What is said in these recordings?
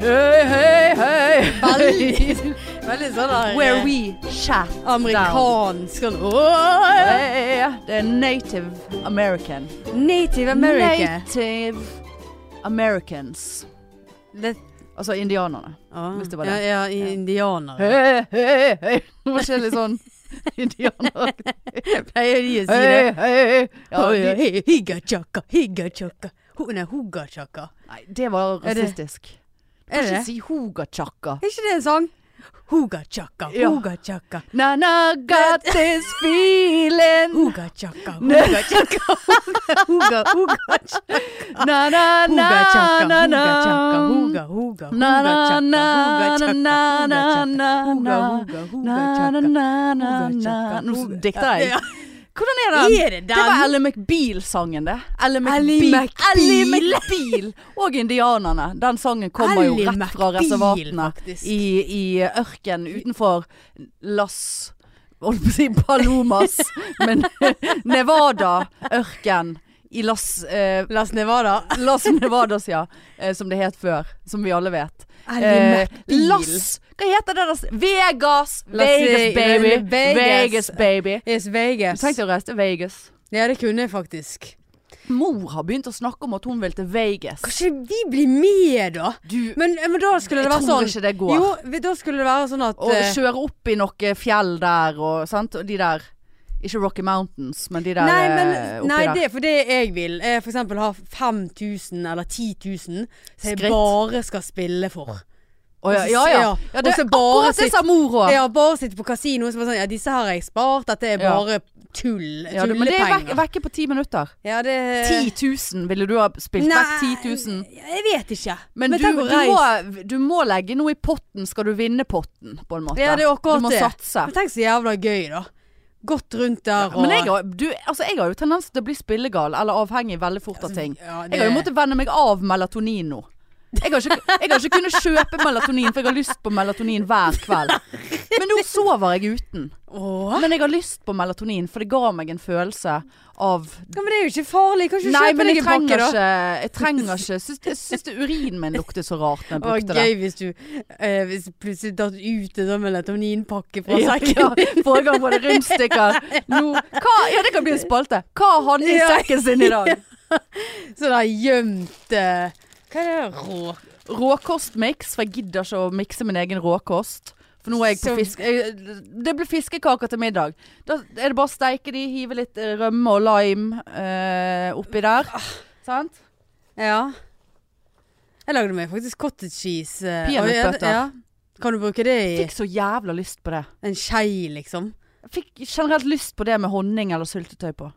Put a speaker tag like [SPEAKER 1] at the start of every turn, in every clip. [SPEAKER 1] høy, høy, høy.
[SPEAKER 2] Veldig, veldig sånn der eh,
[SPEAKER 1] Where we chat down. Oh,
[SPEAKER 2] Amerikansk sånn åh,
[SPEAKER 1] Hey, Det er native american.
[SPEAKER 2] Native American.
[SPEAKER 1] Native americans.
[SPEAKER 2] Det-
[SPEAKER 1] Altså indianerne.
[SPEAKER 2] Ah,
[SPEAKER 1] Hvis det var
[SPEAKER 2] ja,
[SPEAKER 1] det.
[SPEAKER 2] ja, i-
[SPEAKER 1] Ja.
[SPEAKER 2] indianere.
[SPEAKER 1] Hei, hei, hei. Det var ikke litt sånn indianer.
[SPEAKER 2] Pleier de å si
[SPEAKER 1] Hei,
[SPEAKER 2] det?
[SPEAKER 1] hei. Ja,
[SPEAKER 2] Oh,
[SPEAKER 1] de-
[SPEAKER 2] hi- Higachaka, higachaka. Ho- Nei, hugachaka.
[SPEAKER 1] Nei, det var
[SPEAKER 2] Er det-
[SPEAKER 1] rasistisk. Du
[SPEAKER 2] Er
[SPEAKER 1] kan
[SPEAKER 2] det
[SPEAKER 1] ikke
[SPEAKER 2] det?
[SPEAKER 1] si hugachaka.
[SPEAKER 2] Er ikke det en sang? Hugachaka,
[SPEAKER 1] Ja.
[SPEAKER 2] hugachaka,
[SPEAKER 1] Nana got this feeling.
[SPEAKER 2] hugachaka, hugachaka, huga, hugachaka,
[SPEAKER 1] Nana,
[SPEAKER 2] hugachaka,
[SPEAKER 1] na,
[SPEAKER 2] hugachaka,
[SPEAKER 1] na.
[SPEAKER 2] huga, huga,
[SPEAKER 1] Na, na, na,
[SPEAKER 2] hugachaka,
[SPEAKER 1] na, na,
[SPEAKER 2] hugachaka,
[SPEAKER 1] na,
[SPEAKER 2] huga,
[SPEAKER 1] na.
[SPEAKER 2] huga,
[SPEAKER 1] Na, na,
[SPEAKER 2] hugachaka.
[SPEAKER 1] na, na, na.
[SPEAKER 2] Hugachaka,
[SPEAKER 1] Nå
[SPEAKER 2] huga-
[SPEAKER 1] dikter jeg.
[SPEAKER 2] Ja.
[SPEAKER 1] Hvordan er den?
[SPEAKER 2] Er det den?
[SPEAKER 1] Det var Ellen McBeal-sangen, det. Ellen
[SPEAKER 2] Ally McBeal.
[SPEAKER 1] Ally McBeal. Og indianerne. Den sangen kommer jo
[SPEAKER 2] Ally
[SPEAKER 1] rett fra
[SPEAKER 2] McBeal,
[SPEAKER 1] reservatene
[SPEAKER 2] faktisk.
[SPEAKER 1] i, i ørkenen utenfor Las Holdt på å si Palomas, men Nevada-ørken i Las eh,
[SPEAKER 2] Las Nevada.
[SPEAKER 1] Las Nevadas, ja. Eh, som det het før. Som vi alle vet.
[SPEAKER 2] Ally McBeal.
[SPEAKER 1] Las Hva heter det der? Vegas!
[SPEAKER 2] Las-
[SPEAKER 1] Vegas, baby.
[SPEAKER 2] Vegas.
[SPEAKER 1] Vegas, baby.
[SPEAKER 2] Yes, Vegas.
[SPEAKER 1] Tenk deg å reise til Vegas.
[SPEAKER 2] Ja, det kunne jeg faktisk.
[SPEAKER 1] Mor har begynt å snakke om at hun vil til Vegas.
[SPEAKER 2] Kanskje vi blir med, da?
[SPEAKER 1] Du
[SPEAKER 2] Men, men da skulle det
[SPEAKER 1] Jeg
[SPEAKER 2] være
[SPEAKER 1] tror
[SPEAKER 2] sånn
[SPEAKER 1] ikke det går.
[SPEAKER 2] Jo, vi- da skulle det være sånn at
[SPEAKER 1] og
[SPEAKER 2] eh,
[SPEAKER 1] kjøre opp i noe fjell der og sant? Og de der Ikke Rocky Mountains, men de der
[SPEAKER 2] Nei,
[SPEAKER 1] eh,
[SPEAKER 2] men,
[SPEAKER 1] oppi
[SPEAKER 2] nei
[SPEAKER 1] der.
[SPEAKER 2] det er for det jeg vil. er For eksempel ha 5000 eller 10 000 som jeg
[SPEAKER 1] Skritt.
[SPEAKER 2] bare skal spille for.
[SPEAKER 1] Å, ja,
[SPEAKER 2] og så-
[SPEAKER 1] ja, ja.
[SPEAKER 2] ja.
[SPEAKER 1] ja det,
[SPEAKER 2] Og så bare
[SPEAKER 1] akkurat det
[SPEAKER 2] sitt-
[SPEAKER 1] sa mor òg. Ja,
[SPEAKER 2] Ja, bare sitte på kasino og så bare sånn Ja, disse her har jeg spart. Dette er
[SPEAKER 1] Ja.
[SPEAKER 2] bare tull.
[SPEAKER 1] du, men det er vekk,
[SPEAKER 2] Tullepenger.
[SPEAKER 1] vekke på ti minutter.
[SPEAKER 2] Ja, det
[SPEAKER 1] 10 000 ville du ha spilt vekk 10 000.
[SPEAKER 2] Jeg vet ikke.
[SPEAKER 1] Men, du,
[SPEAKER 2] tenk å
[SPEAKER 1] du,
[SPEAKER 2] reise.
[SPEAKER 1] må, du må legge noe i potten, skal du vinne potten, på en måte.
[SPEAKER 2] Ja, det er akkurat
[SPEAKER 1] du må
[SPEAKER 2] det.
[SPEAKER 1] satse.
[SPEAKER 2] Men tenk så jævla gøy, da. Gått rundt der og
[SPEAKER 1] Men jeg har, du, altså, jeg har jo tendens til å bli spillegal eller avhengig veldig fort av ting.
[SPEAKER 2] Altså, ja, det-
[SPEAKER 1] Jeg har jo måttet venne meg av melatonin nå. Jeg har, ikke, jeg har ikke kunnet kjøpe melatonin, for jeg har lyst på melatonin hver kveld. Men nå sover jeg uten.
[SPEAKER 2] Åh.
[SPEAKER 1] Men jeg har lyst på melatonin, for det ga meg en følelse av
[SPEAKER 2] Ja, men det er jo ikke farlig. Kan ikke
[SPEAKER 1] Nei,
[SPEAKER 2] kjøpe
[SPEAKER 1] men
[SPEAKER 2] deg
[SPEAKER 1] jeg
[SPEAKER 2] en pakke,
[SPEAKER 1] trenger
[SPEAKER 2] da.
[SPEAKER 1] ikke Jeg trenger ikke Syns, jeg syns det urinen min lukter så rart når jeg
[SPEAKER 2] Det var
[SPEAKER 1] brukte det.
[SPEAKER 2] gøy hvis du eh, hvis plutselig datt ut en sånn melatoninpakke fra
[SPEAKER 1] Ja,
[SPEAKER 2] sekken.
[SPEAKER 1] ja. Forrige gang var det rundstykker. Nå hva, Ja, det kan bli en spalte. Hva har han i
[SPEAKER 2] Ja.
[SPEAKER 1] sekken sin i dag?
[SPEAKER 2] Sånn der gjemt eh, Hva er det? Rå?
[SPEAKER 1] Råkostmiks, for jeg gidder ikke å mikse min egen råkost. For nå er jeg på
[SPEAKER 2] Så-
[SPEAKER 1] fisk... jeg- Det blir fiskekaker til middag. Da er det bare å steike de, hive litt eh, rømme og lime eh, oppi der. Sant?
[SPEAKER 2] Ja. Jeg lagde meg faktisk cottage cheese. eh,
[SPEAKER 1] Peanøttbøtter.
[SPEAKER 2] og jeg- Ja. Kan du bruke det i
[SPEAKER 1] Fikk så jævla lyst på det.
[SPEAKER 2] en skei, liksom?
[SPEAKER 1] Jeg Fikk generelt lyst på det med honning eller syltetøy på.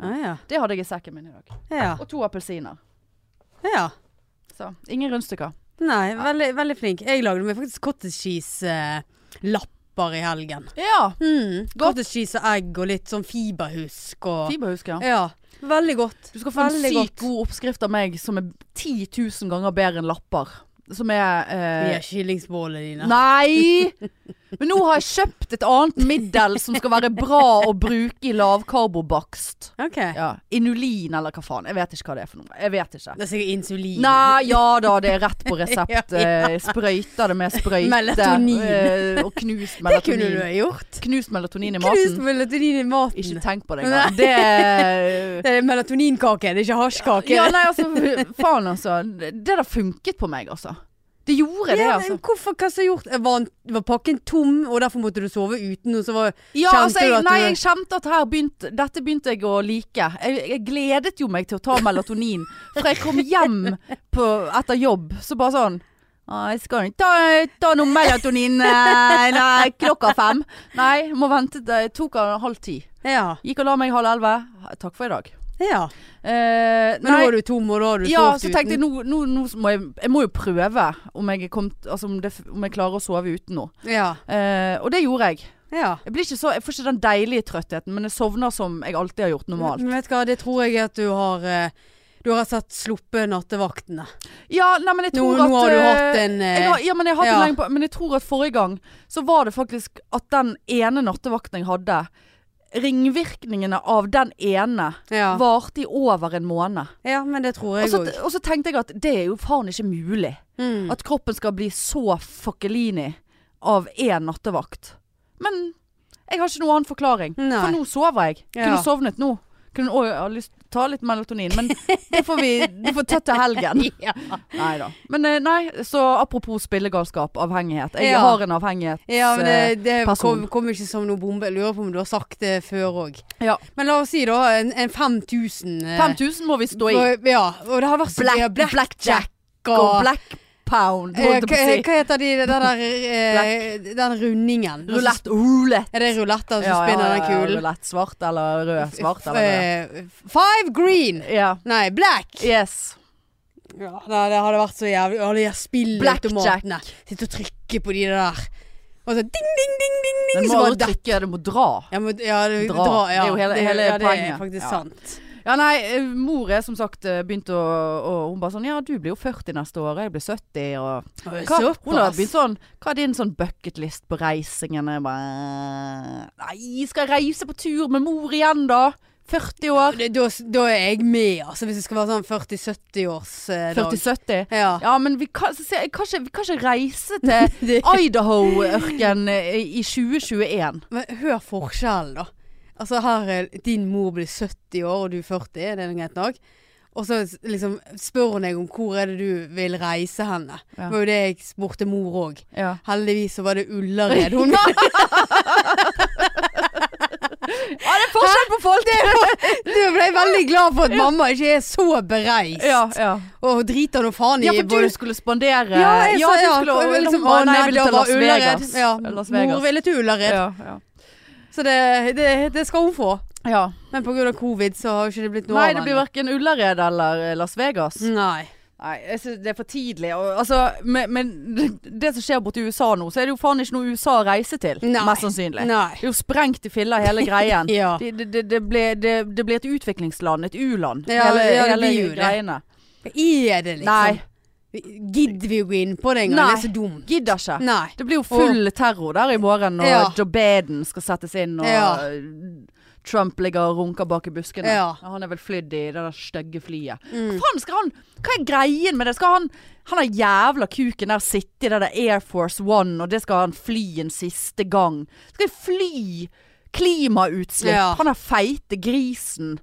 [SPEAKER 2] Ja, ja.
[SPEAKER 1] Det hadde jeg i sekken min i dag.
[SPEAKER 2] Ah, ja.
[SPEAKER 1] Og to appelsiner.
[SPEAKER 2] ja.
[SPEAKER 1] Så ingen rundstykker.
[SPEAKER 2] Nei, veldig, veldig flink. Jeg lagde meg faktisk cottage cheese-lapper i helgen.
[SPEAKER 1] Ja.
[SPEAKER 2] Mm. Cottage cheese og egg og litt sånn fiberhusk og
[SPEAKER 1] Fiberhusk, ja.
[SPEAKER 2] Ja. Veldig godt.
[SPEAKER 1] Du skal få en
[SPEAKER 2] Veldig
[SPEAKER 1] sykt
[SPEAKER 2] godt.
[SPEAKER 1] god oppskrift av meg som er 10 000 ganger bedre enn lapper. Som er eh,
[SPEAKER 2] De er kyllingsbollene dine.
[SPEAKER 1] Nei! Men nå har jeg kjøpt et annet middel som skal være bra å bruke i lavkarbobakst.
[SPEAKER 2] Ok.
[SPEAKER 1] Ja. Inulin eller hva faen. Jeg vet ikke hva det er for noe. Jeg vet ikke.
[SPEAKER 2] Det er sikkert insulin.
[SPEAKER 1] Nei, ja da, det er rett på resept.
[SPEAKER 2] Ja,
[SPEAKER 1] eh, Sprøyter det med sprøyte.
[SPEAKER 2] Melatonin.
[SPEAKER 1] eh, Og knust
[SPEAKER 2] det kunne du
[SPEAKER 1] melatonin.
[SPEAKER 2] ha gjort.
[SPEAKER 1] Knust melatonin i maten.
[SPEAKER 2] Knust melatonin i maten.
[SPEAKER 1] Ikke tenk på det
[SPEAKER 2] Nei.
[SPEAKER 1] engang. Det
[SPEAKER 2] Det er melatoninkake, det er ikke hasjkake.
[SPEAKER 1] Ja, nei, altså, faen altså. Det der funket på meg, altså. Det gjorde det,
[SPEAKER 2] Ja, men
[SPEAKER 1] altså.
[SPEAKER 2] hvorfor, hva som er gjort? Var, en- var pakken tom, og derfor måtte du sove uten? Og så var,
[SPEAKER 1] Ja,
[SPEAKER 2] Kjente
[SPEAKER 1] altså,
[SPEAKER 2] du
[SPEAKER 1] jeg,
[SPEAKER 2] at du-
[SPEAKER 1] nei, jeg kjente at her begynte Dette begynte jeg å like. Jeg, jeg gledet jo meg til å ta melatonin. For jeg kom hjem på, etter jobb, så bare sånn «Å, jeg skal ikke ta, ta noe melatonin eh, nei, klokka fem. Nei, må vente. Det tok av halv ti.
[SPEAKER 2] ja,
[SPEAKER 1] Gikk og la meg halv elleve. Takk for i dag.
[SPEAKER 2] ja.
[SPEAKER 1] Eh,
[SPEAKER 2] Men nå var du tom, og da har du
[SPEAKER 1] ja,
[SPEAKER 2] sovet
[SPEAKER 1] så
[SPEAKER 2] uten.
[SPEAKER 1] tenkte jeg nå, nå, nå må jeg, jeg må jo prøve om jeg, kom, altså om, det, om jeg klarer å sove uten nå.
[SPEAKER 2] Ja,
[SPEAKER 1] Eh, og det gjorde jeg.
[SPEAKER 2] ja.
[SPEAKER 1] Jeg, blir ikke så, jeg får ikke den deilige trøttheten, men jeg sovner som jeg alltid har gjort normalt.
[SPEAKER 2] Men vet du hva, det tror jeg at du har eh, Du har rett og slett sluppet nattevaktene.
[SPEAKER 1] Ja, nei, men jeg
[SPEAKER 2] Nå,
[SPEAKER 1] tror
[SPEAKER 2] nå
[SPEAKER 1] at
[SPEAKER 2] har du
[SPEAKER 1] eh,
[SPEAKER 2] hatt en eh,
[SPEAKER 1] jeg har, ja, men jeg har hatt
[SPEAKER 2] ja.
[SPEAKER 1] det lenge på Men jeg tror at forrige gang så var det faktisk at den ene nattevakten jeg hadde ringvirkningene av den ene
[SPEAKER 2] Ja.
[SPEAKER 1] varte i over en måned.
[SPEAKER 2] ja, men det tror
[SPEAKER 1] Og
[SPEAKER 2] jeg
[SPEAKER 1] så,
[SPEAKER 2] òg.
[SPEAKER 1] og så tenkte jeg at det er jo faen ikke mulig.
[SPEAKER 2] Mm.
[SPEAKER 1] Altså, At kroppen skal bli så fuckelini av én nattevakt. Men jeg har ikke noen annen forklaring.
[SPEAKER 2] Nei.
[SPEAKER 1] For nå sover jeg. Kunne
[SPEAKER 2] Ja.
[SPEAKER 1] sovnet nå. Kunne òg ha lyst til å ta litt melatonin, men det får vi det får tett til helgen.
[SPEAKER 2] Ja.
[SPEAKER 1] Nei da. Men eh, nei, så apropos spillegalskap, avhengighet. Jeg
[SPEAKER 2] Ja.
[SPEAKER 1] har en avhengighet.
[SPEAKER 2] Ja, men
[SPEAKER 1] eh,
[SPEAKER 2] det, det
[SPEAKER 1] person.
[SPEAKER 2] kom, kom ikke som noe bombe. Jeg Lurer på om du har sagt det før òg.
[SPEAKER 1] ja.
[SPEAKER 2] Men la oss si da en, en 5000. eh,
[SPEAKER 1] 5000 må vi stå i.
[SPEAKER 2] og- Ja, og det har vært så mye
[SPEAKER 1] Black, blackjack
[SPEAKER 2] og-
[SPEAKER 1] og black pound,
[SPEAKER 2] Eh,
[SPEAKER 1] holdt jeg på
[SPEAKER 2] Hva,
[SPEAKER 1] å si.
[SPEAKER 2] hva heter de, den der eh, Den rundingen? Altså,
[SPEAKER 1] Rulett. Roulette.
[SPEAKER 2] Er det ruletter som spinner den kulen?
[SPEAKER 1] Roulette. Svart eller rød. Svart eller rød.
[SPEAKER 2] Eh, Five green!
[SPEAKER 1] Ja.
[SPEAKER 2] Nei, black!
[SPEAKER 1] Yes.
[SPEAKER 2] Ja, nei, det hadde vært så jævlig Alle de her spillautomatene. Sitte og trykke på de der. Og så ding, ding, ding, ding,
[SPEAKER 1] Men
[SPEAKER 2] ding.
[SPEAKER 1] du
[SPEAKER 2] Så
[SPEAKER 1] må
[SPEAKER 2] bare
[SPEAKER 1] aldri
[SPEAKER 2] det.
[SPEAKER 1] trykke, du må dra.
[SPEAKER 2] Ja, men, ja, det,
[SPEAKER 1] Dra.
[SPEAKER 2] Dra, ja.
[SPEAKER 1] Det er jo hele- hele
[SPEAKER 2] ja, det
[SPEAKER 1] poenget.
[SPEAKER 2] er faktisk
[SPEAKER 1] Ja.
[SPEAKER 2] sant.
[SPEAKER 1] Ja, nei, eh, mor er som sagt eh, begynt å og Hun bare sånn Ja, du blir jo 40 neste år, jeg blir 70, og hva, Hun har begynt sånn Hva er din sånn bucketlist på reisingen? Jeg bare Nei, skal jeg reise på tur med mor igjen, da? 40 år?
[SPEAKER 2] Det- Da, da er jeg med, altså. Hvis det skal være sånn 40-70-årsdag.
[SPEAKER 1] 40-70?
[SPEAKER 2] Ja.
[SPEAKER 1] Ja, men vi kan, så sier jeg, kan, ikke, vi kan ikke reise til Idaho-ørken eh, i 2021.
[SPEAKER 2] Men hør forskjellen, da. Altså her er din mor blir 70 år, og du 40, det er greit nok. Og så s- liksom spør hun deg om hvor er det du vil reise henne.
[SPEAKER 1] Ja.
[SPEAKER 2] Det var jo det jeg spurte mor òg.
[SPEAKER 1] Ja.
[SPEAKER 2] Heldigvis så var det Ullared hun var.
[SPEAKER 1] Ja, det er forskjell på folk!
[SPEAKER 2] Du ble veldig glad for at mamma ikke er så bereist.
[SPEAKER 1] Ja, ja.
[SPEAKER 2] Og driter nå faen i
[SPEAKER 1] ja, for
[SPEAKER 2] både-
[SPEAKER 1] du skulle spandere
[SPEAKER 2] Ja, jeg sa
[SPEAKER 1] du
[SPEAKER 2] ja.
[SPEAKER 1] skulle,
[SPEAKER 2] og
[SPEAKER 1] og
[SPEAKER 2] liksom,
[SPEAKER 1] hun bare,
[SPEAKER 2] å,
[SPEAKER 1] nei,
[SPEAKER 2] nei,
[SPEAKER 1] jeg vil
[SPEAKER 2] da
[SPEAKER 1] til
[SPEAKER 2] var
[SPEAKER 1] Las
[SPEAKER 2] Ullared.
[SPEAKER 1] Vegas.
[SPEAKER 2] Ja,
[SPEAKER 1] Las Vegas.
[SPEAKER 2] mor ville til Ullared.
[SPEAKER 1] Ja, ja.
[SPEAKER 2] Så det, det, det skal hun få.
[SPEAKER 1] ja.
[SPEAKER 2] Men pga. covid så har jo ikke det blitt noe
[SPEAKER 1] Nei,
[SPEAKER 2] av
[SPEAKER 1] det blir
[SPEAKER 2] henne.
[SPEAKER 1] verken Ullared eller eh, Las Vegas.
[SPEAKER 2] Nei.
[SPEAKER 1] Nei, jeg synes det er for tidlig. Og, altså, men, men det som skjer borti USA nå, så er det jo faen ikke noe USA å reise til.
[SPEAKER 2] Nei.
[SPEAKER 1] Mest sannsynlig.
[SPEAKER 2] Nei.
[SPEAKER 1] Det er jo sprengt i filler, hele greien.
[SPEAKER 2] Ja.
[SPEAKER 1] det, det, det, det, ble, det, det blir et utviklingsland, et u-land.
[SPEAKER 2] Ja,
[SPEAKER 1] hele
[SPEAKER 2] ja, det
[SPEAKER 1] hele
[SPEAKER 2] blir jo det.
[SPEAKER 1] greiene.
[SPEAKER 2] Er det liksom
[SPEAKER 1] Nei.
[SPEAKER 2] Gidder vi å gå inn på det engang?
[SPEAKER 1] Nei.
[SPEAKER 2] Det er så dumt.
[SPEAKER 1] Gidder ikke.
[SPEAKER 2] Nei.
[SPEAKER 1] Det blir jo full terror der i morgen når
[SPEAKER 2] Ja.
[SPEAKER 1] Joe Biden skal settes inn og
[SPEAKER 2] Ja.
[SPEAKER 1] eh, Trump ligger og runker bak i buskene.
[SPEAKER 2] Ja. Mm.
[SPEAKER 1] Han er vel flydd i det der stygge flyet. Hva faen skal han Hva er greien med det? Skal han Han har jævla kuken der sitte i det der Air Force One, og det skal han fly en siste gang. Skal han fly klimautslipp?
[SPEAKER 2] Ja.
[SPEAKER 1] Han er feite grisen.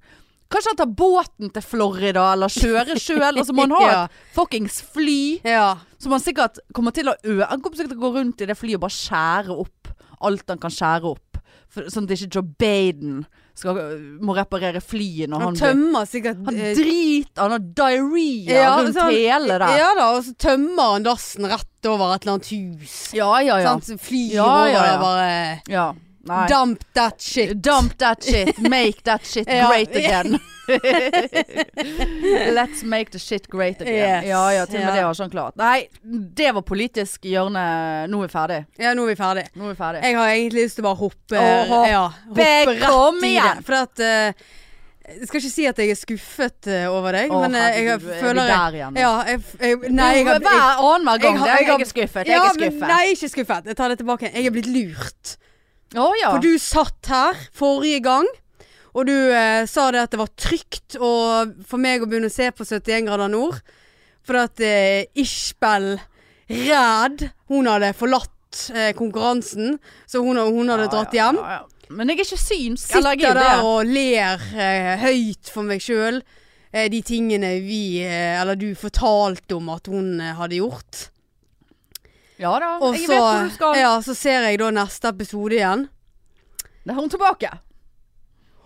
[SPEAKER 1] Kanskje han tar båten til Florida, eller kjører sjøl, og så må han ha
[SPEAKER 2] Ja.
[SPEAKER 1] et fuckings fly.
[SPEAKER 2] Ja.
[SPEAKER 1] Som han sikkert kommer til å ø Han kommer sikkert til å gå rundt i det flyet og bare skjære opp alt han kan skjære opp. For, sånn at ikke Joe Baden skal, må reparere flyet når
[SPEAKER 2] Han
[SPEAKER 1] han, blir
[SPEAKER 2] tømmer sikkert
[SPEAKER 1] Han
[SPEAKER 2] eh,
[SPEAKER 1] driter, han har diaré
[SPEAKER 2] ja,
[SPEAKER 1] rundt
[SPEAKER 2] så han-
[SPEAKER 1] hele der. Ja
[SPEAKER 2] Ja da, og så tømmer han dassen rett over et eller annet hus.
[SPEAKER 1] ja ja. ja.
[SPEAKER 2] Sant? Så Flyr
[SPEAKER 1] Ja,
[SPEAKER 2] over
[SPEAKER 1] ja, ja.
[SPEAKER 2] der bare
[SPEAKER 1] Nei.
[SPEAKER 2] Dump that shit.
[SPEAKER 1] Dump that shit, make that shit
[SPEAKER 2] Ja.
[SPEAKER 1] great again. Let's make the shit great again.
[SPEAKER 2] Yes.
[SPEAKER 1] Ja ja, til og med
[SPEAKER 2] Ja.
[SPEAKER 1] det har ikke han klart. Nei, det var politisk hjørne. Nå er vi ferdig.
[SPEAKER 2] Ja, nå er vi ferdig.
[SPEAKER 1] Nå er vi ferdig.
[SPEAKER 2] Jeg har egentlig lyst til å bare hoppe,
[SPEAKER 1] Å, hoppe.
[SPEAKER 2] ja, hoppe rett
[SPEAKER 1] Kom
[SPEAKER 2] i
[SPEAKER 1] igjen.
[SPEAKER 2] det. For at eh, Jeg skal ikke si at jeg er skuffet eh, over deg,
[SPEAKER 1] Å,
[SPEAKER 2] men eh, jeg
[SPEAKER 1] herregud, er vi
[SPEAKER 2] føler
[SPEAKER 1] der igjen nå?
[SPEAKER 2] Ja, jeg, jeg, nei, jeg,
[SPEAKER 1] Jo,
[SPEAKER 2] jeg,
[SPEAKER 1] hver annenhver gang.
[SPEAKER 2] jeg har-
[SPEAKER 1] det er
[SPEAKER 2] jeg har-
[SPEAKER 1] jeg er skuffet. Jeg
[SPEAKER 2] ja,
[SPEAKER 1] er
[SPEAKER 2] men
[SPEAKER 1] skuffet.
[SPEAKER 2] nei, ikke skuffet. Jeg tar det tilbake. Jeg er blitt lurt.
[SPEAKER 1] Å ja.
[SPEAKER 2] For du satt her forrige gang, og du eh, sa det at det var trygt å, for meg å begynne å se på 71 grader nord. For at eh, Ishbel Ræd, hun hadde forlatt eh, konkurransen, så hun, hun hadde dratt
[SPEAKER 1] Ja,
[SPEAKER 2] hjem.
[SPEAKER 1] ja, ja, ja. Men jeg er ikke synsk.
[SPEAKER 2] Sitter
[SPEAKER 1] Eller jeg er jo
[SPEAKER 2] der
[SPEAKER 1] det.
[SPEAKER 2] og ler eh, høyt for meg sjøl. Eh, de tingene vi, eh, eller du, fortalte om at hun eh, hadde gjort.
[SPEAKER 1] Ja da.
[SPEAKER 2] Og
[SPEAKER 1] jeg
[SPEAKER 2] så,
[SPEAKER 1] vet hvor du skal.
[SPEAKER 2] ja, så ser jeg da neste episode igjen.
[SPEAKER 1] Da er hun tilbake.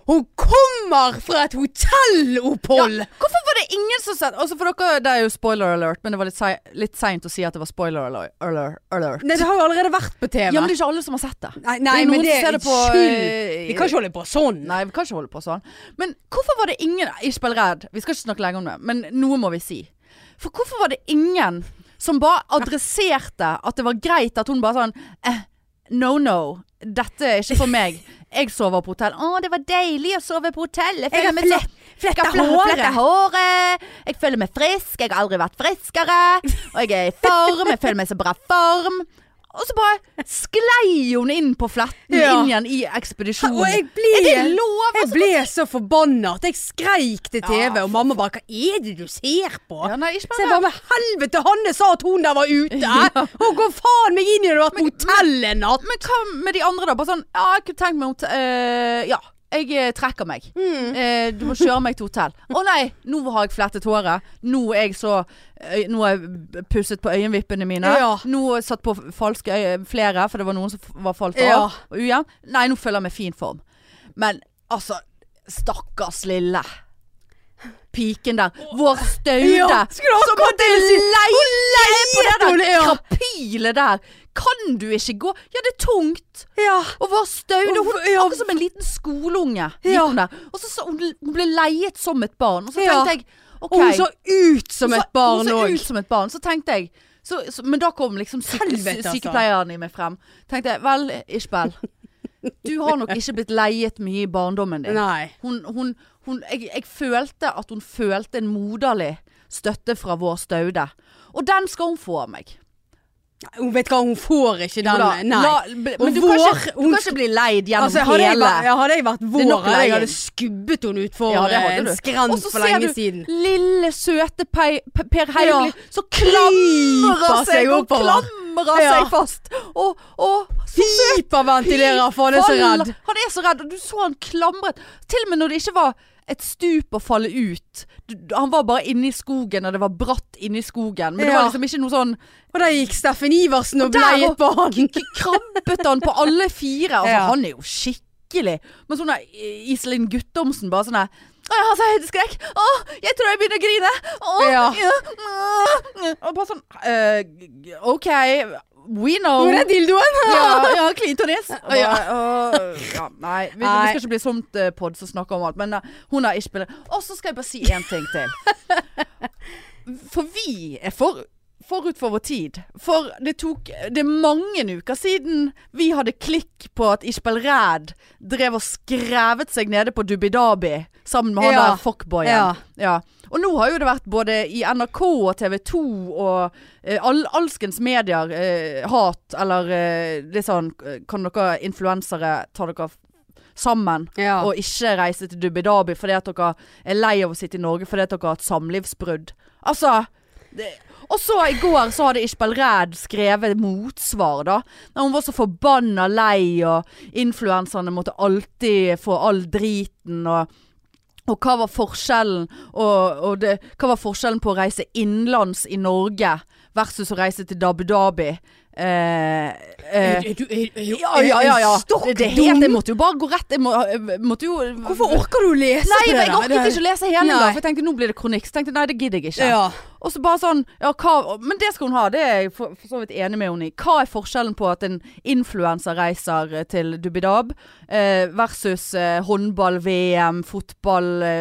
[SPEAKER 2] Hun kommer fra et hotellopphold!
[SPEAKER 1] Hvorfor var det ingen som sa Altså for dere, det er jo spoiler alert, men det var litt, sei, litt seint å si at det var spoiler alert. alert, alert.
[SPEAKER 2] Nei, det har jo allerede vært på TV.
[SPEAKER 1] Ja, men det er ikke alle som har sett det.
[SPEAKER 2] nei, nei,
[SPEAKER 1] det er noen
[SPEAKER 2] men det
[SPEAKER 1] som ser
[SPEAKER 2] er
[SPEAKER 1] det på
[SPEAKER 2] skyld. Vi
[SPEAKER 1] eh,
[SPEAKER 2] kan ikke holde på sånn.
[SPEAKER 1] Nei, vi kan ikke holde på sånn. Men hvorfor var det ingen Ikke spill redd, vi skal ikke snakke lenge om det, men noe må vi si. For hvorfor var det ingen som bare adresserte at det var greit at hun bare sånn eh, No, no. Dette er ikke for meg. Jeg sover på hotell. Å, det var deilig å sove på hotell. Jeg føler meg så-
[SPEAKER 2] fletta
[SPEAKER 1] jeg har fletta håret. Jeg føler meg frisk. Jeg har aldri vært friskere. Og jeg er i form. Jeg føler meg så bra form. Og så bare sklei hun inn på fletten
[SPEAKER 2] Ja.
[SPEAKER 1] inn igjen i ekspedisjonen.
[SPEAKER 2] Og jeg ble,
[SPEAKER 1] er det lov?
[SPEAKER 2] jeg ble så forbanna at jeg skreik til
[SPEAKER 1] Ja,
[SPEAKER 2] TV, og mamma bare 'Hva er det du ser på?'
[SPEAKER 1] Ja, nei, ikke
[SPEAKER 2] Så jeg
[SPEAKER 1] bare
[SPEAKER 2] bare 'Med helvete, Hanne sa at hun der var ute!'
[SPEAKER 1] Ja.
[SPEAKER 2] Hun går faen meg inn i det og har vært på hotell en natt!
[SPEAKER 1] Men hva med de andre da? Bare sånn, ja, jeg kunne tenkt meg hot- eh, Ja, jeg eh, trekker meg. Eh, du må kjøre meg til hotell. Å nei, nå har jeg flettet håret. Nå er jeg så øy- Nå har jeg pusset på øyenvippene mine.
[SPEAKER 2] Ja.
[SPEAKER 1] Nå har jeg satt på falske øye, flere, for det var noen som f- var falt av.
[SPEAKER 2] Ja.
[SPEAKER 1] og Ujevn. Nei, nå føler jeg meg i fin form. Men altså, stakkars lille. Piken der. Vår staude.
[SPEAKER 2] Ja, skulle
[SPEAKER 1] som
[SPEAKER 2] akkurat
[SPEAKER 1] måtte
[SPEAKER 2] til å si.
[SPEAKER 1] leie på det
[SPEAKER 2] Hun
[SPEAKER 1] der
[SPEAKER 2] leide, ja.
[SPEAKER 1] krapilet der. Kan du ikke gå? Ja, det er tungt.
[SPEAKER 2] Ja.
[SPEAKER 1] Og var staude.
[SPEAKER 2] Og
[SPEAKER 1] Hun
[SPEAKER 2] ja.
[SPEAKER 1] akkurat som en liten skoleunge. gikk
[SPEAKER 2] Ja.
[SPEAKER 1] hun der. Og så, så hun, hun ble leiet som et barn. Og så
[SPEAKER 2] Ja.
[SPEAKER 1] tenkte jeg OK.
[SPEAKER 2] Og hun så ut som
[SPEAKER 1] Hun
[SPEAKER 2] et barn
[SPEAKER 1] Hun så
[SPEAKER 2] òg.
[SPEAKER 1] ut som et barn. Så tenkte jeg så, så, Men da kom liksom syk,
[SPEAKER 2] Helvete, altså.
[SPEAKER 1] sykepleieren i meg frem. Tenkte jeg vel, Ishbel. Du har nok ikke blitt leiet mye i barndommen din.
[SPEAKER 2] Nei.
[SPEAKER 1] Hun, hun, hun, jeg, jeg følte at hun følte en moderlig støtte fra vår staude. Og den skal hun få av meg.
[SPEAKER 2] Hun vet hva, hun får ikke den.
[SPEAKER 1] La-
[SPEAKER 2] Nei.
[SPEAKER 1] la- b- men du,
[SPEAKER 2] vår-
[SPEAKER 1] kan ikke, du
[SPEAKER 2] hun-
[SPEAKER 1] kan ikke bli leid gjennom
[SPEAKER 2] Altså, hadde,
[SPEAKER 1] hele
[SPEAKER 2] jeg vært, ja, hadde jeg vært
[SPEAKER 1] er
[SPEAKER 2] vår,
[SPEAKER 1] nok
[SPEAKER 2] hadde jeg
[SPEAKER 1] leien.
[SPEAKER 2] hadde skubbet henne utfor
[SPEAKER 1] Ja, det hadde
[SPEAKER 2] en
[SPEAKER 1] du.
[SPEAKER 2] skrent
[SPEAKER 1] Og så
[SPEAKER 2] for
[SPEAKER 1] ser
[SPEAKER 2] lenge
[SPEAKER 1] du
[SPEAKER 2] siden.
[SPEAKER 1] Lille, søte Pei, P- Per Heimli
[SPEAKER 2] Ja.
[SPEAKER 1] som klamrer
[SPEAKER 2] Kryper seg
[SPEAKER 1] seg og
[SPEAKER 2] oppover.
[SPEAKER 1] klamrer
[SPEAKER 2] Ja.
[SPEAKER 1] seg fast. Og, og
[SPEAKER 2] Hyperventilerer, for han er så
[SPEAKER 1] Fall-
[SPEAKER 2] redd.
[SPEAKER 1] Han er så redd, og du så han klamret. Til og med når det ikke var et stup å falle ut. Du- du- Han var bare inne i skogen, og det var bratt inne i skogen. Men det
[SPEAKER 2] Ja.
[SPEAKER 1] var liksom ikke noe sånn
[SPEAKER 2] Og der gikk Steffen Iversen og,
[SPEAKER 1] der
[SPEAKER 2] bleiet
[SPEAKER 1] og-
[SPEAKER 2] på han.
[SPEAKER 1] k- krabbet han på alle fire. Altså,
[SPEAKER 2] Ja.
[SPEAKER 1] Han er jo skikkelig. Men sånn der, eh, Iselin Guttormsen bare sånn der Å, jeg har så høydeskrekk. Å, jeg tror jeg begynner å grine. Å,
[SPEAKER 2] Ja.
[SPEAKER 1] ja. mm, Og bare sånn eh, g- OK, we know.
[SPEAKER 2] Hvor er dildoen?
[SPEAKER 1] Ja, ja, klitoris. Og bare,
[SPEAKER 2] Ja.
[SPEAKER 1] «Å, ja, nei, vi, vi
[SPEAKER 2] Nei.
[SPEAKER 1] skal ikke bli sånt eh, pod som snakker om alt, men eh, hun har ikke spilt Og så skal jeg bare si én ting til. For vi er for, forut for vår tid. For det tok Det er mange uker siden vi hadde klikk på at Ishbel Ræd drev og skrevet seg nede på Dubidabi sammen med han
[SPEAKER 2] Ja.
[SPEAKER 1] der fuckboyen.
[SPEAKER 2] Ja.
[SPEAKER 1] Ja. Og nå har jo det vært både i NRK og TV 2 og eh, all, alskens medier eh, hat eller eh, litt sånn eh, Kan dere influensere ta dere f- sammen
[SPEAKER 2] Ja.
[SPEAKER 1] og ikke reise til Dubidabi fordi at dere er lei av å sitte i Norge fordi at dere har hatt samlivsbrudd? Altså det- og så i går så hadde Ishbel Ræd skrevet motsvar, da. Når hun var så forbanna lei, og influenserne måtte alltid få all driten, og og hva var forskjellen og, og det, Hva var forskjellen på å reise innenlands i Norge versus å reise til Dhabi Dhabi? Eh, eh,
[SPEAKER 2] Er du- er- er- er-
[SPEAKER 1] ja, ja, ja. ja.
[SPEAKER 2] er du stokk
[SPEAKER 1] Det, det er
[SPEAKER 2] dum?
[SPEAKER 1] helt, jeg måtte jo bare gå rett. Jeg må, jeg måtte jo
[SPEAKER 2] Hvorfor orker du å lese
[SPEAKER 1] Nei,
[SPEAKER 2] på det?
[SPEAKER 1] jeg orket ikke å lese hele, da.
[SPEAKER 2] Nei.
[SPEAKER 1] For jeg tenkte nå blir det kronikk. Så tenkte jeg nei, det gidder jeg ikke.
[SPEAKER 2] Ja.
[SPEAKER 1] Og så bare sånn ja, hva, Men det skal hun ha, det er jeg for, for så vidt enig med henne i. Hva er forskjellen på at en influenser reiser eh, til Dubidab eh, versus eh, håndball-VM,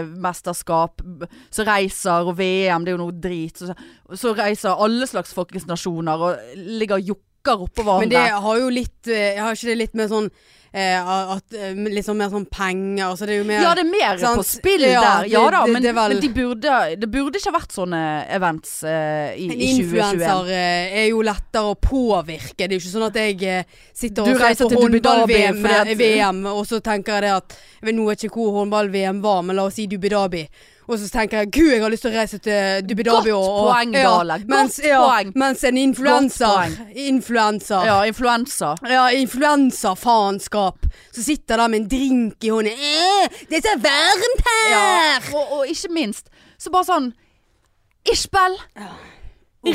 [SPEAKER 1] fotballmesterskap, eh, så reiser og VM, det er jo noe drit. Så, så reiser alle slags folkens nasjoner og ligger og jokker oppå
[SPEAKER 2] Men det
[SPEAKER 1] hverandre.
[SPEAKER 2] har jo litt eh, Har ikke det litt mer sånn eh, at, eh, Litt sånn mer sånn penger altså det er jo mer,
[SPEAKER 1] Ja, det er mer
[SPEAKER 2] Sant?
[SPEAKER 1] på spill
[SPEAKER 2] Ja,
[SPEAKER 1] der. Ja
[SPEAKER 2] det-
[SPEAKER 1] da,
[SPEAKER 2] det-
[SPEAKER 1] men,
[SPEAKER 2] det er vel-
[SPEAKER 1] men de burde, det burde ikke ha vært sånne events eh, i,
[SPEAKER 2] En
[SPEAKER 1] i 2021.
[SPEAKER 2] influenser eh, er jo lettere å påvirke. Det er jo ikke sånn at jeg eh, sitter
[SPEAKER 1] Du
[SPEAKER 2] og
[SPEAKER 1] reiser
[SPEAKER 2] ser på
[SPEAKER 1] til Dubu Dhabi
[SPEAKER 2] håndball-VM,
[SPEAKER 1] fordi at-
[SPEAKER 2] eh, VM, og så tenker jeg det at Jeg vet nå vet ikke hvor håndball-VM var, men la oss si Dubidabi. Og så tenker jeg gud, jeg har lyst til å reise til Dubidabi.
[SPEAKER 1] Godt poeng, Dale. Godt
[SPEAKER 2] mens,
[SPEAKER 1] poeng.
[SPEAKER 2] Mens en influenser Influenser. Ja.
[SPEAKER 1] Ja, influensa.
[SPEAKER 2] influenserfaenskap. Så sitter der med en drink i hånden. Eh, det er så varmt her!
[SPEAKER 1] Ja, og, og ikke minst, så bare sånn Ishbel,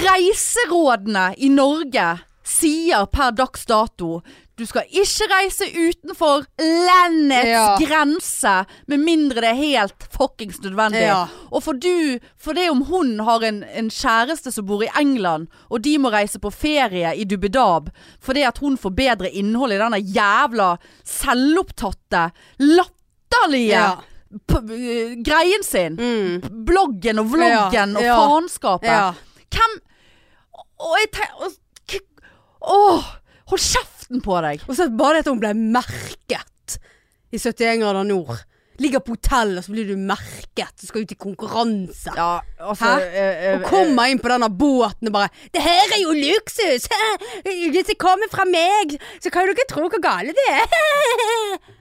[SPEAKER 1] reiserådene i Norge sier per dags dato du skal ikke reise utenfor landets
[SPEAKER 2] Ja.
[SPEAKER 1] grense med mindre det er helt fuckings nødvendig.
[SPEAKER 2] Ja.
[SPEAKER 1] Og for du, for det om hun har en, en kjæreste som bor i England, og de må reise på ferie i Dubbedab fordi at hun får bedre innhold i denne jævla selvopptatte, latterlige
[SPEAKER 2] Ja.
[SPEAKER 1] p øh, greien sin.
[SPEAKER 2] Mm.
[SPEAKER 1] Bloggen og vloggen
[SPEAKER 2] Ja, ja.
[SPEAKER 1] og faenskapet.
[SPEAKER 2] Ja.
[SPEAKER 1] Hvem Og jeg tenker Åh! Hold kjeften på deg!
[SPEAKER 2] Og så bare det at hun ble merket i 71 grader nord. Ligger på hotell, og så blir du merket. Du skal ut i konkurranse.
[SPEAKER 1] Ja, altså
[SPEAKER 2] Hæ?
[SPEAKER 1] eh, eh,
[SPEAKER 2] Og kommer inn på denne båten og bare 'Det her er jo luksus! Dette kommer fra meg! Så kan jo dere tro hvor gale det er!' eh,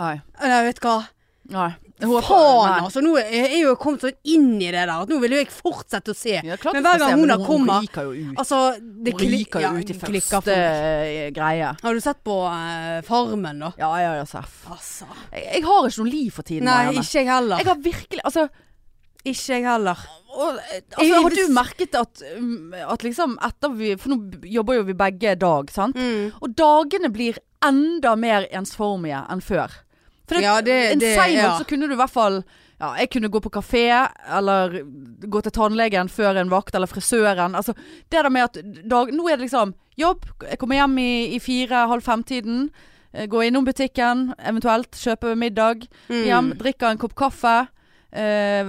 [SPEAKER 1] Nei.
[SPEAKER 2] Nei, vet du hva.
[SPEAKER 1] nei. Jeg håper-
[SPEAKER 2] Faen,
[SPEAKER 1] nei.
[SPEAKER 2] altså. Nå er er jo jeg kommet sånn inn i det der at nå vil jo jeg fortsette å se.
[SPEAKER 1] Ja, klart
[SPEAKER 2] Men
[SPEAKER 1] du
[SPEAKER 2] hver
[SPEAKER 1] skal
[SPEAKER 2] gang
[SPEAKER 1] se,
[SPEAKER 2] hun
[SPEAKER 1] men
[SPEAKER 2] da kommer
[SPEAKER 1] Hun ryker jo ut.
[SPEAKER 2] Altså, det
[SPEAKER 1] hun
[SPEAKER 2] kli-
[SPEAKER 1] ryker jo
[SPEAKER 2] ja,
[SPEAKER 1] ut i
[SPEAKER 2] klikker
[SPEAKER 1] første
[SPEAKER 2] for meg.
[SPEAKER 1] eh, greie.
[SPEAKER 2] Har du sett på eh, Farmen, da?
[SPEAKER 1] Ja, ja, ja, Seff.
[SPEAKER 2] Altså.
[SPEAKER 1] Jeg, jeg har ikke noe liv for tiden.
[SPEAKER 2] Nei,
[SPEAKER 1] Marianne.
[SPEAKER 2] ikke jeg heller.
[SPEAKER 1] Jeg har virkelig Altså,
[SPEAKER 2] Ikke jeg heller.
[SPEAKER 1] og, eh,
[SPEAKER 2] Jeg-
[SPEAKER 1] altså har
[SPEAKER 2] jeg-
[SPEAKER 1] du merket at, um, at liksom etter vi For nå b- jobber jo vi begge dag, sant?
[SPEAKER 2] Mm.
[SPEAKER 1] Og dagene blir enda mer ensformige enn før. For det,
[SPEAKER 2] Ja,
[SPEAKER 1] en
[SPEAKER 2] det- Eh, det-
[SPEAKER 1] sein
[SPEAKER 2] ja.
[SPEAKER 1] så kunne du i hvert fall ja, Jeg kunne gå på kafé, eller gå til tannlegen før en vakt, eller frisøren. Altså, det der med at dag, Nå er det liksom jobb, jeg kommer hjem i, i fire-halv fem-tiden. eh, Gå innom butikken, eventuelt kjøpe middag.
[SPEAKER 2] Mm.
[SPEAKER 1] Hjem, drikker en kopp kaffe. Eh,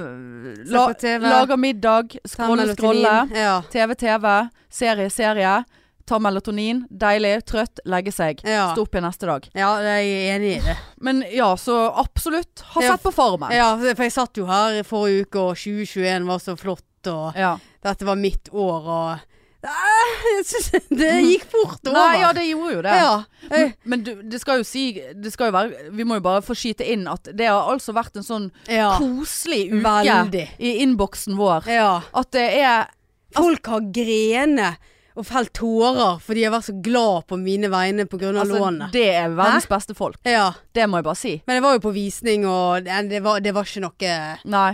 [SPEAKER 1] la,
[SPEAKER 2] på TV.
[SPEAKER 1] lager middag.
[SPEAKER 2] Ta
[SPEAKER 1] Skrolle,
[SPEAKER 2] melatonin.
[SPEAKER 1] skrolle.
[SPEAKER 2] Ja.
[SPEAKER 1] TV, TV, serie, serie. Ta melatonin, deilig, trøtt, legge seg.
[SPEAKER 2] Ja.
[SPEAKER 1] Stå opp igjen neste dag.
[SPEAKER 2] ja, jeg er enig i det.
[SPEAKER 1] Men ja, så absolutt. Har
[SPEAKER 2] Ja.
[SPEAKER 1] sett på Farmen.
[SPEAKER 2] Ja, for jeg satt jo her i forrige uke, og 2021 var så flott, og
[SPEAKER 1] Ja.
[SPEAKER 2] dette var mitt år, og Ah, jeg synes Det gikk fort over.
[SPEAKER 1] Nei, ja, det gjorde jo det.
[SPEAKER 2] Ja. Eh,
[SPEAKER 1] Men du, det skal jo si det skal jo være, Vi må jo bare få skyte inn at det har altså vært en sånn
[SPEAKER 2] ja.
[SPEAKER 1] koselig uke
[SPEAKER 2] Veldig.
[SPEAKER 1] i innboksen vår.
[SPEAKER 2] ja.
[SPEAKER 1] At det er
[SPEAKER 2] Folk har grene og felt tårer, for de har vært så glad på mine vegne pga. av
[SPEAKER 1] altså,
[SPEAKER 2] lånet.
[SPEAKER 1] Det er verdens beste folk.
[SPEAKER 2] Ja.
[SPEAKER 1] Det må jeg bare si.
[SPEAKER 2] Men jeg var jo på visning, og det, det, var, det var ikke noe
[SPEAKER 1] Nei.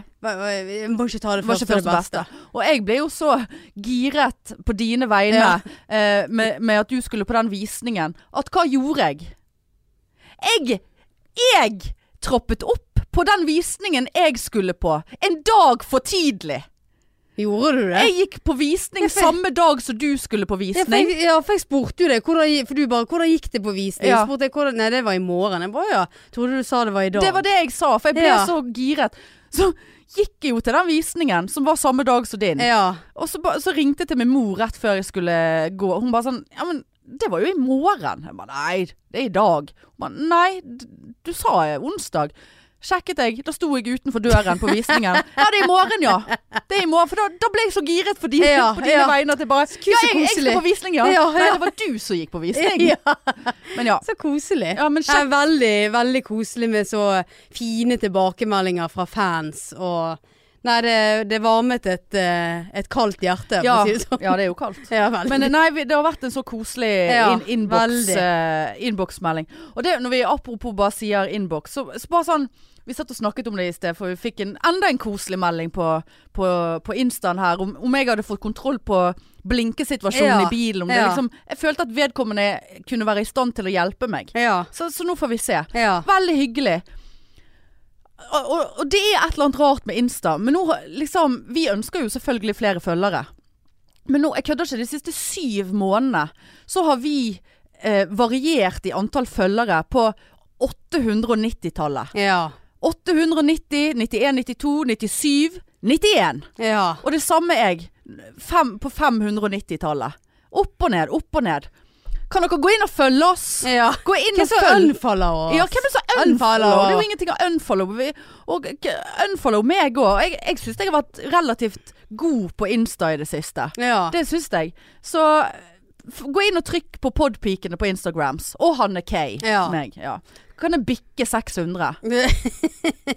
[SPEAKER 2] Jeg må ikke ta det
[SPEAKER 1] Det var
[SPEAKER 2] første
[SPEAKER 1] ikke først
[SPEAKER 2] og
[SPEAKER 1] det beste. Og jeg ble jo så giret på dine vegne eh, med, med at du skulle på den visningen, at hva gjorde jeg? Jeg Jeg troppet opp på den visningen jeg skulle på, en dag for tidlig.
[SPEAKER 2] Gjorde du det?
[SPEAKER 1] Jeg gikk på visning
[SPEAKER 2] Ja, for-
[SPEAKER 1] samme dag som du skulle på
[SPEAKER 2] ja, for
[SPEAKER 1] visning.
[SPEAKER 2] jeg, ja, for jeg spurte jo deg, hvordan, gi- for du bare 'Hvordan gikk det på visning?'
[SPEAKER 1] Ja.
[SPEAKER 2] Så Spurte jeg, hvordan, nei, det var i morgen. Jeg bare, ja, Trodde du sa det var i dag.
[SPEAKER 1] Det var det jeg sa, for jeg ble
[SPEAKER 2] Ja.
[SPEAKER 1] så giret. Så gikk jeg jo til den visningen, som var samme dag som din.
[SPEAKER 2] Ja.
[SPEAKER 1] Og så, ba- så ringte jeg til min mor rett før jeg skulle gå. og Hun bare sånn Ja, men det var jo i morgen. Jeg bare nei, det er i dag. Hun bare nei, d- du sa eh, onsdag. Sjekket jeg, da sto jeg utenfor døren på visningen. Ja, det er i morgen, ja. Det er i morgen, For da, da ble jeg så giret for dine,
[SPEAKER 2] Ja,
[SPEAKER 1] på dine
[SPEAKER 2] ja.
[SPEAKER 1] vegne at jeg bare Ja, jeg, jeg
[SPEAKER 2] koselig.
[SPEAKER 1] skal på visning, ja.
[SPEAKER 2] Ja,
[SPEAKER 1] Nei,
[SPEAKER 2] ja.
[SPEAKER 1] det var du som gikk på visning.
[SPEAKER 2] Ja.
[SPEAKER 1] Men ja.
[SPEAKER 2] Så koselig.
[SPEAKER 1] ja men
[SPEAKER 2] Det er
[SPEAKER 1] sjekk.
[SPEAKER 2] veldig, veldig koselig med så fine tilbakemeldinger fra fans og Nei, det, det varmet et, eh, et kaldt hjerte,
[SPEAKER 1] Ja,
[SPEAKER 2] for å si det sånn.
[SPEAKER 1] ja, det er jo kaldt.
[SPEAKER 2] Ja, vel.
[SPEAKER 1] Men eh, nei, vi- det har vært en så koselig
[SPEAKER 2] Ja,
[SPEAKER 1] in- innboks-
[SPEAKER 2] veldig.
[SPEAKER 1] eh, innboksmelding. og det når vi apropos bare sier innboks, så, så bare sånn Vi satt og snakket om det i sted, for vi fikk en, enda en koselig melding på, på, på Instaen her. Om, om jeg hadde fått kontroll på blinkesituasjonen
[SPEAKER 2] Ja,
[SPEAKER 1] i bilen. Om det
[SPEAKER 2] ja.
[SPEAKER 1] liksom Jeg følte at vedkommende kunne være i stand til å hjelpe meg.
[SPEAKER 2] ja,
[SPEAKER 1] Så, så nå får vi se.
[SPEAKER 2] ja.
[SPEAKER 1] Veldig hyggelig. Og, og, og det er et eller annet rart med Insta. Men nå liksom Vi ønsker jo selvfølgelig flere følgere. Men nå, jeg kødder ikke, de siste syv månedene så har vi eh, variert i antall følgere på 890-tallet.
[SPEAKER 2] Ja.
[SPEAKER 1] 890, 91, 92, 97, 91.
[SPEAKER 2] Ja.
[SPEAKER 1] Og det samme er jeg fem, på 590-tallet. Opp og ned, opp og ned. Kan dere gå inn og følge oss?
[SPEAKER 2] ja.
[SPEAKER 1] Gå inn og
[SPEAKER 2] Hvem Eh, så
[SPEAKER 1] følg
[SPEAKER 2] unfollower oss?
[SPEAKER 1] ja, hvem er så unfollow?
[SPEAKER 2] Unfollow.
[SPEAKER 1] Det er jo ingenting å unfollow. Vi- Og k- unfollow meg òg. Jeg, jeg syns jeg har vært relativt god på Insta i det siste.
[SPEAKER 2] Ja.
[SPEAKER 1] Det syns jeg. Så f- gå inn og trykk på podpikene på Instagrams. Og Hanne K.
[SPEAKER 2] Ja.
[SPEAKER 1] Meg. Ja. Kan jeg bikke 600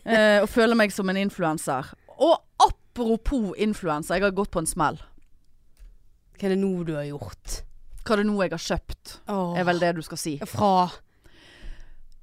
[SPEAKER 1] eh, og føle meg som en influenser. Og apropos influenser, jeg har gått på en smell.
[SPEAKER 2] Hva er det nå du har gjort?
[SPEAKER 1] Hva er det nå jeg har kjøpt?
[SPEAKER 2] Åh.
[SPEAKER 1] Er vel det du skal si.
[SPEAKER 2] Fra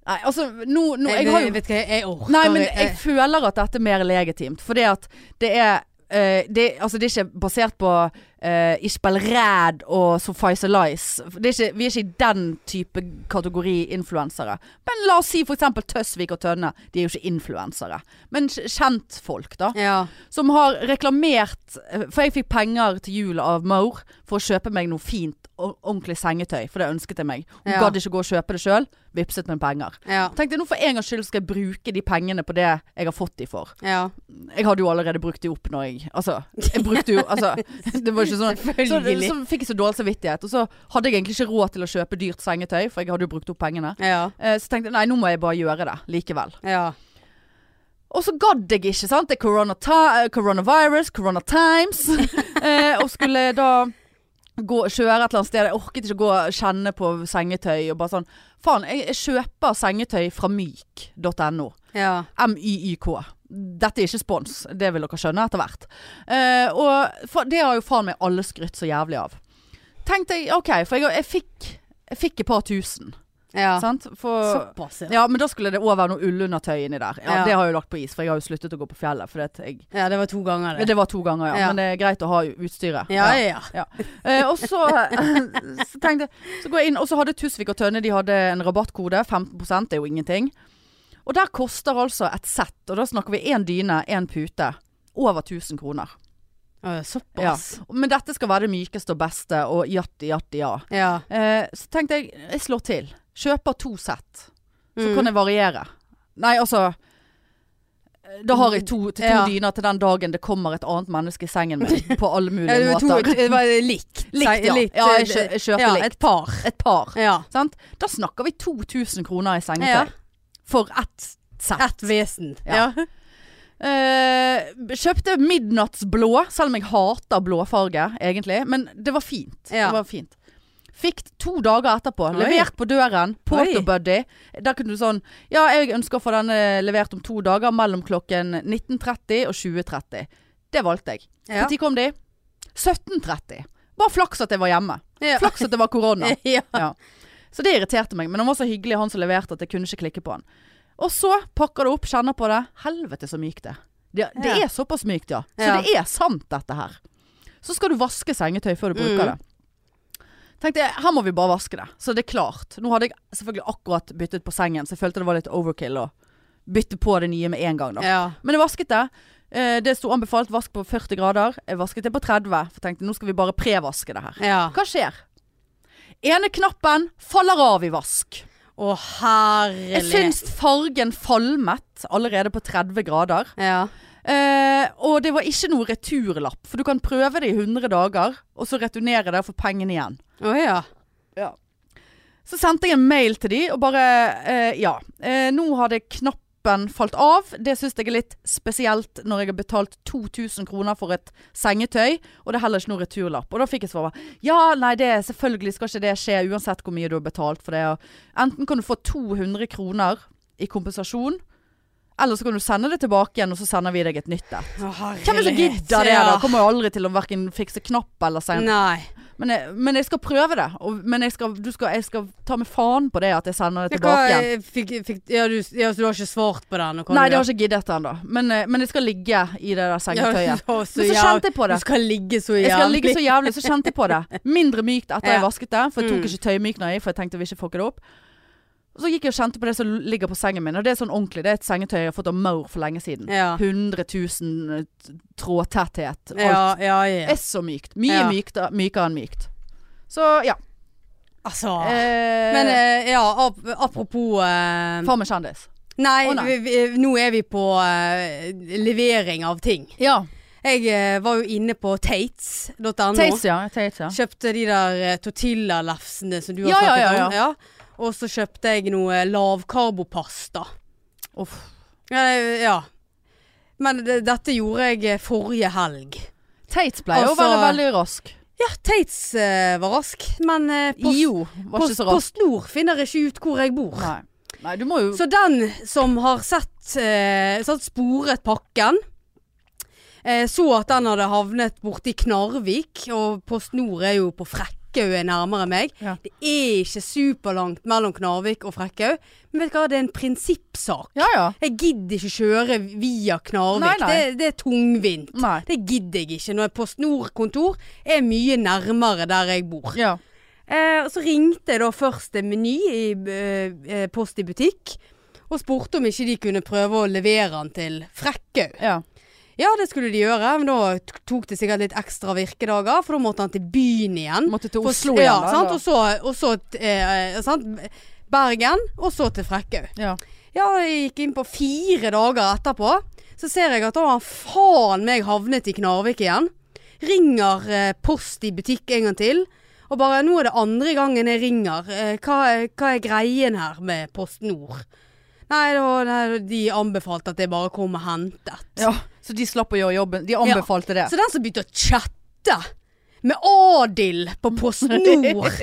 [SPEAKER 1] Nei, altså nå, nå
[SPEAKER 2] jeg,
[SPEAKER 1] jeg har jo
[SPEAKER 2] Vet du hva, jeg orker
[SPEAKER 1] Nei, men jeg
[SPEAKER 2] jeg,
[SPEAKER 1] føler at dette er mer legitimt. Fordi at det er eh, det, altså det er ikke basert på uh, Ishbel Ræd og Sophice Lice. Det er ikke, vi er ikke i den type kategori influensere. Men la oss si f.eks. Tøsvik og Tønne. De er jo ikke influensere. Men kj- kjentfolk, da.
[SPEAKER 2] Ja.
[SPEAKER 1] Som har reklamert eh, For jeg fikk penger til jul av Maur for å kjøpe meg noe fint og ordentlig sengetøy. For det ønsket jeg meg. Hun
[SPEAKER 2] Ja.
[SPEAKER 1] gadd ikke gå og kjøpe det sjøl. Vipset meg penger.
[SPEAKER 2] Ja.
[SPEAKER 1] Jeg tenkte nå for en gangs skyld skal jeg bruke de pengene på det jeg har fått de for.
[SPEAKER 2] Ja.
[SPEAKER 1] Jeg hadde jo allerede brukt de opp når jeg Altså, jeg brukte jo altså, Det var ikke sånn så,
[SPEAKER 2] Selvfølgelig.
[SPEAKER 1] så fikk jeg så dårlig samvittighet. Og så hadde jeg egentlig ikke råd til å kjøpe dyrt sengetøy, for jeg hadde jo brukt opp pengene.
[SPEAKER 2] Ja.
[SPEAKER 1] Eh, Så tenkte jeg nei, nå må jeg bare gjøre det likevel.
[SPEAKER 2] Ja.
[SPEAKER 1] Og så gadd jeg ikke, sant. Det er corona ti- eh, coronavirus, corona times. eh, og skulle da gå, kjøre et eller annet sted. Jeg orket ikke gå og kjenne på sengetøy og bare sånn Faen, jeg, jeg kjøper sengetøy fra myk.no.
[SPEAKER 2] Ja.
[SPEAKER 1] M-Y-Y-K. Dette er ikke spons, det vil dere skjønne etter hvert. Eh, og fa- det har jo faen meg alle skrytt så jævlig av. Tenkte jeg, ok, for jeg, jeg, fikk, jeg fikk et par tusen.
[SPEAKER 2] ja.
[SPEAKER 1] Sant? For,
[SPEAKER 2] Såpass, ja.
[SPEAKER 1] ja, men da skulle det òg være noe ullundertøy inni der. Ja,
[SPEAKER 2] Ja.
[SPEAKER 1] Det har jeg jo lagt på is, for jeg har jo sluttet å gå på fjellet. For det, jeg,
[SPEAKER 2] Ja, det var to ganger det.
[SPEAKER 1] det var to ganger, ja.
[SPEAKER 2] Ja.
[SPEAKER 1] Men det er greit å ha utstyret.
[SPEAKER 2] Ja, ja, ja.
[SPEAKER 1] Eh, og så, så tenkte jeg Så går jeg inn, og så hadde Tusvik og Tønne De hadde en rabattkode, 15 det er jo ingenting Og der koster altså et sett Og da snakker vi en dyne, en pute Over 1000 kroner
[SPEAKER 2] Å, Såpass.
[SPEAKER 1] Men dette skal være det mykeste og beste Og jatti, jatti, ja
[SPEAKER 2] Ja.
[SPEAKER 1] eh, Så tenkte jeg, jeg slår til Kjøper to sett Så
[SPEAKER 2] Mm.
[SPEAKER 1] kan jeg variere Nei, altså da har jeg to, til to
[SPEAKER 2] Ja.
[SPEAKER 1] dyner til den dagen det kommer et annet menneske i sengen min På alle
[SPEAKER 2] ja, det
[SPEAKER 1] mulige
[SPEAKER 2] var to,
[SPEAKER 1] måter
[SPEAKER 2] det var likt.
[SPEAKER 1] Likt, ja.
[SPEAKER 2] Likt,
[SPEAKER 1] ja, jeg, kjø, jeg kjørte
[SPEAKER 2] ja,
[SPEAKER 1] likt.
[SPEAKER 2] et par.
[SPEAKER 1] Et par.
[SPEAKER 2] Ja.
[SPEAKER 1] Sant? Da snakker vi 2000 kroner i sengetøy
[SPEAKER 2] Ja.
[SPEAKER 1] for ett sett.
[SPEAKER 2] Et vesen.
[SPEAKER 1] Ja. Eh, kjøpte midnattsblå, selv om jeg hater blåfarge, egentlig. Men det var fint.
[SPEAKER 2] Ja.
[SPEAKER 1] Det var fint. Fikk to dager etterpå,
[SPEAKER 2] Oi.
[SPEAKER 1] levert på døren.
[SPEAKER 2] Oi.
[SPEAKER 1] Portobuddy. Der kunne du sånn Ja, jeg ønsker å få denne levert om to dager mellom klokken 19.30 og 20.30. Det valgte jeg.
[SPEAKER 2] Ja.
[SPEAKER 1] Når kom de? 17.30. Bare flaks at jeg var hjemme.
[SPEAKER 2] Ja.
[SPEAKER 1] Flaks at det var korona.
[SPEAKER 2] Ja.
[SPEAKER 1] Så det irriterte meg, men han var så hyggelig han som leverte at jeg kunne ikke klikke på han. Og så pakker det opp, kjenner på det. Helvete så mykt det. Det, det
[SPEAKER 2] Ja.
[SPEAKER 1] er såpass mykt, ja. Så
[SPEAKER 2] Ja.
[SPEAKER 1] det er sant dette her. Så skal du vaske sengetøy før du bruker
[SPEAKER 2] Mm.
[SPEAKER 1] det. Tenkte jeg, her må vi bare vaske det. Så det er klart. Nå hadde jeg selvfølgelig akkurat byttet på sengen, så jeg følte det var litt overkill å bytte på det nye med en gang da.
[SPEAKER 2] Ja.
[SPEAKER 1] Men jeg vasket det. Eh, Det sto anbefalt vask på 40 grader. Jeg vasket det på 30, for jeg tenkte nå skal vi bare prevaske det her.
[SPEAKER 2] ja.
[SPEAKER 1] Hva skjer? Ene knappen faller av i vask.
[SPEAKER 2] Å, herlig.
[SPEAKER 1] Jeg syns fargen falmet allerede på 30 grader.
[SPEAKER 2] Ja.
[SPEAKER 1] Eh, og det var ikke noe returlapp, for du kan prøve det i 100 dager, og så returnere det og få pengene igjen.
[SPEAKER 2] Å ja.
[SPEAKER 1] Så sendte jeg en mail til de og bare eh, Ja, eh, nå hadde knappen falt av. Det syns jeg er litt spesielt når jeg har betalt 2000 kroner for et sengetøy, og det er heller ikke noe returlapp. Og da fikk jeg svar bare, Ja, nei, det, selvfølgelig skal ikke det skje, uansett hvor mye du har betalt for det. Og enten kan du få 200 kroner i kompensasjon, eller så kan du sende det tilbake igjen, og så sender vi deg et nytt et.
[SPEAKER 2] Å, herlig.
[SPEAKER 1] Hvem er det som gidder det? da?
[SPEAKER 2] Ja.
[SPEAKER 1] Kommer jo aldri til å verken fikse knapp eller sende
[SPEAKER 2] Nei.
[SPEAKER 1] men jeg, men jeg skal prøve det. Og, men jeg skal, du skal, jeg skal ta med faen på det at jeg sender det
[SPEAKER 2] Ja, hva,
[SPEAKER 1] tilbake igjen.
[SPEAKER 2] eh, fikk, fikk, ja, du, ja, så du har ikke svart på den? og hva
[SPEAKER 1] Nei,
[SPEAKER 2] du
[SPEAKER 1] det har
[SPEAKER 2] gjør?
[SPEAKER 1] jeg ikke giddet ennå. Men, eh, men jeg skal ligge i det der sengetøyet.
[SPEAKER 2] Ja, så,
[SPEAKER 1] Men så kjente jeg på det.
[SPEAKER 2] Du skal ligge så jævlig.
[SPEAKER 1] Jeg skal ligge så jævlig, så kjente jeg på det. Mindre mykt etter
[SPEAKER 2] Ja.
[SPEAKER 1] jeg vasket det, for jeg
[SPEAKER 2] Mm.
[SPEAKER 1] tok ikke tøymykna i, for jeg tenkte jeg vil ikke fucke det opp. Og så gikk jeg og kjente på det som ligger på sengen min, og det er sånn ordentlig. Det er et sengetøy jeg har fått av Maur for lenge siden.
[SPEAKER 2] Ja.
[SPEAKER 1] 100 000 eh, trådtetthet. Alt
[SPEAKER 2] Ja, ja, ja.
[SPEAKER 1] er så mykt. Mye
[SPEAKER 2] Ja.
[SPEAKER 1] mykt, mykere enn mykt. Så ja.
[SPEAKER 2] Altså.
[SPEAKER 1] Eh,
[SPEAKER 2] Men eh, ja, ap apropos eh,
[SPEAKER 1] Far med kjendis.
[SPEAKER 2] Nei,
[SPEAKER 1] Å, nei.
[SPEAKER 2] Vi, vi, nå er vi på eh, levering av ting.
[SPEAKER 1] Ja.
[SPEAKER 2] Jeg eh, var jo inne på tates.no.
[SPEAKER 1] Tates, ja. Tates, ja.
[SPEAKER 2] Kjøpte de der eh, tortillalefsene som du har
[SPEAKER 1] Ja, ja,
[SPEAKER 2] snakket
[SPEAKER 1] ja,
[SPEAKER 2] om. Ja. Og så kjøpte jeg noe eh, lavkarbopasta.
[SPEAKER 1] Uff.
[SPEAKER 2] Ja, det- ja. Men det, dette gjorde jeg eh, forrige helg.
[SPEAKER 1] Tates pleier
[SPEAKER 2] Altså-
[SPEAKER 1] å være veldig rask.
[SPEAKER 2] Ja, Tates eh, var rask, men eh, post,
[SPEAKER 1] IO var ikke
[SPEAKER 2] post,
[SPEAKER 1] så rask.
[SPEAKER 2] Post Nord finner ikke ut hvor jeg bor.
[SPEAKER 1] Nei. Nei, du må jo
[SPEAKER 2] Så den som har sett, eh, sånn sporet pakken, eh, så at den hadde havnet borti Knarvik, og Post Nord er jo på Frekkhaug er nærmere meg.
[SPEAKER 1] Ja.
[SPEAKER 2] Det er ikke superlangt mellom Knarvik og Frekkhaug, men vet du hva, det er en prinsippsak.
[SPEAKER 1] Ja ja.
[SPEAKER 2] Jeg gidder ikke kjøre via Knarvik,
[SPEAKER 1] Nei, nei.
[SPEAKER 2] Det, det er tungvint.
[SPEAKER 1] Nei.
[SPEAKER 2] Det gidder jeg ikke når et Post Nord-kontor er mye nærmere der jeg bor.
[SPEAKER 1] Ja.
[SPEAKER 2] Eh, og så ringte jeg da først til Meny i eh, eh, Post i butikk og spurte om ikke de kunne prøve å levere den til Frekkhaug.
[SPEAKER 1] ja.
[SPEAKER 2] Ja, det skulle de gjøre, men da t- tok det sikkert litt ekstra virkedager, for da måtte han til byen igjen.
[SPEAKER 1] Måtte til
[SPEAKER 2] Mm. For-
[SPEAKER 1] Oslo
[SPEAKER 2] ja,
[SPEAKER 1] igjen. da,
[SPEAKER 2] sant?
[SPEAKER 1] eller?
[SPEAKER 2] Og så, og så t- eh, eh, sant? Bergen, og så til Frekkhaug.
[SPEAKER 1] Ja.
[SPEAKER 2] Ja, jeg gikk inn på fire dager etterpå. Så ser jeg at da har han faen meg havnet i Knarvik igjen. Ringer eh, post i butikk en gang til. Og bare nå er det andre gangen jeg ringer. Eh, hva, er- hva er greien her med Post Nord? Nei, det var, nei, de anbefalte at jeg bare kom og hentet.
[SPEAKER 1] Ja, så de slapp å gjøre jobben. De anbefalte det.
[SPEAKER 2] Så den som begynte å chatte med Adil på PostNord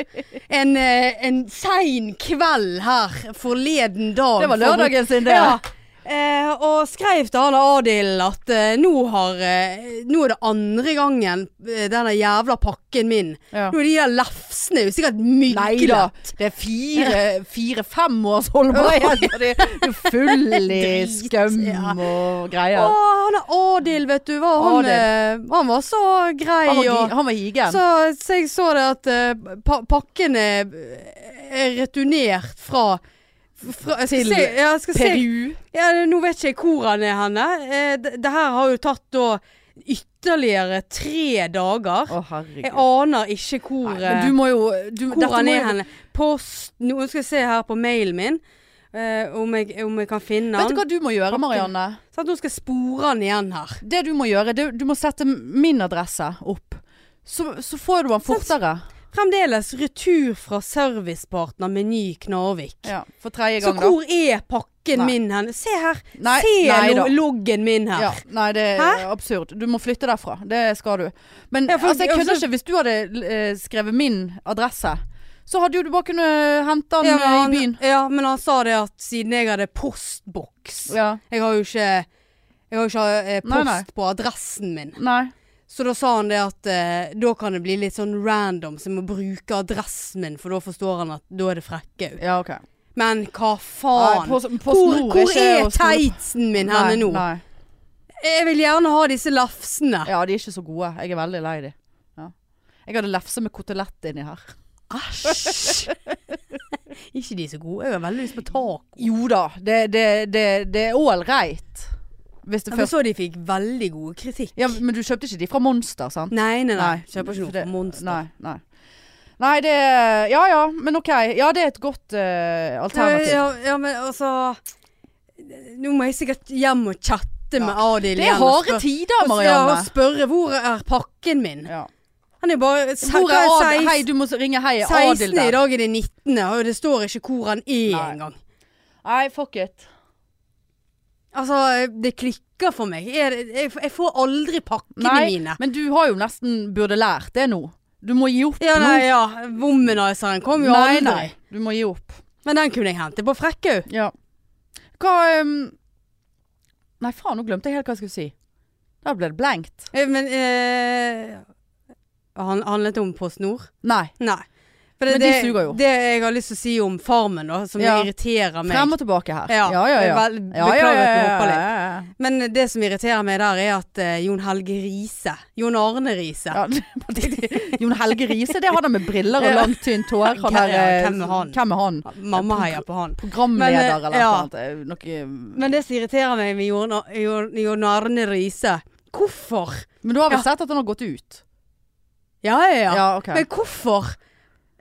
[SPEAKER 2] en, eh, en sein kveld her forleden dag
[SPEAKER 1] Det var
[SPEAKER 2] for-
[SPEAKER 1] lørdagen sin, det.
[SPEAKER 2] Ja. Eh, og skrev til han Adil at eh, nå, har, eh, nå er det andre gangen eh, denne jævla pakken min.
[SPEAKER 1] Ja.
[SPEAKER 2] Nå er de der lefsene jo sikkert
[SPEAKER 1] Nei da,
[SPEAKER 2] myglet.
[SPEAKER 1] det er fire-fem års holdbarhet. og Det det er full i
[SPEAKER 2] Drit,
[SPEAKER 1] skum
[SPEAKER 2] ja.
[SPEAKER 1] og
[SPEAKER 2] Å,
[SPEAKER 1] greier.
[SPEAKER 2] han er Adil, vet du hva. Han, eh, han var så grei.
[SPEAKER 1] Han var,
[SPEAKER 2] og-
[SPEAKER 1] gi- han var higen.
[SPEAKER 2] Så, så jeg så det at eh, pa pakken er, er returnert fra, fra jeg skal
[SPEAKER 1] Til
[SPEAKER 2] se, ja, jeg skal se,
[SPEAKER 1] Peru.
[SPEAKER 2] ja, Nå vet ikke jeg hvor han er henne. Eh, det, det her har jo tatt da ytterligere tre dager.
[SPEAKER 1] Å,
[SPEAKER 2] Jeg
[SPEAKER 1] herregud.
[SPEAKER 2] aner ikke hvor,
[SPEAKER 1] Nei, men du må jo du,
[SPEAKER 2] eh,
[SPEAKER 1] dette
[SPEAKER 2] hvor han
[SPEAKER 1] må
[SPEAKER 2] er
[SPEAKER 1] jo-
[SPEAKER 2] henne. Post Nå skal jeg se her på mailen min. eh, om, jeg, om jeg kan finne
[SPEAKER 1] Vet du
[SPEAKER 2] han.
[SPEAKER 1] hva du må gjøre, Marianne?
[SPEAKER 2] Sånn at nå skal jeg spore han igjen her.
[SPEAKER 1] Det du må gjøre, det, du må sette min adresse opp. Så, så får du han fortere.
[SPEAKER 2] Fremdeles retur fra servicepartner Meny Knarvik.
[SPEAKER 1] Ja, for tredje
[SPEAKER 2] Så
[SPEAKER 1] gang, da.
[SPEAKER 2] hvor er pakken
[SPEAKER 1] Nei.
[SPEAKER 2] min hen? Se her.
[SPEAKER 1] Nei,
[SPEAKER 2] Se
[SPEAKER 1] nei
[SPEAKER 2] lo
[SPEAKER 1] da.
[SPEAKER 2] loggen min her.
[SPEAKER 1] Ja, nei, det er
[SPEAKER 2] Hæ?
[SPEAKER 1] absurd. Du må flytte derfra. Det skal du. Men
[SPEAKER 2] Ja, for-
[SPEAKER 1] altså, jeg kødder
[SPEAKER 2] altså-
[SPEAKER 1] ikke. Hvis du hadde eh, skrevet min adresse, så hadde jo du bare kunnet hente han
[SPEAKER 2] Ja,
[SPEAKER 1] eh, i
[SPEAKER 2] men han,
[SPEAKER 1] byen.
[SPEAKER 2] ja, men han sa det at siden jeg hadde postboks
[SPEAKER 1] Ja.
[SPEAKER 2] Jeg har jo ikke jeg har jo ikke eh, post
[SPEAKER 1] Nei, nei.
[SPEAKER 2] på adressen min.
[SPEAKER 1] Nei.
[SPEAKER 2] Så da sa han det at eh, da kan det bli litt sånn random, så jeg må bruke adressen min, for da forstår han at da er det Frekkhaug.
[SPEAKER 1] Ja, OK.
[SPEAKER 2] Men hva faen?
[SPEAKER 1] Nei, på- på
[SPEAKER 2] hvor
[SPEAKER 1] snor,
[SPEAKER 2] hvor
[SPEAKER 1] ikke
[SPEAKER 2] er
[SPEAKER 1] å snor.
[SPEAKER 2] teitsen min henne
[SPEAKER 1] Nei,
[SPEAKER 2] nå?
[SPEAKER 1] Nei.
[SPEAKER 2] Jeg vil gjerne ha disse lafsene.
[SPEAKER 1] Ja, de er ikke så gode. Jeg er veldig lei de. Ja. Jeg hadde lefse med kotelett inni her.
[SPEAKER 2] Æsj! ikke de så gode. Jeg har veldig lyst på taco.
[SPEAKER 1] Jo da, det, det, det, det er ålreit. Hvis det
[SPEAKER 2] Jeg
[SPEAKER 1] først
[SPEAKER 2] så de fikk veldig god kritikk.
[SPEAKER 1] Ja, men du kjøpte ikke de fra Monster, sant?
[SPEAKER 2] Nei, nei, nei.
[SPEAKER 1] Nei,
[SPEAKER 2] Kjøper ikke
[SPEAKER 1] for
[SPEAKER 2] noe
[SPEAKER 1] det-
[SPEAKER 2] fra Monster.
[SPEAKER 1] Nei, nei. Nei, det Ja ja, men OK. Ja, det er et godt eh, alternativ.
[SPEAKER 2] Ja, ja, men altså Nå må jeg sikkert hjem og chatte med Adil
[SPEAKER 1] Det er harde
[SPEAKER 2] og spør-
[SPEAKER 1] tider,
[SPEAKER 2] og- ja, og
[SPEAKER 1] Marianne.
[SPEAKER 2] spørre hvor er pakken min?
[SPEAKER 1] Ja.
[SPEAKER 2] Han er bare se-
[SPEAKER 1] Hvor er
[SPEAKER 2] hva
[SPEAKER 1] Adel?
[SPEAKER 2] seis-
[SPEAKER 1] Hei, du må ringe Hei er Adel
[SPEAKER 2] 16.
[SPEAKER 1] der.
[SPEAKER 2] i dag er det 19. Og det står ikke hvor han er
[SPEAKER 1] Nei.
[SPEAKER 2] engang.
[SPEAKER 1] Nei, fuck it.
[SPEAKER 2] Altså, det klikker for meg. Jeg, jeg, jeg får aldri pakkene
[SPEAKER 1] Nei,
[SPEAKER 2] mine.
[SPEAKER 1] men du har jo nesten burde lært det nå. Du må gi opp
[SPEAKER 2] Ja,
[SPEAKER 1] nå.
[SPEAKER 2] nei, ja. Womanizeren kom jo
[SPEAKER 1] nei,
[SPEAKER 2] aldri.
[SPEAKER 1] nei. Du må gi opp.
[SPEAKER 2] Men den kunne jeg hente på Frekkhaug.
[SPEAKER 1] Ja. Hva ehm, Nei, faen, nå glemte jeg helt hva jeg skulle si. Da ble det blankt.
[SPEAKER 2] Eh, Men eh, han, Handlet det om Post Nord?
[SPEAKER 1] Nei.
[SPEAKER 2] Nei. For det,
[SPEAKER 1] Men de
[SPEAKER 2] det-
[SPEAKER 1] suger jo.
[SPEAKER 2] Det jeg har lyst til å si om Farmen, da, som
[SPEAKER 1] Ja.
[SPEAKER 2] irriterer meg
[SPEAKER 1] Frem og tilbake her.
[SPEAKER 2] Ja,
[SPEAKER 1] ja, ja.
[SPEAKER 2] jeg
[SPEAKER 1] ja.
[SPEAKER 2] vel-
[SPEAKER 1] Ja,
[SPEAKER 2] Beklager
[SPEAKER 1] ja,
[SPEAKER 2] at
[SPEAKER 1] ja, ja,
[SPEAKER 2] jeg hopper litt.
[SPEAKER 1] ja, ja.
[SPEAKER 2] Men det som irriterer meg der, er at eh, Jon Helge Riise Jon Arne Riise.
[SPEAKER 1] Ja, det- Jon Helge Riise, det er han der med briller og
[SPEAKER 2] Ja.
[SPEAKER 1] langt, tynt hår. Han
[SPEAKER 2] Ja,
[SPEAKER 1] der, eh,
[SPEAKER 2] hvem er han?
[SPEAKER 1] Hvem er han?
[SPEAKER 2] Mamma heier på han.
[SPEAKER 1] Programleder
[SPEAKER 2] Men, eh,
[SPEAKER 1] eller
[SPEAKER 2] ja.
[SPEAKER 1] noe annet. Noe... eh,
[SPEAKER 2] Men det som irriterer meg med Jon, Jon, Jon Arne Riise Hvorfor?
[SPEAKER 1] Men du har vel
[SPEAKER 2] Ja.
[SPEAKER 1] sett at han har gått ut?
[SPEAKER 2] Ja, ja, ja.
[SPEAKER 1] ok.
[SPEAKER 2] Men hvorfor?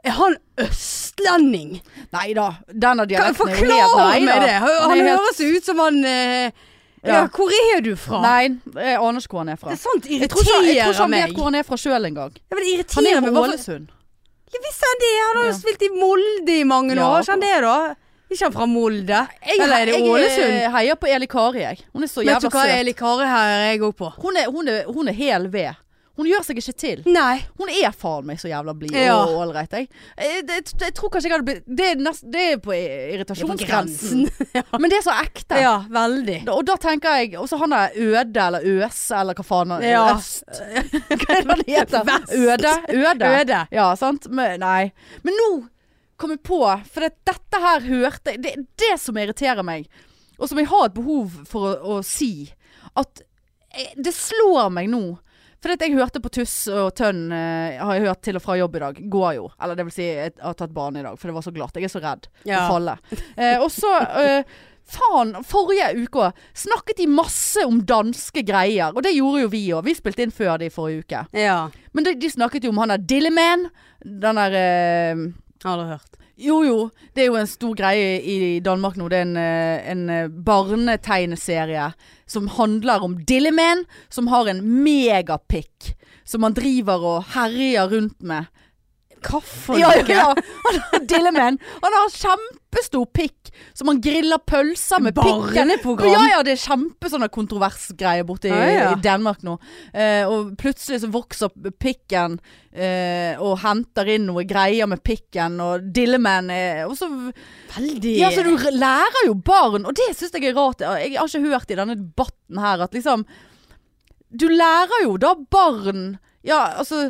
[SPEAKER 2] Er han østlending?
[SPEAKER 1] Nei da, denne
[SPEAKER 2] Kan-
[SPEAKER 1] dialekten er jo helt
[SPEAKER 2] Forklar
[SPEAKER 1] Nei
[SPEAKER 2] meg
[SPEAKER 1] da.
[SPEAKER 2] det! Han
[SPEAKER 1] Den er helt-
[SPEAKER 2] høres jo ut som han eh, ja.
[SPEAKER 1] Ja.
[SPEAKER 2] hvor er du fra?
[SPEAKER 1] Nei, jeg aner ikke hvor han er fra.
[SPEAKER 2] Det er sant
[SPEAKER 1] Jeg tror ikke, jeg tror
[SPEAKER 2] irriterer
[SPEAKER 1] ikke han vet
[SPEAKER 2] meg.
[SPEAKER 1] hvor han er fra sjøl engang.
[SPEAKER 2] Ja, men det
[SPEAKER 1] Han
[SPEAKER 2] irriterer
[SPEAKER 1] er
[SPEAKER 2] meg.
[SPEAKER 1] fra
[SPEAKER 2] Hvorfor-
[SPEAKER 1] Ålesund.
[SPEAKER 2] Ja, visst er han det. Han har jo
[SPEAKER 1] Ja.
[SPEAKER 2] spilt i Molde i mange
[SPEAKER 1] Ja.
[SPEAKER 2] år. Har ikke han det, da? Ikke han fra Molde? Eller er det
[SPEAKER 1] Jeg, eh,
[SPEAKER 2] Ålesund?
[SPEAKER 1] heier på Eli Kari, jeg. Hun er så
[SPEAKER 2] Vet du
[SPEAKER 1] jævla
[SPEAKER 2] hva
[SPEAKER 1] søt.
[SPEAKER 2] Eli Kari her er jeg òg på?
[SPEAKER 1] Hun er, hun, er, hun er hel ved. Hun gjør seg ikke til.
[SPEAKER 2] Nei.
[SPEAKER 1] Hun er faen meg så jævla blid
[SPEAKER 2] Ja.
[SPEAKER 1] og ålreit, jeg. Jeg, jeg. jeg tror kanskje jeg hadde blitt Det er, nest, det er på i- irritasjonsgrensen. Men det er så ekte.
[SPEAKER 2] ja, veldig.
[SPEAKER 1] Da- Og da tenker jeg Og så han der Øde eller Øse eller hva faen han
[SPEAKER 2] Ja.
[SPEAKER 1] Øst. Hva er det han heter?
[SPEAKER 2] Vest.
[SPEAKER 1] Øde? Øde.
[SPEAKER 2] Øde.
[SPEAKER 1] Ja, sant? Men, nei. Men nå kom jeg på, for det, dette her hørte jeg Det er det som irriterer meg, og som jeg har et behov for å, å si. At jeg, det slår meg nå. For jeg hørte på Tuss og Tønn eh, har jeg hørt til og fra jobb i dag. Går jo. Eller det vil si, jeg har tatt bane i dag, for det var så glatt. Jeg er så redd
[SPEAKER 2] Ja.
[SPEAKER 1] å falle. Eh, og så eh, Faen, forrige uke snakket de masse om danske greier. Og det gjorde jo vi òg. Vi spilte inn før de forrige uke.
[SPEAKER 2] Ja.
[SPEAKER 1] Men de, de snakket jo om han der Dilleman. Den der eh,
[SPEAKER 2] Aldri hørt.
[SPEAKER 1] Jo jo, det er jo en stor greie i Danmark nå. Det er en, eh, en eh, barnetegneserie som handler om Dilleman, som har en megapikk. Som han driver og herjer rundt med.
[SPEAKER 2] Hva for
[SPEAKER 1] Ja, ja, ja. Han har Dilleman. Han har kjempe kjempestor pikk som han griller pølser med pikken.
[SPEAKER 2] Barneprogram.
[SPEAKER 1] Ja, ja, det er kjempe sånne kontroversgreier borte i,
[SPEAKER 2] Ja, ja.
[SPEAKER 1] i Danmark nå. Eh, og plutselig så vokser pikken eh, og henter inn noe greier med pikken, og Dilleman er Og så
[SPEAKER 2] Veldig
[SPEAKER 1] Ja, så du r- lærer jo barn, og det syns jeg er rart. Jeg har ikke hørt i denne debatten her at liksom Du lærer jo da barn Ja, altså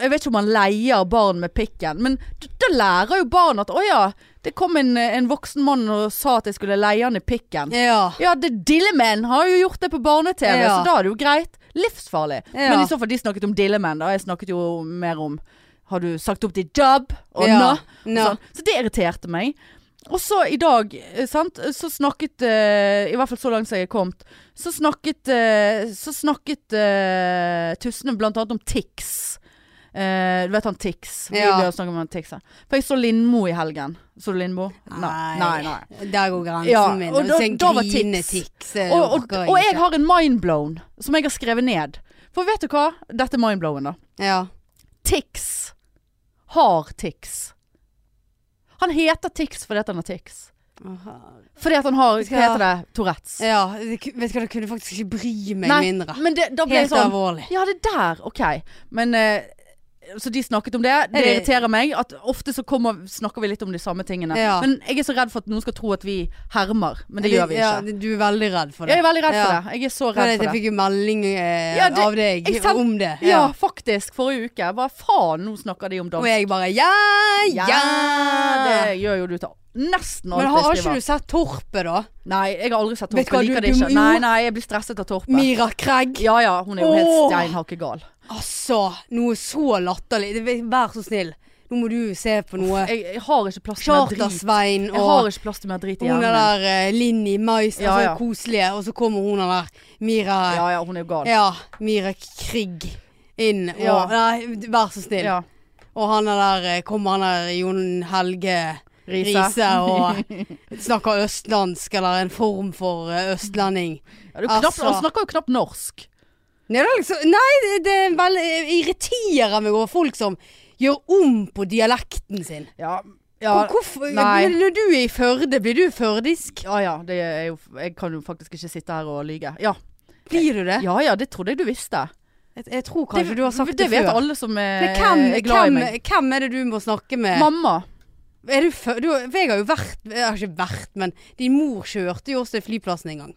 [SPEAKER 1] Jeg vet ikke om man leier barn med pikken, men d- da lærer jo barn at å ja, det kom en, en voksen mann og sa at jeg skulle leie han i pikken.
[SPEAKER 2] Ja.
[SPEAKER 1] Ja, det Dilleman har jo gjort det på barne-TV,
[SPEAKER 2] Ja.
[SPEAKER 1] så da er det jo greit. Livsfarlig.
[SPEAKER 2] Ja.
[SPEAKER 1] Men i så fall, de snakket om Dilleman, da. Jeg snakket jo mer om Har du sagt opp til Dub og
[SPEAKER 2] Ja.
[SPEAKER 1] Nå?
[SPEAKER 2] Nå.
[SPEAKER 1] Sånn. Så det irriterte meg. Og så i dag, eh, sant, så snakket eh, I hvert fall så langt som jeg er kommet, så snakket, eh, så snakket eh, Tussene blant annet om Tix. Eh, du vet han Tix? Vi
[SPEAKER 2] Ja.
[SPEAKER 1] blir å snakke om han Tix her. For jeg så Lindmo i helgen. Så du Lindmo? nei, nei.
[SPEAKER 2] Der går grensen
[SPEAKER 1] Ja,
[SPEAKER 2] min.
[SPEAKER 1] og
[SPEAKER 2] Og
[SPEAKER 1] da-
[SPEAKER 2] da, en
[SPEAKER 1] da var
[SPEAKER 2] grinetikk, så
[SPEAKER 1] og, og,
[SPEAKER 2] Eh, orker
[SPEAKER 1] og jeg
[SPEAKER 2] ikke.
[SPEAKER 1] har en mindblown som jeg har skrevet ned. For vet du hva? Dette er mindblowen, da.
[SPEAKER 2] ja.
[SPEAKER 1] Tix har Tix. Han heter Tix fordi at han har Tix. Fordi at han har Hva
[SPEAKER 2] Skal-
[SPEAKER 1] heter det? Tourettes.
[SPEAKER 2] ja. det ku- Vet du hva, du kunne faktisk ikke bry meg
[SPEAKER 1] Nei,
[SPEAKER 2] mindre.
[SPEAKER 1] Men det, da ble jeg
[SPEAKER 2] Helt
[SPEAKER 1] sånn
[SPEAKER 2] alvorlig.
[SPEAKER 1] Ja, det der. Ok. Men eh, Så de snakket om det. Det
[SPEAKER 2] det-
[SPEAKER 1] irriterer meg. At ofte så kommer, snakker vi litt om de samme tingene.
[SPEAKER 2] Ja.
[SPEAKER 1] Men jeg er så redd for at noen skal tro at vi hermer. Men det, gjør vi
[SPEAKER 2] Ja,
[SPEAKER 1] ikke.
[SPEAKER 2] det- du er veldig redd for det.
[SPEAKER 1] Jeg er veldig redd
[SPEAKER 2] Ja.
[SPEAKER 1] for det. Jeg er så
[SPEAKER 2] For
[SPEAKER 1] redd
[SPEAKER 2] det-
[SPEAKER 1] for det.
[SPEAKER 2] jeg fikk jo melding eh,
[SPEAKER 1] Ja, det-
[SPEAKER 2] av deg
[SPEAKER 1] jeg send-
[SPEAKER 2] om det.
[SPEAKER 1] Ja, faktisk. Forrige uke. Hva faen, nå snakker de om
[SPEAKER 2] Og
[SPEAKER 1] dans.
[SPEAKER 2] jeg bare ja, ja.
[SPEAKER 1] Det gjør jo du til nesten
[SPEAKER 2] Men
[SPEAKER 1] alt
[SPEAKER 2] har,
[SPEAKER 1] jeg
[SPEAKER 2] ikke
[SPEAKER 1] skriver.
[SPEAKER 2] du sett Torpet, da?
[SPEAKER 1] Nei, jeg har aldri sett
[SPEAKER 2] Vet
[SPEAKER 1] Torpe.
[SPEAKER 2] du hva,
[SPEAKER 1] Jeg liker
[SPEAKER 2] du-
[SPEAKER 1] det
[SPEAKER 2] du-
[SPEAKER 1] ikke.
[SPEAKER 2] jo.
[SPEAKER 1] Nei, nei, jeg blir stresset av Torpe.
[SPEAKER 2] Mira Craig.
[SPEAKER 1] Ja ja, hun er jo helt
[SPEAKER 2] Åh.
[SPEAKER 1] steinhakkegal.
[SPEAKER 2] Altså, noe så latterlig. Det- Vær så snill. Nå må du se på noe.
[SPEAKER 1] Jeg, jeg har ikke plass til mer drit.
[SPEAKER 2] Charter-Svein
[SPEAKER 1] Jeg har
[SPEAKER 2] og
[SPEAKER 1] ikke plass til mer drit i
[SPEAKER 2] hun er
[SPEAKER 1] hjernen.
[SPEAKER 2] der eh, Linni Mais,
[SPEAKER 1] Ja,
[SPEAKER 2] altså
[SPEAKER 1] ja.
[SPEAKER 2] koselige. Og så kommer hun er der
[SPEAKER 1] min.
[SPEAKER 2] Mira ja.
[SPEAKER 1] Ja ja, hun er jo gal.
[SPEAKER 2] Mira Krig inn. Og,
[SPEAKER 1] Ja.
[SPEAKER 2] Nei, vær så snill.
[SPEAKER 1] Ja.
[SPEAKER 2] Og han er der eh, Kommer han der Jon Helge
[SPEAKER 1] Riise.
[SPEAKER 2] Riise og snakker østlandsk eller en form for eh, østlending.
[SPEAKER 1] Ja, du knapt,
[SPEAKER 2] Altså.
[SPEAKER 1] Han snakker jo knapt norsk.
[SPEAKER 2] Nei, det, er liksom, nei, det- det er veldig jeg irriterer meg over folk som gjør om på dialekten sin.
[SPEAKER 1] Ja
[SPEAKER 2] Og
[SPEAKER 1] ja,
[SPEAKER 2] hvorfor,
[SPEAKER 1] nei.
[SPEAKER 2] Når du er i Førde, blir du førdisk?
[SPEAKER 1] ja, ja det er jo, jeg kan jo faktisk ikke sitte her og lyge. Ja.
[SPEAKER 2] Blir du det?
[SPEAKER 1] ja ja, det trodde jeg du visste.
[SPEAKER 2] Jeg, jeg tror kanskje
[SPEAKER 1] det,
[SPEAKER 2] du har sagt det,
[SPEAKER 1] det vet
[SPEAKER 2] før.
[SPEAKER 1] alle som er,
[SPEAKER 2] Men hvem,
[SPEAKER 1] er glad i
[SPEAKER 2] hvem,
[SPEAKER 1] meg.
[SPEAKER 2] hvem er det du må snakke med?
[SPEAKER 1] Mamma.
[SPEAKER 2] Er du fø- du, for jeg har jo vært Jeg har ikke vært, men din mor kjørte jo også til flyplassen en gang.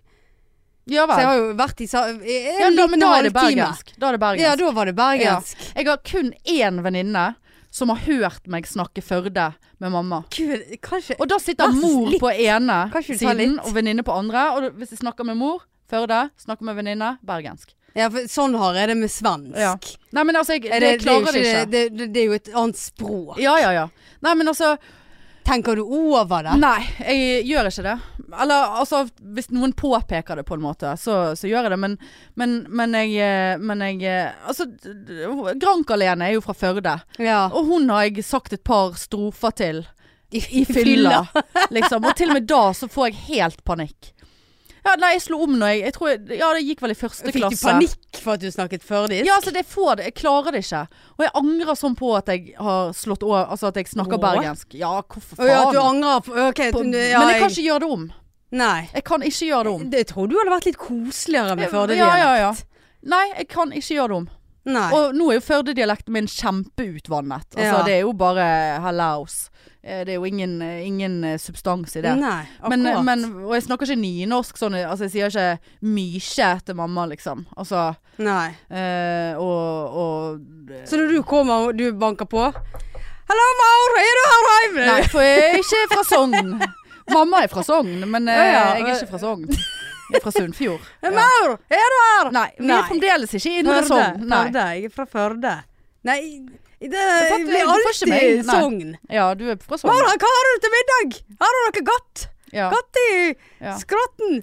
[SPEAKER 1] Ja
[SPEAKER 2] Så jeg
[SPEAKER 1] vel.
[SPEAKER 2] har jo vært i sa- en
[SPEAKER 1] Ja, da, men
[SPEAKER 2] liten
[SPEAKER 1] da er det
[SPEAKER 2] halvtime.
[SPEAKER 1] bergensk. Da er det bergensk.
[SPEAKER 2] Ja, da var det bergensk.
[SPEAKER 1] Jeg har kun én venninne som har hørt meg snakke Førde med mamma.
[SPEAKER 2] Gud, kanskje
[SPEAKER 1] Og da sitter
[SPEAKER 2] Vær så
[SPEAKER 1] mor
[SPEAKER 2] snill.
[SPEAKER 1] på ene
[SPEAKER 2] Kanskje du tar
[SPEAKER 1] siden
[SPEAKER 2] litt?
[SPEAKER 1] og venninne på andre. Og da- hvis jeg snakker med mor, Førde. Snakker med venninne, bergensk.
[SPEAKER 2] ja, for Sånn har jeg det med svensk.
[SPEAKER 1] Ja. Nei, men altså, jeg, det,
[SPEAKER 2] Er det, det, er jo
[SPEAKER 1] klarer det
[SPEAKER 2] ikke,
[SPEAKER 1] ikke.
[SPEAKER 2] det, det, det er jo et annet språk.
[SPEAKER 1] Ja, ja, ja. Nei, men altså
[SPEAKER 2] Tenker du over det?
[SPEAKER 1] Nei, jeg gjør ikke det. Eller altså, hvis noen påpeker det på en måte, så, så gjør jeg det. Men, men, men jeg, eh, men jeg eh, Altså, d- d- Grank-Alene er jo fra Førde.
[SPEAKER 2] Ja.
[SPEAKER 1] Og hun har jeg sagt et par strofer til i fylla. liksom. Og til og med da så får jeg helt panikk. Ja, nei, jeg slo om når jeg, jeg tror jeg, Ja, det gikk vel i første
[SPEAKER 2] Fikk du
[SPEAKER 1] klasse.
[SPEAKER 2] panikk for at du snakket førdisk?
[SPEAKER 1] Ja, altså, det får det. Jeg klarer det ikke. Og jeg angrer sånn på at jeg har slått over Altså at jeg snakker
[SPEAKER 2] Åh.
[SPEAKER 1] bergensk. Ja, hvorfor
[SPEAKER 2] Å ja, at
[SPEAKER 1] faen?
[SPEAKER 2] du angrer på Ok,
[SPEAKER 1] på,
[SPEAKER 2] du- ja,
[SPEAKER 1] men jeg kan ikke gjøre det om.
[SPEAKER 2] Nei.
[SPEAKER 1] Jeg kan ikke gjøre det om.
[SPEAKER 2] Det- Jeg tror du hadde vært litt koseligere med
[SPEAKER 1] Ja,
[SPEAKER 2] førdidialekt.
[SPEAKER 1] ja, ja. Nei, jeg kan ikke gjøre det om.
[SPEAKER 2] Nei.
[SPEAKER 1] Og nå er jo Førde-dialekten min kjempeutvannet. Altså,
[SPEAKER 2] Ja.
[SPEAKER 1] Det er jo bare hallaus. Eh, Det er jo ingen, ingen eh, substans i det.
[SPEAKER 2] Nei,
[SPEAKER 1] Men, eh,
[SPEAKER 2] akkurat.
[SPEAKER 1] men, og jeg snakker ikke nynorsk sånn, altså jeg sier ikke mykje til mamma, liksom. Altså,
[SPEAKER 2] Nei.
[SPEAKER 1] eh, og, og
[SPEAKER 2] Så når du kommer og du banker på Hallo, Maur, er du her hjemme?
[SPEAKER 1] Nei, for jeg er ikke fra Sogn. Mamma er fra Sogn, men eh,
[SPEAKER 2] Ja, ja.
[SPEAKER 1] jeg er ikke fra Sogn. Jeg er fra Sunnfjord.
[SPEAKER 2] «Eh, Maur, er du her?
[SPEAKER 1] Nei, vi
[SPEAKER 2] Nei.
[SPEAKER 1] er fremdeles ikke i Indre
[SPEAKER 2] Førde.
[SPEAKER 1] Sogn. Nei.
[SPEAKER 2] Førde. Jeg er fra Førde. Nei, det,
[SPEAKER 1] fatter-
[SPEAKER 2] det
[SPEAKER 1] du
[SPEAKER 2] blir
[SPEAKER 1] får ikke meg.
[SPEAKER 2] alltid
[SPEAKER 1] Nei.
[SPEAKER 2] Sogn.
[SPEAKER 1] Ja, du er fra
[SPEAKER 2] Maur,
[SPEAKER 1] Sogn.
[SPEAKER 2] hva har du til middag? Har du noe godt?
[SPEAKER 1] Ja.
[SPEAKER 2] Godt i
[SPEAKER 1] Ja.
[SPEAKER 2] skratten?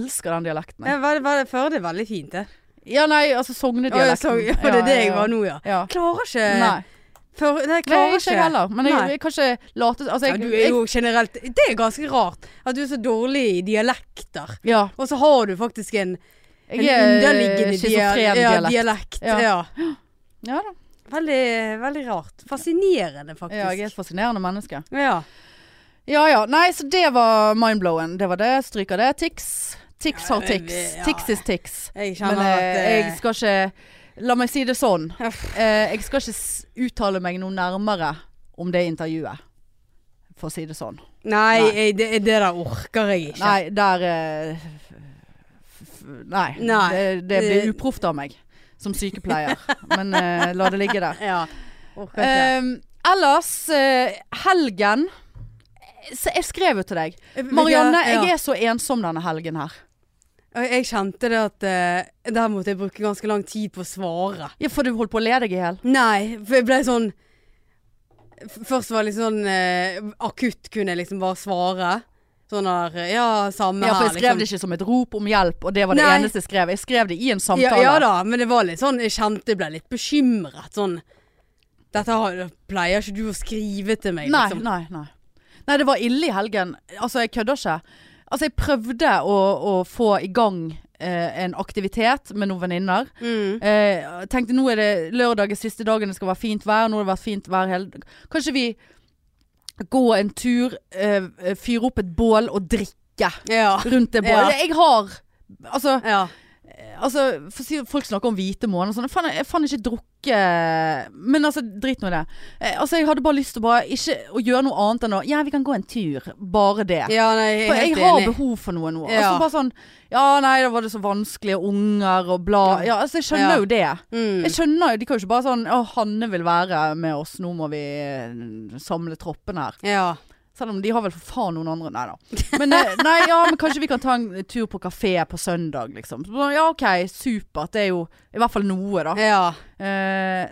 [SPEAKER 1] Elsker den dialekten. jeg.
[SPEAKER 2] Ja, vel- vel, Førde er veldig fint, det.
[SPEAKER 1] Ja, nei, altså
[SPEAKER 2] Å, ja,
[SPEAKER 1] Sogne-dialekten.
[SPEAKER 2] Sogn. Ja, det er det jeg var nå, ja.
[SPEAKER 1] Ja.
[SPEAKER 2] Klarer ikke
[SPEAKER 1] Nei.
[SPEAKER 2] Før, nei, jeg
[SPEAKER 1] Nei,
[SPEAKER 2] klarer
[SPEAKER 1] Eh, ikke jeg heller. Men jeg,
[SPEAKER 2] Nei.
[SPEAKER 1] jeg kan ikke late altså,
[SPEAKER 2] Ja,
[SPEAKER 1] jeg,
[SPEAKER 2] du er jo generelt Det er ganske rart at du er så dårlig i dialekter.
[SPEAKER 1] jeg, ja,
[SPEAKER 2] Og så har du faktisk en, en
[SPEAKER 1] jeg er
[SPEAKER 2] underliggende dial-
[SPEAKER 1] schizofren
[SPEAKER 2] Ja,
[SPEAKER 1] dialekt.
[SPEAKER 2] dialekt.
[SPEAKER 1] Ja.
[SPEAKER 2] Ja.
[SPEAKER 1] Ja da.
[SPEAKER 2] Veldig, veldig rart. Fascinerende,
[SPEAKER 1] Ja, jeg er et
[SPEAKER 2] faktisk.
[SPEAKER 1] fascinerende menneske.
[SPEAKER 2] Ja.
[SPEAKER 1] Ja ja. Nei, så det var mindblowen. Det var det. Stryker det. Tix. Tix har
[SPEAKER 2] Ja,
[SPEAKER 1] tix.
[SPEAKER 2] ja.
[SPEAKER 1] Tix is tix.
[SPEAKER 2] Jeg kjenner
[SPEAKER 1] Men eh, jeg
[SPEAKER 2] at eh,
[SPEAKER 1] skal ikke La meg si det sånn.
[SPEAKER 2] Uff.
[SPEAKER 1] Eh, jeg skal ikke s- uttale meg noe nærmere om det intervjuet. For å si det sånn.
[SPEAKER 2] Nei,
[SPEAKER 1] Nei.
[SPEAKER 2] jeg, det, det der orker jeg ikke.
[SPEAKER 1] Nei, der eh, f- f- Nei. Eh.
[SPEAKER 2] Nei.
[SPEAKER 1] Det, det blir
[SPEAKER 2] Det-
[SPEAKER 1] uproft av meg som sykepleier. Men eh, la det ligge der.
[SPEAKER 2] Ja. Orker ikke.
[SPEAKER 1] Ehm, ellers, eh, helgen så Jeg skrev jo til deg.
[SPEAKER 2] Vet du hva?
[SPEAKER 1] Marianne,
[SPEAKER 2] Ja.
[SPEAKER 1] jeg er så ensom denne helgen her.
[SPEAKER 2] Og Jeg kjente det at eh, Der måtte jeg bruke ganske lang tid på å svare.
[SPEAKER 1] Ja, For du holdt på å le deg i hjel.
[SPEAKER 2] Nei, for jeg ble sånn f- Først var det litt sånn eh, Akutt kunne jeg liksom bare svare. Sånn der eh, Ja, samme
[SPEAKER 1] Ja, for jeg
[SPEAKER 2] her, liksom.
[SPEAKER 1] skrev det ikke som et rop om hjelp, og det var det
[SPEAKER 2] Nei.
[SPEAKER 1] eneste jeg skrev. Jeg skrev det i en
[SPEAKER 2] Ja,
[SPEAKER 1] samtale.
[SPEAKER 2] ja da, men det var litt sånn Jeg kjente jeg ble litt bekymret. Sånn Dette har, pleier ikke du å skrive til meg,
[SPEAKER 1] Nei,
[SPEAKER 2] liksom.
[SPEAKER 1] nei, nei. Nei, det var ille i helgen. Altså, jeg kødder ikke. Altså, jeg prøvde å, å få i gang eh, en aktivitet med noen venninner.
[SPEAKER 2] Mm.
[SPEAKER 1] Eh, tenkte nå er det lørdag er siste dagen, det skal være fint vær. Nå har det vært fint vær hele Kanskje vi går en tur, eh, fyre opp et bål og drikke
[SPEAKER 2] Ja.
[SPEAKER 1] rundt det bålet. Jeg har Altså,
[SPEAKER 2] ja.
[SPEAKER 1] altså for å si, folk snakker om hvite måneder og sånn. Jeg faen- Jeg fant ikke drukket Men altså, drit nå i det. Eh, altså, jeg hadde bare lyst til bare ikke å gjøre noe annet enn å Ja, vi kan gå en tur. Bare det.
[SPEAKER 2] Ja, nei, jeg
[SPEAKER 1] For
[SPEAKER 2] er
[SPEAKER 1] jeg
[SPEAKER 2] helt
[SPEAKER 1] har
[SPEAKER 2] enig.
[SPEAKER 1] behov for noe nå. Altså
[SPEAKER 2] Ja.
[SPEAKER 1] bare sånn Ja, nei, da var det så vanskelig, og unger og bla Ja, altså, jeg skjønner
[SPEAKER 2] Ja.
[SPEAKER 1] jo det.
[SPEAKER 2] Mm.
[SPEAKER 1] Jeg skjønner jo, De kan jo ikke bare sånn Å, Hanne vil være med oss, nå må vi eh, samle troppen her.
[SPEAKER 2] Ja.
[SPEAKER 1] Selv om de har vel for faen noen andre Nei da. Men, eh, nei, ja, men kanskje vi kan ta en tur på kafé på søndag, liksom. Så, ja OK, supert. Det er jo i hvert fall noe, da.
[SPEAKER 2] Ja.
[SPEAKER 1] Eh,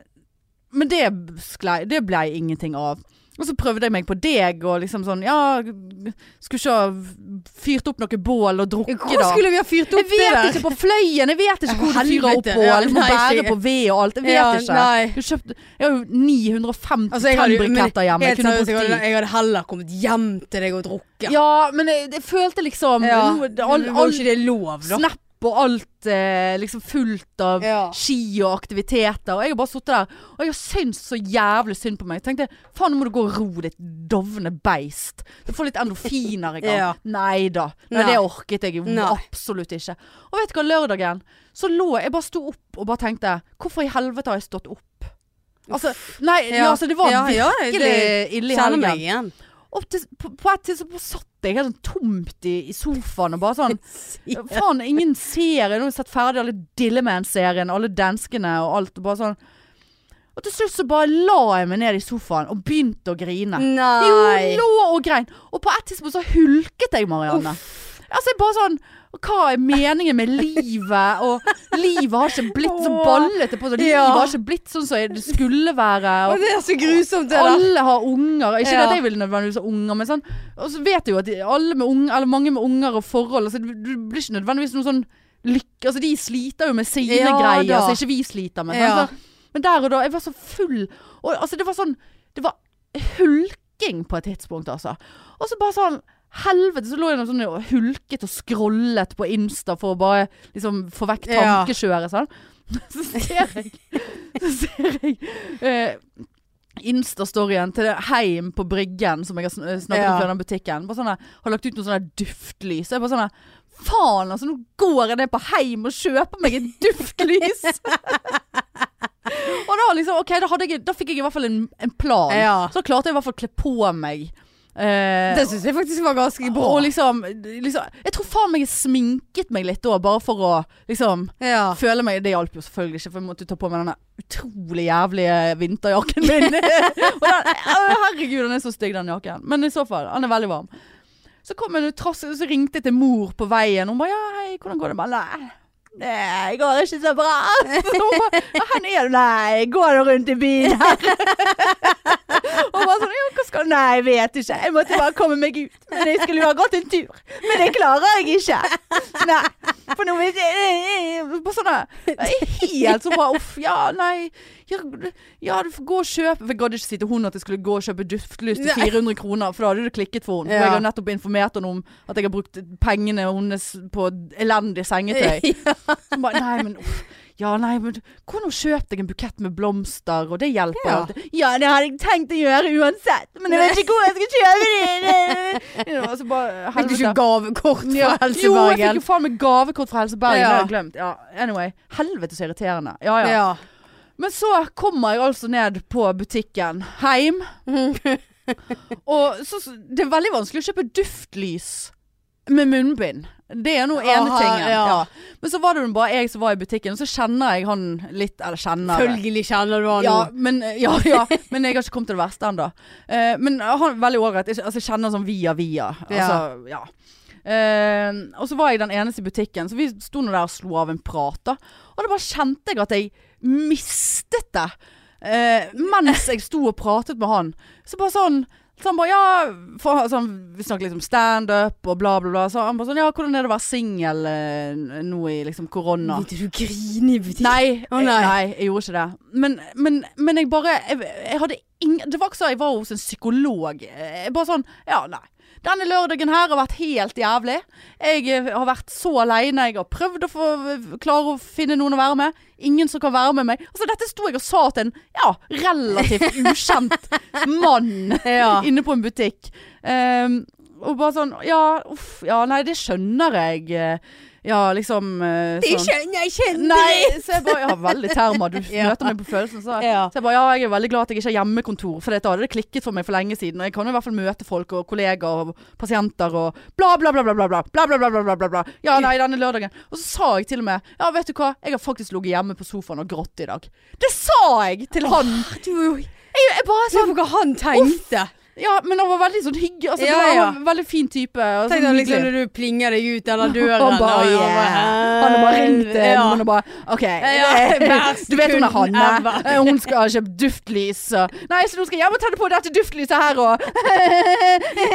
[SPEAKER 1] men det, sklei, det ble ingenting av. Og så prøvde jeg meg på deg og liksom sånn Ja, skulle ikke ha fyrt opp noe bål og drukket,
[SPEAKER 2] Hvor
[SPEAKER 1] da.
[SPEAKER 2] skulle vi ha fyrt
[SPEAKER 1] Jeg
[SPEAKER 2] opp det
[SPEAKER 1] vet
[SPEAKER 2] der?
[SPEAKER 1] ikke på fløyen, jeg vet ikke
[SPEAKER 2] Ja,
[SPEAKER 1] hvor du fyrer opp
[SPEAKER 2] helvete.
[SPEAKER 1] bål.
[SPEAKER 2] Ja,
[SPEAKER 1] Du må
[SPEAKER 2] nei,
[SPEAKER 1] bære
[SPEAKER 2] ikke-
[SPEAKER 1] på ved og alt. Jeg vet
[SPEAKER 2] Ja,
[SPEAKER 1] ikke.
[SPEAKER 2] Nei.
[SPEAKER 1] Du kjøpte, jeg har jo 950
[SPEAKER 2] Altså, jeg hadde, men,
[SPEAKER 1] tennbriketter hjemme. Jeg
[SPEAKER 2] helt
[SPEAKER 1] kunne
[SPEAKER 2] seriøst, jeg,
[SPEAKER 1] brukt de.
[SPEAKER 2] hadde, jeg hadde heller kommet hjem til deg og drukket.
[SPEAKER 1] Ja, men jeg, jeg følte liksom
[SPEAKER 2] Ja,
[SPEAKER 1] nå-
[SPEAKER 2] men
[SPEAKER 1] all,
[SPEAKER 2] var jo
[SPEAKER 1] all,
[SPEAKER 2] ikke det lov, da.
[SPEAKER 1] Snap og alt eh, liksom fullt av
[SPEAKER 2] Ja.
[SPEAKER 1] ski og aktiviteter. Og jeg har bare sittet der, og jeg har syntes så jævlig synd på meg. Jeg tenkte faen, nå må du gå og ro ditt dovne beist. Du får litt endorfiner i gang.
[SPEAKER 2] Ja.
[SPEAKER 1] Nei da. Nei,
[SPEAKER 2] Nei.
[SPEAKER 1] det orket jeg jo
[SPEAKER 2] Nei.
[SPEAKER 1] absolutt ikke. Og vet du hva, lørdagen så lå jeg bare sto opp og bare tenkte Hvorfor i helvete har jeg stått opp? Altså, nei, ja.
[SPEAKER 2] Ja.
[SPEAKER 1] altså det var
[SPEAKER 2] Ja, ja,
[SPEAKER 1] virkelig
[SPEAKER 2] det-
[SPEAKER 1] ille i
[SPEAKER 2] Kjenner
[SPEAKER 1] helgen.
[SPEAKER 2] meg igjen.
[SPEAKER 1] Opp til, på, på et tidspunkt satt jeg helt sånn tomt i, i sofaen og bare sånn ja, Faen, ingen serie. Nå har jeg sett ferdig alle Dilleman-serien, alle danskene og alt. Og bare sånn. Og til slutt så bare la jeg meg ned i sofaen og begynte å grine. Jo,
[SPEAKER 2] Nei.
[SPEAKER 1] lå og grein. Og på et tidspunkt så hulket jeg, Marianne. Altså, jeg bare sånn Hva er meningen med livet? Og livet har ikke blitt så
[SPEAKER 2] Åh.
[SPEAKER 1] ballete på sånn. Livet
[SPEAKER 2] Ja.
[SPEAKER 1] har ikke blitt sånn som det skulle være.
[SPEAKER 2] Å,
[SPEAKER 1] Og
[SPEAKER 2] det er så grusomt, sånn, det der.
[SPEAKER 1] alle har unger. Ikke
[SPEAKER 2] Ja.
[SPEAKER 1] at jeg vil nødvendigvis ha unger, men sånn Og så vet jeg jo at de- alle med unger, eller mange med unger og forhold altså, Du du blir ikke nødvendigvis noe sånn lykke Altså, de sliter jo med sine
[SPEAKER 2] Ja,
[SPEAKER 1] greier
[SPEAKER 2] da.
[SPEAKER 1] som ikke vi sliter med. sant?
[SPEAKER 2] Ja.
[SPEAKER 1] Så- Men der og da Jeg var så full. Og altså, det var sånn Det var hulking på et tidspunkt, altså. Og så bare sånn Helvete, så lå jeg noe sånn og hulket og scrollet på Insta for å bare liksom få vekk
[SPEAKER 2] Ja.
[SPEAKER 1] tankekjøret. Sånn. Så ser jeg Så ser jeg eh, Insta-storyen til det heim på Bryggen, som jeg har sn- eh, snakket om
[SPEAKER 2] Ja.
[SPEAKER 1] fra den butikken. Bare sånne, har lagt ut noen sånne duftlys. Jeg bare sånn der, Faen, altså, nå går jeg ned på heim og kjøper meg et duftlys! og da liksom, ok, da, hadde jeg, da fikk jeg i hvert fall en, en plan.
[SPEAKER 2] Ja.
[SPEAKER 1] Så da klarte jeg i hvert fall å kle på meg. Eh,
[SPEAKER 2] Det syns jeg faktisk var ganske bra.
[SPEAKER 1] og liksom, liksom Jeg tror faen meg jeg sminket meg litt da, bare for å liksom
[SPEAKER 2] ja.
[SPEAKER 1] Føler meg, Det hjalp jo selvfølgelig ikke, for jeg måtte jo ta på meg denne utrolig jævlige vinterjakken min. og den, å, herregud, den er så stygg, den jakken. Men i så fall, den er veldig varm. Så kom jeg, trass, så ringte jeg til mor på veien. Hun bare 'Ja, hei, hvordan går det?' Jeg bare, Nei, det går ikke så bra. Så hun bare 'Hvor er du?' 'Nei, går du rundt i byen her?' og bare sånn 'Ja, hva skal du?' 'Nei, jeg vet ikke. Jeg måtte bare komme meg ut. Men jeg skulle jo ha gått en tur. Men det klarer jeg ikke. Nei.' For nå vet jeg sånn På sånne Helt sånn bare Uff, ja, nei Ja, ja du får gå og kjøpe For jeg gadd ikke si til hun at jeg skulle gå og kjøpe duftlys til
[SPEAKER 2] Nei.
[SPEAKER 1] 400 kroner For da hadde det klikket for hun For
[SPEAKER 2] Ja.
[SPEAKER 1] jeg har jo nettopp informert henne om At jeg har brukt pengene hennes på elendig sengetøy
[SPEAKER 2] Ja.
[SPEAKER 1] Så hun bare, nei, men uff Ja, nei, men gå nå og kjøp deg en bukett med blomster, og det hjelper
[SPEAKER 2] Ja.
[SPEAKER 1] alltid. Ja, det hadde jeg tenkt å gjøre uansett, men jeg vet ikke hvor jeg skal kjøpe det. Og så bare
[SPEAKER 2] Fikk du ikke
[SPEAKER 1] helvete.
[SPEAKER 2] gavekort fra
[SPEAKER 1] Ja.
[SPEAKER 2] Helse
[SPEAKER 1] Jo, jeg fikk
[SPEAKER 2] Bergen?
[SPEAKER 1] jo faen meg gavekort fra Helse Bergen, det
[SPEAKER 2] Ja.
[SPEAKER 1] har jeg glemt. Ja, anyway. Helvete så irriterende. Ja, ja.
[SPEAKER 2] Ja.
[SPEAKER 1] Men så kommer jeg altså ned på butikken heim. og så, så- det er veldig vanskelig å kjøpe duftlys med munnbind. Det er nå ene
[SPEAKER 2] Aha,
[SPEAKER 1] tingen.
[SPEAKER 2] ja.
[SPEAKER 1] Ja. Men så var det jo bare jeg som var i butikken, og så kjenner jeg han litt Eller kjenner det.
[SPEAKER 2] Følgelig kjenner du han
[SPEAKER 1] Ja men, eh, ja, ja, men jeg har ikke kommet til det verste ennå. Eh, men han er veldig ålreit. Jeg, altså, jeg kjenner han sånn via via. Altså, ja. Eh, og så var jeg den eneste i butikken, så vi sto nå der og slo av en prat. da Og da bare kjente jeg at jeg mistet det. Eh, mens jeg sto og pratet med han. Så bare sånn så han bare, ja, for, altså, han- Vi snakket litt om standup og bla, bla, bla. Så han bare sånn Ja, hvordan er det å være singel eh, nå i liksom korona?
[SPEAKER 2] Begynte du å grine i butikken?
[SPEAKER 1] Nei,
[SPEAKER 2] Å,
[SPEAKER 1] jeg-
[SPEAKER 2] nei.
[SPEAKER 1] nei, jeg gjorde ikke det. Men, men, men jeg bare jeg, jeg hadde ingen Det var ikke så jeg var hos en psykolog. Jeg bare sånn Ja, nei. Denne lørdagen her har vært helt jævlig. Jeg eh, har vært så aleine. Jeg har prøvd å få, klare å finne noen å være med. Ingen som kan være med meg. Altså, dette sto jeg og sa til en ja, relativt ukjent mann
[SPEAKER 2] Ja.
[SPEAKER 1] inne på en butikk. Ehm, og bare sånn Ja, uff. Ja, nei, det skjønner jeg. Eh, Ja, liksom eh,
[SPEAKER 2] Det
[SPEAKER 1] sånn.
[SPEAKER 2] skjønner jeg kjenner
[SPEAKER 1] Nei, så jeg bare Jeg har veldig terma. Du
[SPEAKER 2] Ja.
[SPEAKER 1] møter meg på følelsen. Så,
[SPEAKER 2] Ja.
[SPEAKER 1] så jeg bare Ja, jeg er veldig glad at jeg ikke har hjemmekontor, for dette hadde det klikket for meg for lenge siden. Og jeg kan jo i hvert fall møte folk og kollegaer og pasienter og bla, bla, bla, bla, bla, bla, bla, bla, bla, bla, bla, bla, bla. Ja, nei, denne lørdagen. Og så sa jeg til og med Ja, vet du hva, jeg har faktisk ligget hjemme på sofaen og grått i dag. Det sa jeg til han.
[SPEAKER 2] Du er jo
[SPEAKER 1] Jeg, jeg bare
[SPEAKER 2] Se på hva han tenkte.
[SPEAKER 1] Ja, men han var veldig sånn hyggelig. Altså, det
[SPEAKER 2] Ja,
[SPEAKER 1] var- han
[SPEAKER 2] ja.
[SPEAKER 1] var en veldig fin type. og
[SPEAKER 2] Tenk
[SPEAKER 1] sånn
[SPEAKER 2] deg liksom
[SPEAKER 1] hyggelig.
[SPEAKER 2] når du plinger deg ut eller døren.
[SPEAKER 1] Han bare,
[SPEAKER 2] og
[SPEAKER 1] yeah. Han har bare ringt til
[SPEAKER 2] Ja.
[SPEAKER 1] henne og bare OK. eh,
[SPEAKER 2] Ja, verst
[SPEAKER 1] Du vet hun er
[SPEAKER 2] kunden
[SPEAKER 1] Hanne. Eh,
[SPEAKER 2] ever.
[SPEAKER 1] Hun skal ha kjøpt duftlys. og- Nei, så nå skal jeg bare tenne på dette duftlyset her og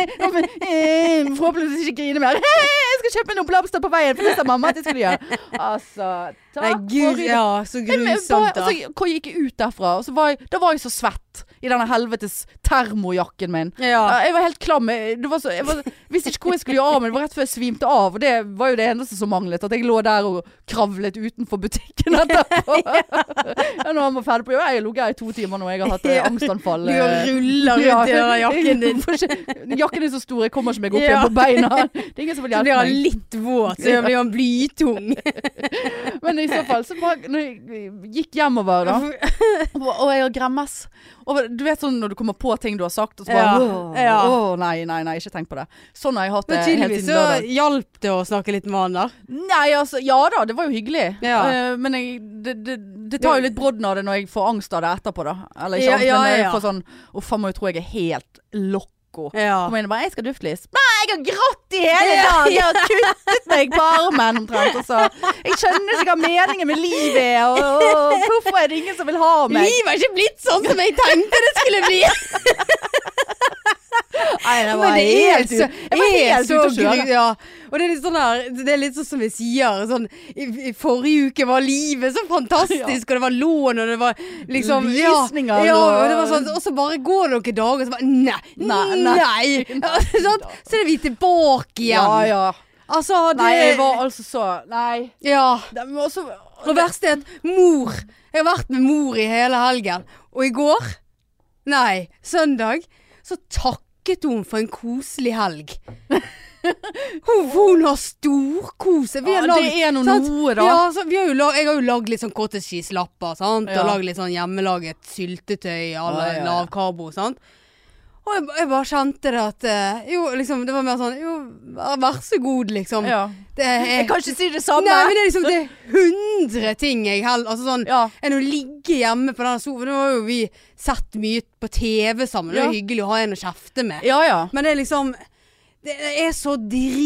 [SPEAKER 1] eh, Forhåpentligvis ikke grine mer. Jeg skal kjøpe noen blomster på veien, for det sa mamma at jeg skulle gjøre. Altså, takk
[SPEAKER 2] Nei, gud,
[SPEAKER 1] for i dag.
[SPEAKER 2] ja, så
[SPEAKER 1] Jeg men- bare-
[SPEAKER 2] grusomt da.
[SPEAKER 1] altså, hvor jeg gikk ut derfra, og så var jeg, da var jeg så svett i denne helvetes termojakken min.
[SPEAKER 2] Ja.
[SPEAKER 1] Ja, Jeg var helt klam. Jeg- Det var så, jeg var, visste ikke hvor jeg skulle gjøre av meg. Det var rett før jeg svimte av. Og det var jo det eneste som manglet. At jeg lå der og kravlet utenfor butikken etterpå. ja, når han var ferdig på jobb. Jeg har ligget her i to timer nå. Jeg har hatt eh, angstanfall.
[SPEAKER 2] Du
[SPEAKER 1] eh,
[SPEAKER 2] ruller rundt i den der jakken din.
[SPEAKER 1] får ikke- Jakken er så stor, jeg kommer ikke meg opp
[SPEAKER 2] Ja.
[SPEAKER 1] igjen på beina. Det er ingen som vil
[SPEAKER 2] Så
[SPEAKER 1] hjelpe
[SPEAKER 2] blir han
[SPEAKER 1] meg.
[SPEAKER 2] litt våt, så blir han blytung.
[SPEAKER 1] Men i så fall, så bare, når jeg gikk hjemover da Og, og jeg har gremmes. Og du vet sånn når du kommer på ting du har sagt, og så bare
[SPEAKER 2] Ja,
[SPEAKER 1] åh,
[SPEAKER 2] ja.
[SPEAKER 1] åh, nei, nei, nei, ikke tenk på det. Sånn har jeg hatt det
[SPEAKER 2] Men
[SPEAKER 1] helt
[SPEAKER 2] tydeligvis
[SPEAKER 1] siden
[SPEAKER 2] så
[SPEAKER 1] lørdag.
[SPEAKER 2] hjalp det å snakke litt med han der.
[SPEAKER 1] Nei, altså, ja da, det var jo hyggelig.
[SPEAKER 2] Ja.
[SPEAKER 1] Eh, men jeg, det, det, det tar jo litt brodden av det når jeg får angst av det etterpå, da. Eller ikke
[SPEAKER 2] Ja,
[SPEAKER 1] angst,
[SPEAKER 2] ja,
[SPEAKER 1] men jeg
[SPEAKER 2] ja.
[SPEAKER 1] får sånn Uff, han må jo tro jeg er helt loco.
[SPEAKER 2] Ja.
[SPEAKER 1] Kommer inn og bare 'Jeg skal ha duftlys'. Nei, jeg har grått i hele dag! Jeg har kuttet meg på armen omtrent. Og så. Jeg skjønner ikke hva meningen med livet er, og, og hvorfor er det ingen som vil ha meg?
[SPEAKER 2] Livet er ikke blitt sånn som jeg tenkte det skulle bli.
[SPEAKER 1] Nei, det
[SPEAKER 2] Men det er helt,
[SPEAKER 1] så, jeg var helt ute å kjøre.
[SPEAKER 2] Ja. Og det er litt sånn der, det er litt sånn som vi sier, sånn i, I forrige uke var livet så fantastisk,
[SPEAKER 1] Ja.
[SPEAKER 2] og det var lån, og det var liksom
[SPEAKER 1] Visninger,
[SPEAKER 2] Ja, ja,
[SPEAKER 1] og-
[SPEAKER 2] og, det var sånn, og så bare går det noen dager, og så bare Nei!
[SPEAKER 1] Nei,
[SPEAKER 2] Nei!
[SPEAKER 1] nei.
[SPEAKER 2] Ja, sant? Så er vi tilbake
[SPEAKER 1] Ja,
[SPEAKER 2] igjen.
[SPEAKER 1] ja.
[SPEAKER 2] Altså, det
[SPEAKER 1] Nei, jeg var altså så Nei.
[SPEAKER 2] Ja.
[SPEAKER 1] Det, men også,
[SPEAKER 2] Og verst er at mor Jeg har vært med mor i hele helgen. Og i går, nei, søndag, så takket hun for en koselig helg. Hun, hun har storkose. Vi
[SPEAKER 1] ja,
[SPEAKER 2] har
[SPEAKER 1] det
[SPEAKER 2] lagd
[SPEAKER 1] er nå
[SPEAKER 2] sant?
[SPEAKER 1] noe, da.
[SPEAKER 2] ja, så vi har jo lag, jeg har jo lagd litt sånn cottage cheese-lapper, sant?
[SPEAKER 1] Ja.
[SPEAKER 2] og lagd litt sånn hjemmelaget syltetøy à la
[SPEAKER 1] Ja, ja, ja.
[SPEAKER 2] lavkarbo. Sant? Og jeg, jeg bare kjente det at eh, Jo, liksom, det var mer sånn Jo, vær så god, liksom.
[SPEAKER 1] Ja.
[SPEAKER 2] Det er,
[SPEAKER 1] Jeg kan ikke si det samme.
[SPEAKER 2] Nei, men det er liksom det er 100 ting jeg heller altså sånn,
[SPEAKER 1] Ja.
[SPEAKER 2] Enn å ligge hjemme på denne sofaen. Nå har jo vi sett mye på TV sammen. Det er
[SPEAKER 1] Ja.
[SPEAKER 2] jo hyggelig å ha en å kjefte med.
[SPEAKER 1] ja, ja.
[SPEAKER 2] Men det er liksom det, Jeg er så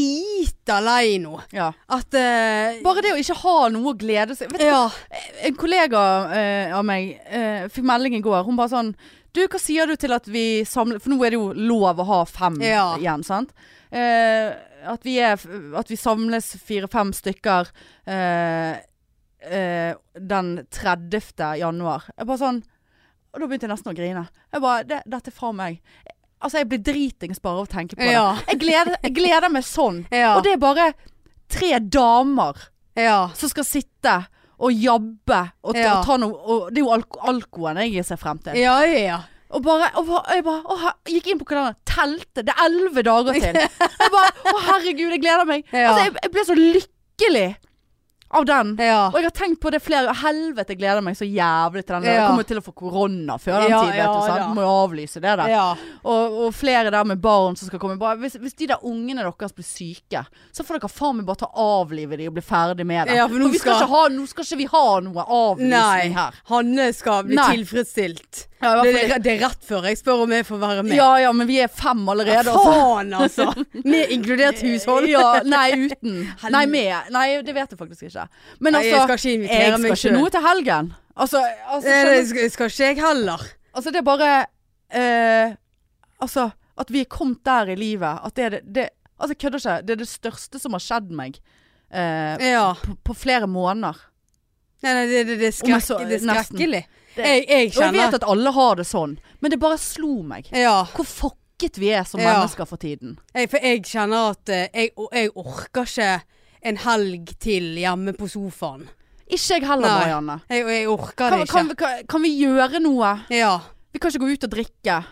[SPEAKER 2] drita lei nå
[SPEAKER 1] ja.
[SPEAKER 2] at eh,
[SPEAKER 1] Bare det å ikke ha noe å glede seg Vet du,
[SPEAKER 2] Ja.
[SPEAKER 1] En kollega eh, av meg eh, fikk melding i går. Hun bare sånn Du, hva sier du til at vi samler For nå er det jo lov å ha fem
[SPEAKER 2] Ja.
[SPEAKER 1] igjen, sant? Eh, at, vi er, f- at vi samles fire-fem stykker eh, eh, den 30. januar. Jeg bare sånn Og da begynte jeg nesten å grine. Jeg bare det, Dette er faen meg Altså, jeg blir dritings bare av å tenke på
[SPEAKER 2] Ja.
[SPEAKER 1] det. Jeg gleder, jeg gleder meg sånn.
[SPEAKER 2] Ja.
[SPEAKER 1] Og det er bare tre damer
[SPEAKER 2] ja.
[SPEAKER 1] som skal sitte og jabbe. Og, ta-
[SPEAKER 2] Ja.
[SPEAKER 1] og ta noe, og det er jo alko alkoen jeg ser frem til.
[SPEAKER 2] Ja, ja, ja.
[SPEAKER 1] Og bare, og bare, jeg bare å, her- gikk inn på kalenderen. Telte. Det er elleve dager til. Jeg bare, Å, herregud, jeg gleder meg.
[SPEAKER 2] Ja.
[SPEAKER 1] Altså, jeg, jeg ble så lykkelig av den.
[SPEAKER 2] ja.
[SPEAKER 1] Og jeg har tenkt på det flere ganger. Helvete, jeg gleder meg så jævlig til den.
[SPEAKER 2] Ja.
[SPEAKER 1] Jeg kommer til å få korona før den
[SPEAKER 2] Ja,
[SPEAKER 1] tid, vet du.
[SPEAKER 2] ja,
[SPEAKER 1] sant?
[SPEAKER 2] da.
[SPEAKER 1] Må jo avlyse det, da.
[SPEAKER 2] ja.
[SPEAKER 1] Og, og flere der med barn som skal komme. Bare, hvis, hvis de der ungene deres blir syke, så får dere faen meg bare ta avlive de og bli ferdig med det.
[SPEAKER 2] Ja, for nå
[SPEAKER 1] vi skal,
[SPEAKER 2] skal-
[SPEAKER 1] ikke ha, nå skal ikke vi ha noe avlysning
[SPEAKER 2] Nei.
[SPEAKER 1] her.
[SPEAKER 2] Hanne skal bli
[SPEAKER 1] Nei.
[SPEAKER 2] tilfredsstilt.
[SPEAKER 1] Ja, i hvert
[SPEAKER 2] det,
[SPEAKER 1] fall-
[SPEAKER 2] er- det er rett før jeg spør om jeg får være med.
[SPEAKER 1] Ja ja, men vi er fem allerede. altså.
[SPEAKER 2] Faen, altså! Med inkludert hushold.
[SPEAKER 1] Ja, nei, uten. Nei, med. Nei, det vet jeg faktisk ikke. Men
[SPEAKER 2] Nei,
[SPEAKER 1] altså,
[SPEAKER 2] jeg skal ikke invitere
[SPEAKER 1] jeg
[SPEAKER 2] meg
[SPEAKER 1] skal ikke
[SPEAKER 2] selv.
[SPEAKER 1] noe til helgen. Altså, altså,
[SPEAKER 2] Nei,
[SPEAKER 1] skjønner
[SPEAKER 2] det
[SPEAKER 1] du?
[SPEAKER 2] skal, skal ikke jeg heller.
[SPEAKER 1] altså det er bare eh, Altså, at vi er kommet der i livet at det er det, det Altså, jeg kødder ikke. Det er det største som har skjedd meg eh,
[SPEAKER 2] Ja.
[SPEAKER 1] på, på flere måneder.
[SPEAKER 2] Nei, nei, det, det, det, er
[SPEAKER 1] Om jeg
[SPEAKER 2] skrekk,
[SPEAKER 1] så-
[SPEAKER 2] det er
[SPEAKER 1] nesten.
[SPEAKER 2] skrekkelig.
[SPEAKER 1] Det-
[SPEAKER 2] Jeg, jeg
[SPEAKER 1] Og jeg vet
[SPEAKER 2] kjenner
[SPEAKER 1] at alle har det sånn, men det bare slo meg.
[SPEAKER 2] Ja.
[SPEAKER 1] Hvor fucket vi er som
[SPEAKER 2] Ja.
[SPEAKER 1] mennesker for tiden.
[SPEAKER 2] Jeg, for jeg kjenner at eh, jeg, og jeg orker ikke en helg til hjemme på sofaen.
[SPEAKER 1] Ikke jeg heller,
[SPEAKER 2] Nei.
[SPEAKER 1] Marianne.
[SPEAKER 2] Jeg, og jeg orker
[SPEAKER 1] Kan,
[SPEAKER 2] det ikke.
[SPEAKER 1] kan, vi- kan, kan vi gjøre noe?
[SPEAKER 2] ja.
[SPEAKER 1] Vi kan ikke gå ut og drikke.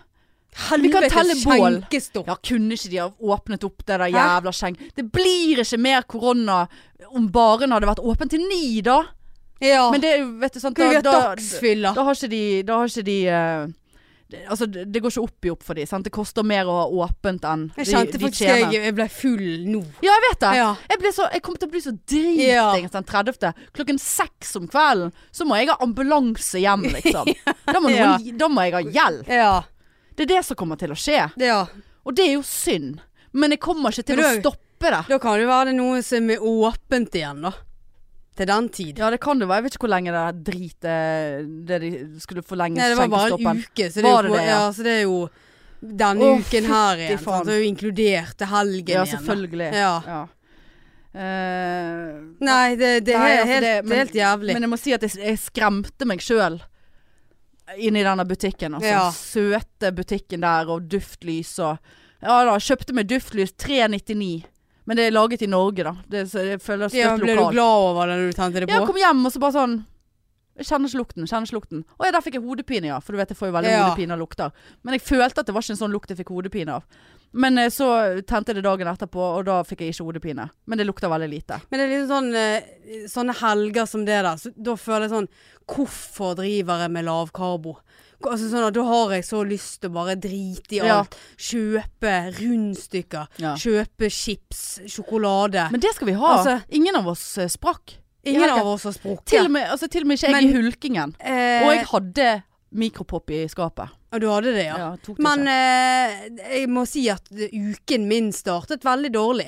[SPEAKER 1] vi kan telle bål.
[SPEAKER 2] skjenkestopp.
[SPEAKER 1] Ja, kunne ikke de ha åpnet opp det der
[SPEAKER 2] Hæ?
[SPEAKER 1] jævla skjeng... Det blir ikke mer korona om baren hadde vært åpen til ni, da.
[SPEAKER 2] Ja.
[SPEAKER 1] Men det er jo, vet du sant
[SPEAKER 2] Skal vi ha
[SPEAKER 1] da, da,
[SPEAKER 2] dagsfylla?
[SPEAKER 1] da har ikke de, da har ikke de eh, det, Altså, det det går ikke opp i opp for de, sant? Det koster mer å ha åpent enn de,
[SPEAKER 2] Jeg kjente
[SPEAKER 1] de
[SPEAKER 2] faktisk
[SPEAKER 1] tjener.
[SPEAKER 2] jeg, jeg ble full nå.
[SPEAKER 1] Ja, jeg vet det.
[SPEAKER 2] Ja.
[SPEAKER 1] Jeg, ble så, jeg kom til å bli så dritings den 30. Klokken seks om kvelden så må jeg ha ambulanse hjem, liksom. Da må,
[SPEAKER 2] Ja.
[SPEAKER 1] noen, da må jeg ha hjelp.
[SPEAKER 2] Ja.
[SPEAKER 1] Det er det som kommer til å skje.
[SPEAKER 2] ja.
[SPEAKER 1] Og det er jo synd. Men jeg kommer ikke til
[SPEAKER 2] Men
[SPEAKER 1] å
[SPEAKER 2] du-
[SPEAKER 1] stoppe det.
[SPEAKER 2] Da kan det være det er noe som er åpent igjen, da. Til den tid.
[SPEAKER 1] Ja, det kan det være. Jeg vet ikke hvor lenge det der drit eh, Det de skulle forlenge
[SPEAKER 2] Nei, det var bare en
[SPEAKER 1] skjenkestoppen.
[SPEAKER 2] uke, så det,
[SPEAKER 1] Var
[SPEAKER 2] er,
[SPEAKER 1] det
[SPEAKER 2] jo,
[SPEAKER 1] det,
[SPEAKER 2] ja.
[SPEAKER 1] ja?
[SPEAKER 2] så det er jo denne
[SPEAKER 1] Å,
[SPEAKER 2] uken her
[SPEAKER 1] fytti
[SPEAKER 2] igjen. sant?
[SPEAKER 1] faen.
[SPEAKER 2] Det er jo inkludert til helgen
[SPEAKER 1] Ja,
[SPEAKER 2] igjen. da.
[SPEAKER 1] selvfølgelig.
[SPEAKER 2] Ja.
[SPEAKER 1] Ja. Eh,
[SPEAKER 2] Nei, det, det
[SPEAKER 1] Nei,
[SPEAKER 2] er
[SPEAKER 1] altså,
[SPEAKER 2] helt,
[SPEAKER 1] det- men-
[SPEAKER 2] helt jævlig.
[SPEAKER 1] Men jeg må si at jeg, jeg skremte meg sjøl inni denne butikken. Altså.
[SPEAKER 2] Ja.
[SPEAKER 1] Søte butikken der, og duftlys og Ja da, kjøpte meg duftlys 399. Men det er laget i Norge, da. Det, så det føles
[SPEAKER 2] ja,
[SPEAKER 1] litt
[SPEAKER 2] ble du
[SPEAKER 1] lokalt.
[SPEAKER 2] glad over det når du tente det
[SPEAKER 1] Ja,
[SPEAKER 2] på?
[SPEAKER 1] jeg kom hjem, og så bare sånn jeg kjenner ikke lukten. kjenner ikke lukten Å ja, der fikk jeg hodepine, ja. For du vet jeg får jo veldig
[SPEAKER 2] Ja.
[SPEAKER 1] hodepine av lukter. Men jeg følte at det var ikke en sånn lukt jeg fikk hodepine av. Men eh, så tente jeg det dagen etterpå, og da fikk jeg ikke hodepine. Men det lukter veldig lite.
[SPEAKER 2] Men det er liksom sånn, eh, sånne helger som det der, så da føler jeg sånn Hvorfor driver jeg med lavkarbo? Ko- Altså sånn at Da har jeg så lyst til å bare drite i
[SPEAKER 1] Ja.
[SPEAKER 2] alt. Kjøpe rundstykker.
[SPEAKER 1] Ja.
[SPEAKER 2] Kjøpe chips, sjokolade.
[SPEAKER 1] Men det skal vi ha.
[SPEAKER 2] Altså-
[SPEAKER 1] Ingen av oss eh, sprakk.
[SPEAKER 2] Ingen
[SPEAKER 1] jeg-
[SPEAKER 2] av oss har sprukket.
[SPEAKER 1] Til, og med, altså, til og med ikke jeg
[SPEAKER 2] Men-
[SPEAKER 1] i hulkingen.
[SPEAKER 2] eh,
[SPEAKER 1] Og jeg hadde mikropop i skapet.
[SPEAKER 2] og du hadde det, ja.
[SPEAKER 1] Ja, tok det
[SPEAKER 2] Men
[SPEAKER 1] ikke.
[SPEAKER 2] eh, jeg må si at uken min startet veldig dårlig.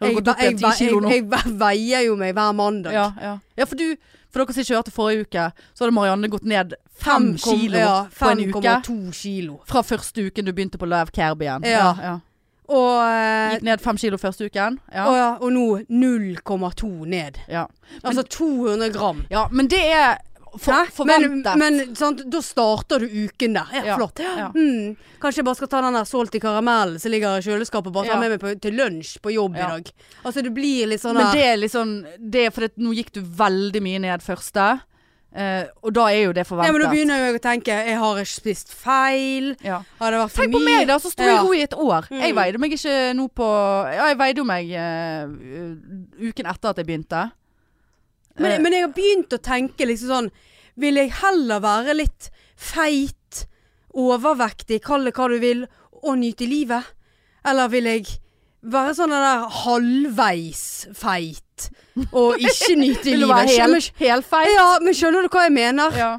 [SPEAKER 1] Har du
[SPEAKER 2] Jeg,
[SPEAKER 1] gått opp
[SPEAKER 2] jeg,
[SPEAKER 1] igjen 10
[SPEAKER 2] jeg,
[SPEAKER 1] kilo nå?
[SPEAKER 2] jeg, jeg veier jo meg hver mandag.
[SPEAKER 1] Ja, ja. ja, for du For dere som ikke hørte forrige uke, så hadde Marianne gått ned fem
[SPEAKER 2] kom-
[SPEAKER 1] kilo
[SPEAKER 2] ja,
[SPEAKER 1] på en uke.
[SPEAKER 2] 5,2 kilo.
[SPEAKER 1] Fra første uken du begynte på Love Kerb igjen.
[SPEAKER 2] Ja.
[SPEAKER 1] Ja,
[SPEAKER 2] Og,
[SPEAKER 1] ja.
[SPEAKER 2] eh,
[SPEAKER 1] Gikk ned fem kilo første uken. Ja.
[SPEAKER 2] og, ja, og nå 0,2 ned.
[SPEAKER 1] Ja.
[SPEAKER 2] Altså 200 gram.
[SPEAKER 1] ja, men det er for,
[SPEAKER 2] Hæ? Men,
[SPEAKER 1] forventet.
[SPEAKER 2] men sant, da starter du uken der. Ja,
[SPEAKER 1] Ja,
[SPEAKER 2] flott.
[SPEAKER 1] ja.
[SPEAKER 2] Mm, kanskje jeg bare skal ta den der solgt i karamellen som ligger i kjøleskapet, bare
[SPEAKER 1] Ja.
[SPEAKER 2] ta med meg på, til lunsj på jobb
[SPEAKER 1] Ja.
[SPEAKER 2] i dag. Altså det blir litt sånn
[SPEAKER 1] Men
[SPEAKER 2] der
[SPEAKER 1] det er litt sånn det er Fordi at nå gikk du veldig mye ned første, eh, og da er jo det
[SPEAKER 2] Ja,
[SPEAKER 1] forventet.
[SPEAKER 2] men da begynner jeg å tenke Jeg har ikke spist feil.
[SPEAKER 1] Ja.
[SPEAKER 2] Har det vært for
[SPEAKER 1] Tenk på
[SPEAKER 2] mye?
[SPEAKER 1] meg da, som sto i
[SPEAKER 2] Ja.
[SPEAKER 1] ro i et år. Jeg
[SPEAKER 2] Mm.
[SPEAKER 1] veide meg ikke nå på Ja, jeg veide jo meg eh, uken etter at jeg begynte. Eh,
[SPEAKER 2] Men, men jeg har begynt å tenke liksom sånn Vil jeg heller være litt feit, overvektig, kall det hva du vil, og nyte livet? Eller vil jeg være sånn den der halvveis feit og ikke nyte
[SPEAKER 1] Vil du
[SPEAKER 2] livet?
[SPEAKER 1] være
[SPEAKER 2] Skjønner-
[SPEAKER 1] hel, helfeit?
[SPEAKER 2] Ja, men skjønner du hva jeg mener?
[SPEAKER 1] Ja.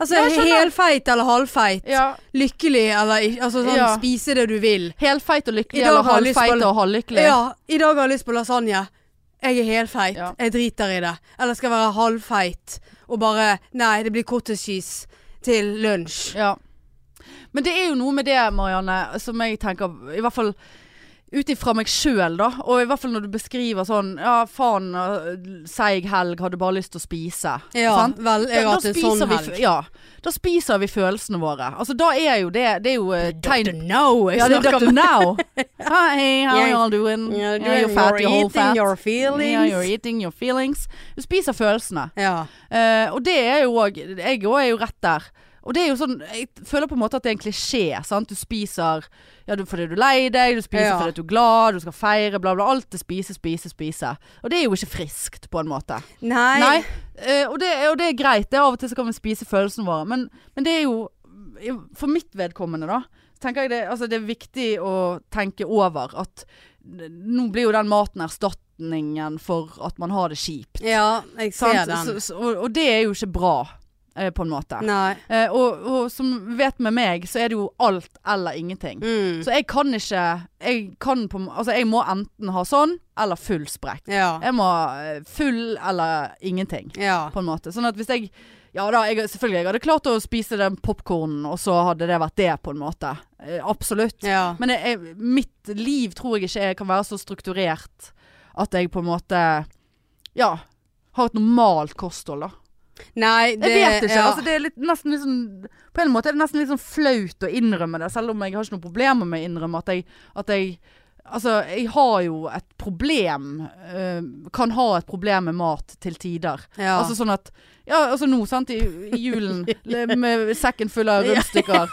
[SPEAKER 2] Altså
[SPEAKER 1] Ja, jeg skjønner.
[SPEAKER 2] helfeit eller halvfeit.
[SPEAKER 1] ja.
[SPEAKER 2] Lykkelig eller ikke. Altså sånn
[SPEAKER 1] Ja.
[SPEAKER 2] spise det du vil.
[SPEAKER 1] Helfeit og
[SPEAKER 2] I
[SPEAKER 1] lykkelig,
[SPEAKER 2] dag
[SPEAKER 1] eller
[SPEAKER 2] har jeg lyst på-
[SPEAKER 1] halvfeit og halvlykkelig.
[SPEAKER 2] Ja, i dag har jeg lyst på lasagne. Jeg er helfeit.
[SPEAKER 1] Ja.
[SPEAKER 2] Jeg driter i det. Eller skal jeg være halvfeit og bare Nei, det blir cottage cheese til lunsj.
[SPEAKER 1] Ja. Men det er jo noe med det, Marianne, som jeg tenker I hvert fall ut ifra meg sjøl, da. Og i hvert fall når du beskriver sånn Ja, faen, eh, seig helg, hadde bare lyst til å spise.
[SPEAKER 2] Ja,
[SPEAKER 1] sant?
[SPEAKER 2] vel, jeg har hatt en sånn
[SPEAKER 1] vi,
[SPEAKER 2] helg.
[SPEAKER 1] f- ja, da spiser vi følelsene våre. Altså, da er jo det Det er jo eh, tegn
[SPEAKER 2] know,
[SPEAKER 1] Ja, det er Dr. Now. Hi, how are
[SPEAKER 2] Yeah.
[SPEAKER 1] you all doing?
[SPEAKER 2] Yeah,
[SPEAKER 1] Yeah, you're fat, you're whole fat.
[SPEAKER 2] eating your feelings.
[SPEAKER 1] Yeah, you're eating your feelings. Du spiser følelsene.
[SPEAKER 2] Ja.
[SPEAKER 1] Eh, og det er jo òg Jeg òg er jo rett der. Og det er jo sånn Jeg føler på en måte at det er en klisjé. Sant? Du spiser ja, du, fordi du er lei deg, du spiser
[SPEAKER 2] Ja.
[SPEAKER 1] fordi du er glad, du skal feire, bla, bla. Alt er spise, spise, spise. Og det er jo ikke friskt, på en måte.
[SPEAKER 2] Nei.
[SPEAKER 1] Nei. Eh, og, det, er- og det er greit. Det er Av og til så kan vi spise følelsene våre. Men, men det er jo For mitt vedkommende, da. Så tenker jeg det, altså det er viktig å tenke over at nå blir jo den maten erstatningen for at man har det kjipt.
[SPEAKER 2] Ja, jeg ser
[SPEAKER 1] Sant? Så,
[SPEAKER 2] den.
[SPEAKER 1] så, og, og det er jo ikke bra, eh, på en måte.
[SPEAKER 2] Nei.
[SPEAKER 1] Eh, og, og som vet med meg, så er det jo alt eller ingenting.
[SPEAKER 2] Mm.
[SPEAKER 1] Så jeg kan ikke jeg, kan på, en må- altså jeg må enten ha sånn eller full sprekk.
[SPEAKER 2] Ja.
[SPEAKER 1] Jeg må ha, eh, full eller ingenting,
[SPEAKER 2] Ja.
[SPEAKER 1] på en måte. Sånn at hvis jeg Ja da, jeg, selvfølgelig. Jeg hadde klart å spise den popkornen, og så hadde det vært det, på en måte. Eh, absolutt.
[SPEAKER 2] Ja.
[SPEAKER 1] Men jeg, jeg, mitt liv tror jeg ikke jeg kan være så strukturert at jeg på en måte Ja. Har et normalt kosthold, da.
[SPEAKER 2] Nei,
[SPEAKER 1] Jeg
[SPEAKER 2] det
[SPEAKER 1] vet ikke.
[SPEAKER 2] ja.
[SPEAKER 1] Altså, det er litt, nesten litt sånn På en måte er det nesten litt sånn flaut å innrømme det, selv om jeg har ikke noe problemer med å innrømme at jeg, at jeg Altså, jeg har jo et problem eh, Kan ha et problem med mat til tider.
[SPEAKER 2] ja.
[SPEAKER 1] Altså sånn at Ja, altså nå, sant, i, i julen med sekken full av rundstykker.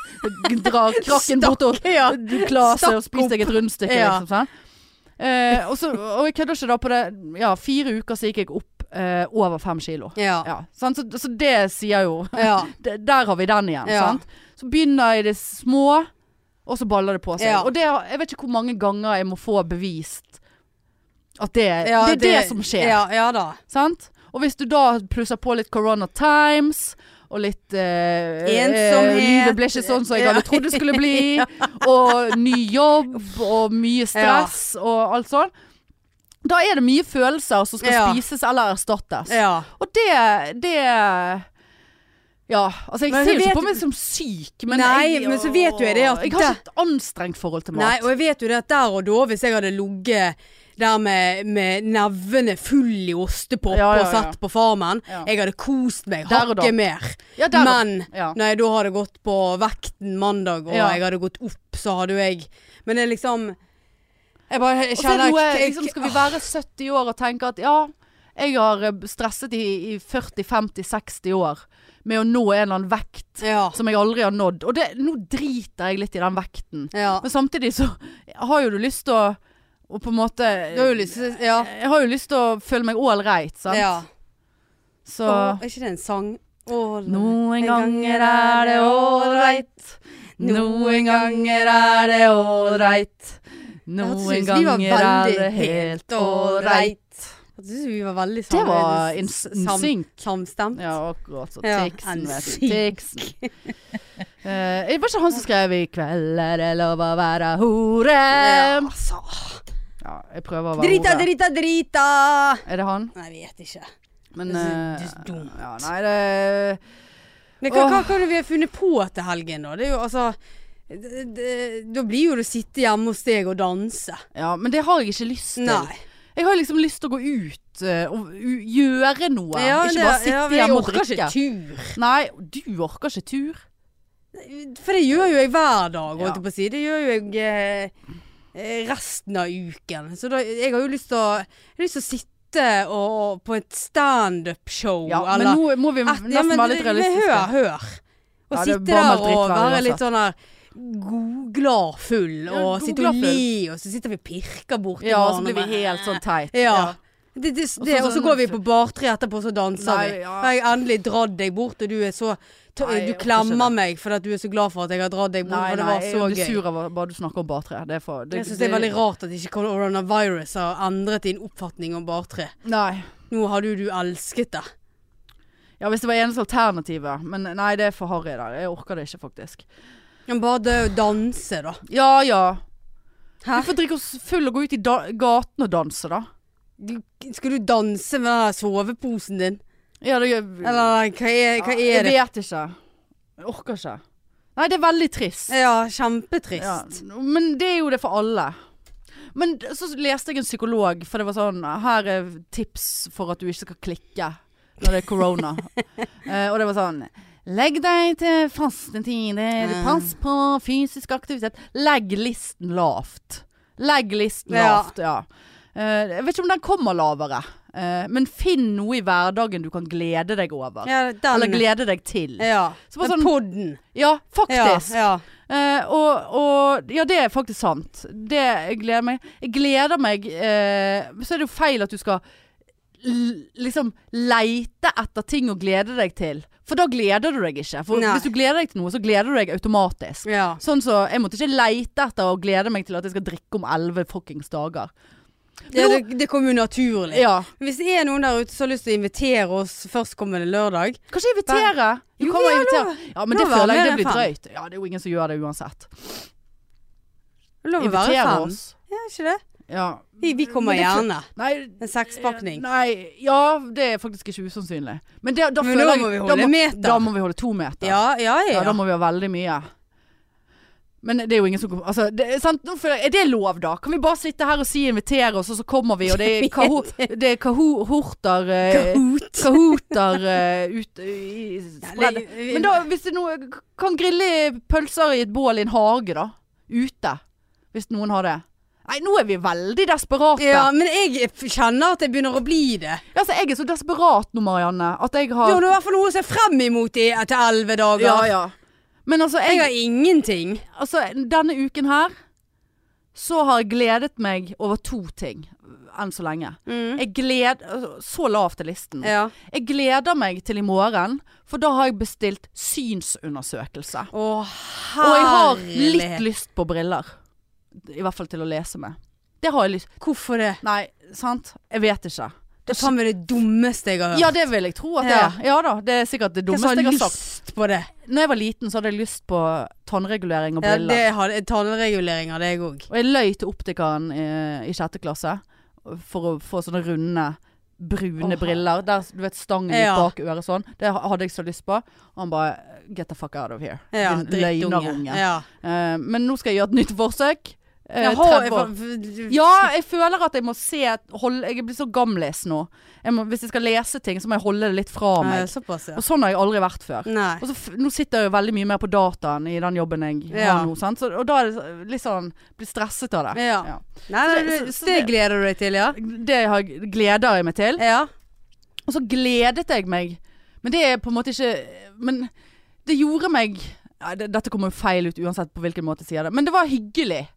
[SPEAKER 1] Drar krakken bort og
[SPEAKER 2] ja.
[SPEAKER 1] du klarer seg og
[SPEAKER 2] Stakk
[SPEAKER 1] spiser deg et rundstykke,
[SPEAKER 2] Ja.
[SPEAKER 1] liksom. sant? Eh, og, så, og jeg kødder ikke da på det Ja, fire uker så gikk jeg opp eh, over fem kilo.
[SPEAKER 2] Ja.
[SPEAKER 1] Ja, sant? Så, så det sier jo
[SPEAKER 2] Ja.
[SPEAKER 1] det, Der har vi den igjen.
[SPEAKER 2] Ja.
[SPEAKER 1] Sant? Så begynner jeg i det små, og så baller det på seg.
[SPEAKER 2] Ja.
[SPEAKER 1] Og det, har- jeg vet ikke hvor mange ganger jeg må få bevist at det,
[SPEAKER 2] Ja,
[SPEAKER 1] det er det, som skjer.
[SPEAKER 2] Ja, ja da.
[SPEAKER 1] Sant? Og hvis du da plusser på litt Corona Times og litt eh,
[SPEAKER 2] Ensomhet.
[SPEAKER 1] eh, Livet ble ikke sånn som jeg
[SPEAKER 2] Ja.
[SPEAKER 1] hadde trodd det skulle bli. Og ny jobb og mye stress og alt sånn. Da er det mye følelser som skal
[SPEAKER 2] Ja.
[SPEAKER 1] spises eller erstattes.
[SPEAKER 2] Ja.
[SPEAKER 1] Og det, det Ja, altså jeg
[SPEAKER 2] Men
[SPEAKER 1] ser jo
[SPEAKER 2] jeg
[SPEAKER 1] ikke på
[SPEAKER 2] vet-
[SPEAKER 1] meg som syk, men
[SPEAKER 2] Nei,
[SPEAKER 1] jeg,
[SPEAKER 2] men så vet jo jeg det at
[SPEAKER 1] Jeg har ikke et anstrengt forhold til
[SPEAKER 2] Nei,
[SPEAKER 1] mat.
[SPEAKER 2] og jeg vet jo det at der og da, hvis jeg hadde ligget der med, med nevene full i ostepop
[SPEAKER 1] Ja, ja,
[SPEAKER 2] og
[SPEAKER 1] ja.
[SPEAKER 2] satt på Farmen,
[SPEAKER 1] Ja.
[SPEAKER 2] jeg hadde kost meg
[SPEAKER 1] Der og da.
[SPEAKER 2] hakket mer.
[SPEAKER 1] Ja, der-
[SPEAKER 2] Men
[SPEAKER 1] ja.
[SPEAKER 2] når jeg da hadde gått på vekten mandag, og
[SPEAKER 1] Ja.
[SPEAKER 2] jeg hadde gått opp, så hadde jo jeg Men det er liksom Jeg bare jeg
[SPEAKER 1] Og så er det
[SPEAKER 2] kjenner
[SPEAKER 1] noe,
[SPEAKER 2] jeg-
[SPEAKER 1] liksom, skal vi være 70 år og tenke at ja, jeg har eh, stresset i, i 40-50-60 år med å nå en eller annen vekt
[SPEAKER 2] Ja.
[SPEAKER 1] som jeg aldri har nådd. Og det, nå driter jeg litt i den vekten.
[SPEAKER 2] ja.
[SPEAKER 1] Men samtidig så har jo du lyst til å, å på en måte
[SPEAKER 2] Du har jo lyst til Ja.
[SPEAKER 1] Jeg har jo lyst til å føle meg ålreit, sant.
[SPEAKER 2] ja.
[SPEAKER 1] Så
[SPEAKER 2] Åh, er ikke det en sang? Åh,
[SPEAKER 1] Noen ganger er det ålreit. Noen ganger er det ålreit. Noen
[SPEAKER 2] Jeg synes vi var
[SPEAKER 1] ganger er
[SPEAKER 2] veldig
[SPEAKER 1] det helt ålreit.
[SPEAKER 2] Jeg syns vi var veldig
[SPEAKER 1] Det
[SPEAKER 2] sammen.
[SPEAKER 1] var in
[SPEAKER 2] s-
[SPEAKER 1] in
[SPEAKER 2] sam-
[SPEAKER 1] sync.
[SPEAKER 2] Samstemt.
[SPEAKER 1] Ja, akkurat. Så
[SPEAKER 2] Ja,
[SPEAKER 1] Tixen,
[SPEAKER 2] en
[SPEAKER 1] vet du.
[SPEAKER 2] synk.
[SPEAKER 1] Tixen. Eh, det var ikke han som skrev 'I kveld er det lov å være hore'?
[SPEAKER 2] altså.
[SPEAKER 1] Ja, jeg prøver å være
[SPEAKER 2] Drita,
[SPEAKER 1] hore.
[SPEAKER 2] drita, drita!
[SPEAKER 1] Er det han?
[SPEAKER 2] Nei, jeg vet ikke.
[SPEAKER 1] Men
[SPEAKER 2] Det er
[SPEAKER 1] eh,
[SPEAKER 2] så- det er så dumt.
[SPEAKER 1] ja, Nei, det
[SPEAKER 2] Men hva,
[SPEAKER 1] Åh.
[SPEAKER 2] hva kan vi ha funnet på til helgen, da? Det er jo altså det, det, Da blir jo det å sitte hjemme hos deg og danse.
[SPEAKER 1] Ja, men det har jeg ikke lyst til.
[SPEAKER 2] Nei.
[SPEAKER 1] Jeg har liksom lyst til å gå ut eh, og u- gjøre noe.
[SPEAKER 2] Ja,
[SPEAKER 1] ikke
[SPEAKER 2] det-
[SPEAKER 1] bare sitte
[SPEAKER 2] ja, men
[SPEAKER 1] hjemme og drikke.
[SPEAKER 2] Jeg orker ikke
[SPEAKER 1] Nei, du orker ikke tur.
[SPEAKER 2] tur. For det gjør jo jeg hver dag, holdt
[SPEAKER 1] Ja.
[SPEAKER 2] jeg på å si. Det gjør jo jeg eh, eh, resten av uken. Så da, jeg har jo lyst til å, jeg har lyst til å sitte og, og på et standup-show
[SPEAKER 1] Ja,
[SPEAKER 2] eller
[SPEAKER 1] men nå må vi
[SPEAKER 2] Et-
[SPEAKER 1] nesten
[SPEAKER 2] ja, men
[SPEAKER 1] være litt
[SPEAKER 2] det- men
[SPEAKER 1] realistiske.
[SPEAKER 2] Hør, hør. Å
[SPEAKER 1] Ja, det er bare
[SPEAKER 2] sitte der
[SPEAKER 1] meldt dritt
[SPEAKER 2] og
[SPEAKER 1] hver
[SPEAKER 2] være
[SPEAKER 1] uansett.
[SPEAKER 2] litt sånn der god, glad full,
[SPEAKER 1] Ja,
[SPEAKER 2] og
[SPEAKER 1] god,
[SPEAKER 2] sitte
[SPEAKER 1] glad
[SPEAKER 2] og le, og så sitter vi og pirker borti
[SPEAKER 1] Ja, og så
[SPEAKER 2] hverandre
[SPEAKER 1] blir vi
[SPEAKER 2] med-
[SPEAKER 1] helt sånn teit.
[SPEAKER 2] Ja. Det, det,
[SPEAKER 1] Og så
[SPEAKER 2] det, og så
[SPEAKER 1] sånn-
[SPEAKER 2] går vi på bartre etterpå, så danser
[SPEAKER 1] Nei,
[SPEAKER 2] vi.
[SPEAKER 1] ja.
[SPEAKER 2] Har jeg endelig dratt deg bort, og du er så ta,
[SPEAKER 1] Nei,
[SPEAKER 2] Du
[SPEAKER 1] jeg orker ikke
[SPEAKER 2] klemmer
[SPEAKER 1] det.
[SPEAKER 2] meg fordi at du er så glad for at jeg har dratt deg bort,
[SPEAKER 1] Nei,
[SPEAKER 2] for det
[SPEAKER 1] nei,
[SPEAKER 2] var
[SPEAKER 1] jeg
[SPEAKER 2] så
[SPEAKER 1] blir
[SPEAKER 2] gøy.
[SPEAKER 1] sur av bare du snakker om bartre. Det er for
[SPEAKER 2] Jeg syns det er veldig rart at ikke coronavirus har endret din oppfatning om bartre.
[SPEAKER 1] Nei.
[SPEAKER 2] Nå hadde jo du elsket det.
[SPEAKER 1] Ja, hvis det var eneste alternativet. Men nei, det er for harry der. Jeg orker det ikke, faktisk.
[SPEAKER 2] Men bare det å danse, da.
[SPEAKER 1] Ja ja.
[SPEAKER 2] Hæ?
[SPEAKER 1] Vi får drikke oss full og gå ut i da gaten og danse, da.
[SPEAKER 2] du, skal du danse med den der soveposen din?
[SPEAKER 1] Ja, det gjør
[SPEAKER 2] Eller hva er, hva
[SPEAKER 1] Jeg
[SPEAKER 2] er det?
[SPEAKER 1] vet ikke. Jeg orker ikke. Nei, det er veldig trist.
[SPEAKER 2] Ja, kjempetrist.
[SPEAKER 1] Ja, men det er jo det for alle. Men d- så leste jeg en psykolog, for det var sånn Her er tips for at du ikke skal klikke når det er korona. Eh, og det var sånn Legg deg til faste tider.
[SPEAKER 2] Mm.
[SPEAKER 1] Pass på fysisk aktivitet. Legg listen lavt. Legg listen
[SPEAKER 2] Ja.
[SPEAKER 1] lavt, ja. Eh, jeg vet ikke om den kommer lavere, eh, men finn noe i hverdagen du kan glede deg over.
[SPEAKER 2] Ja, den.
[SPEAKER 1] Eller glede deg til.
[SPEAKER 2] Ja.
[SPEAKER 1] Så bare
[SPEAKER 2] Den
[SPEAKER 1] sånn-
[SPEAKER 2] podden.
[SPEAKER 1] Ja, faktisk.
[SPEAKER 2] Ja, ja.
[SPEAKER 1] Eh, og, og Ja, det er faktisk sant. Det jeg gleder meg. Jeg gleder meg eh, Så er det jo feil at du skal l liksom leite etter ting å glede deg til. For da gleder du deg ikke. For
[SPEAKER 2] Nei.
[SPEAKER 1] hvis du gleder deg til noe, så gleder du deg automatisk.
[SPEAKER 2] ja.
[SPEAKER 1] Sånn så, Jeg måtte ikke leite etter å glede meg til at jeg skal drikke om elleve fuckings dager.
[SPEAKER 2] Det, det, det kom jo naturlig.
[SPEAKER 1] Ja.
[SPEAKER 2] Men Hvis det er noen der ute som har lyst til å invitere oss førstkommende lørdag
[SPEAKER 1] Kanskje invitere? Du
[SPEAKER 2] Jo,
[SPEAKER 1] kan jo
[SPEAKER 2] ja,
[SPEAKER 1] invitere. Ja, men
[SPEAKER 2] da
[SPEAKER 1] det
[SPEAKER 2] være
[SPEAKER 1] føler jeg
[SPEAKER 2] mer enn
[SPEAKER 1] det blir
[SPEAKER 2] fem.
[SPEAKER 1] drøyt. Ja, det er jo ingen som gjør det uansett.
[SPEAKER 2] Lov å være
[SPEAKER 1] Invitere
[SPEAKER 2] fem.
[SPEAKER 1] oss.
[SPEAKER 2] Ja, ikke det?
[SPEAKER 1] Ja.
[SPEAKER 2] Vi, vi kommer
[SPEAKER 1] Men det fø-
[SPEAKER 2] gjerne.
[SPEAKER 1] Nei,
[SPEAKER 2] En sekspakning.
[SPEAKER 1] Eh, Nei, ja, det er faktisk ikke usannsynlig. Men, det, da,
[SPEAKER 2] Men
[SPEAKER 1] føler
[SPEAKER 2] da
[SPEAKER 1] jeg-
[SPEAKER 2] må vi
[SPEAKER 1] da
[SPEAKER 2] holde
[SPEAKER 1] må,
[SPEAKER 2] meter.
[SPEAKER 1] Da må vi holde to meter.
[SPEAKER 2] Ja, ja, ja.
[SPEAKER 1] Ja, da må vi ha veldig mye. Men det er jo ingen som altså, det, er sant? Nå føler jeg- Er det lov, da? Kan vi bare sitte her og si invitere oss, og så kommer vi, og det er kaho- det er kahorter eh,
[SPEAKER 2] Kahoot.
[SPEAKER 1] Kahooter eh, ut i i- spredde. Men da, hvis det er noe Kan grille pølser i et bål i en hage, da? Ute. Hvis noen har det. Nei, nå er vi veldig desperate.
[SPEAKER 2] ja, men jeg f- kjenner at jeg begynner å bli det.
[SPEAKER 1] Ja, Altså, jeg er så desperat nå, Marianne, at jeg har
[SPEAKER 2] Du har i hvert fall noe å se frem imot i etter elleve dager.
[SPEAKER 1] Ja, ja. Men altså,
[SPEAKER 2] Jeg
[SPEAKER 1] jeg,
[SPEAKER 2] har ingenting.
[SPEAKER 1] altså, denne uken her så har jeg gledet meg over to ting enn så lenge. Jeg gled, altså, Så lavt er listen.
[SPEAKER 2] Mm. Ja.
[SPEAKER 1] Jeg gleder meg til i morgen, for da har jeg bestilt synsundersøkelse.
[SPEAKER 2] Å,
[SPEAKER 1] Og jeg har
[SPEAKER 2] herlighet.
[SPEAKER 1] litt lyst på briller. I hvert fall til å lese med. Det har jeg lyst
[SPEAKER 2] Hvorfor det?
[SPEAKER 1] Nei, sant? Jeg vet ikke.
[SPEAKER 2] Det er faen meg det dummeste jeg har hørt.
[SPEAKER 1] Ja, det vil jeg tro at det er. Ja da, det er sikkert det
[SPEAKER 2] Hvem
[SPEAKER 1] dummeste
[SPEAKER 2] som
[SPEAKER 1] jeg har sagt.
[SPEAKER 2] lyst på det?
[SPEAKER 1] Når jeg var liten så hadde jeg lyst på tannregulering og
[SPEAKER 2] Ja,
[SPEAKER 1] briller.
[SPEAKER 2] det har tannregulering av deg òg.
[SPEAKER 1] Og jeg løy til optikeren i, i sjette klasse for å få sånne runde, brune
[SPEAKER 2] Åh.
[SPEAKER 1] briller. Der du vet stangen
[SPEAKER 2] Ja.
[SPEAKER 1] gikk bak øret sånn. Det ha- hadde jeg så lyst på. Og han bare Get the fuck out of here.
[SPEAKER 2] Ja,
[SPEAKER 1] Din løgnerunge.
[SPEAKER 2] drittunge. Ja.
[SPEAKER 1] Eh, men nå skal jeg gjøre et nytt forsøk. Eh,
[SPEAKER 2] Jeg har-
[SPEAKER 1] 30 år.
[SPEAKER 2] jeg-
[SPEAKER 1] Ja, jeg føler at jeg må se hold, Jeg blir så gamlis nå. Jeg må, hvis jeg skal lese ting, så må jeg holde det litt fra
[SPEAKER 2] Eh,
[SPEAKER 1] meg.
[SPEAKER 2] Såpass, ja.
[SPEAKER 1] Og sånn har jeg aldri vært før.
[SPEAKER 2] Nei.
[SPEAKER 1] Og så, f- nå sitter jeg jo veldig mye mer på dataen i den jobben jeg
[SPEAKER 2] Ja.
[SPEAKER 1] har nå. Sant? Så, og da er det så- litt sånn Blir stresset av det.
[SPEAKER 2] Ja.
[SPEAKER 1] Ja.
[SPEAKER 2] Nei,
[SPEAKER 1] Så-
[SPEAKER 2] det,
[SPEAKER 1] så-
[SPEAKER 2] det,
[SPEAKER 1] så
[SPEAKER 2] det
[SPEAKER 1] det-
[SPEAKER 2] gleder du deg til, ja?
[SPEAKER 1] Det har, jeg- gleder jeg meg til.
[SPEAKER 2] Ja.
[SPEAKER 1] Og så gledet jeg meg. Men det er på en måte ikke Men det gjorde meg Nei, det, Dette kommer jo feil ut uansett på hvilken måte jeg sier det. Men det var hyggelig.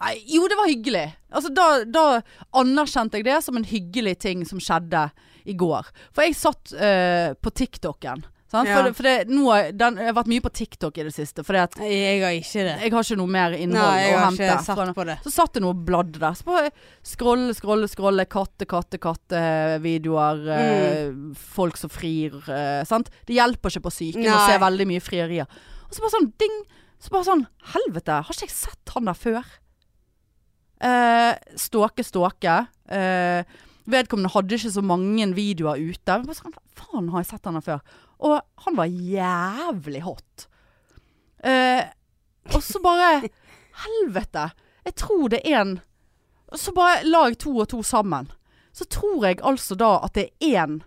[SPEAKER 1] Nei, jo, det var hyggelig. Altså, da, da anerkjente jeg det som en hyggelig ting som skjedde i går. For jeg satt eh, på TikToken. Sant?
[SPEAKER 2] Ja.
[SPEAKER 1] For, for det, nå, har jeg- den, jeg har vært mye på TikTok i det siste. Fordi at
[SPEAKER 2] Jeg har ikke det.
[SPEAKER 1] Jeg har ikke noe mer innhold
[SPEAKER 2] Nei, jeg
[SPEAKER 1] å
[SPEAKER 2] har
[SPEAKER 1] hente.
[SPEAKER 2] ikke
[SPEAKER 1] fra-
[SPEAKER 2] sett på det.
[SPEAKER 1] Så satt det noe og bladde der. Så bare scrolle, scrolle, scrolle. Katte, katte, katte. Videoer. eh, folk som frir. eh, sant? Det hjelper ikke på psyken å
[SPEAKER 2] Nei.
[SPEAKER 1] se veldig mye frierier. Og så bare sånn ding. Så bare sånn Helvete, har ikke jeg sett han der før? Eh, ståke, ståke. Eh, vedkommende hadde ikke så mange videoer ute. Jeg Bare sånn, Faen, har jeg sett han der før? Og han var jævlig hot. Eh, og så bare Helvete! Jeg tror det er en Og Så bare la jeg to og to sammen. Så tror jeg altså da at det er én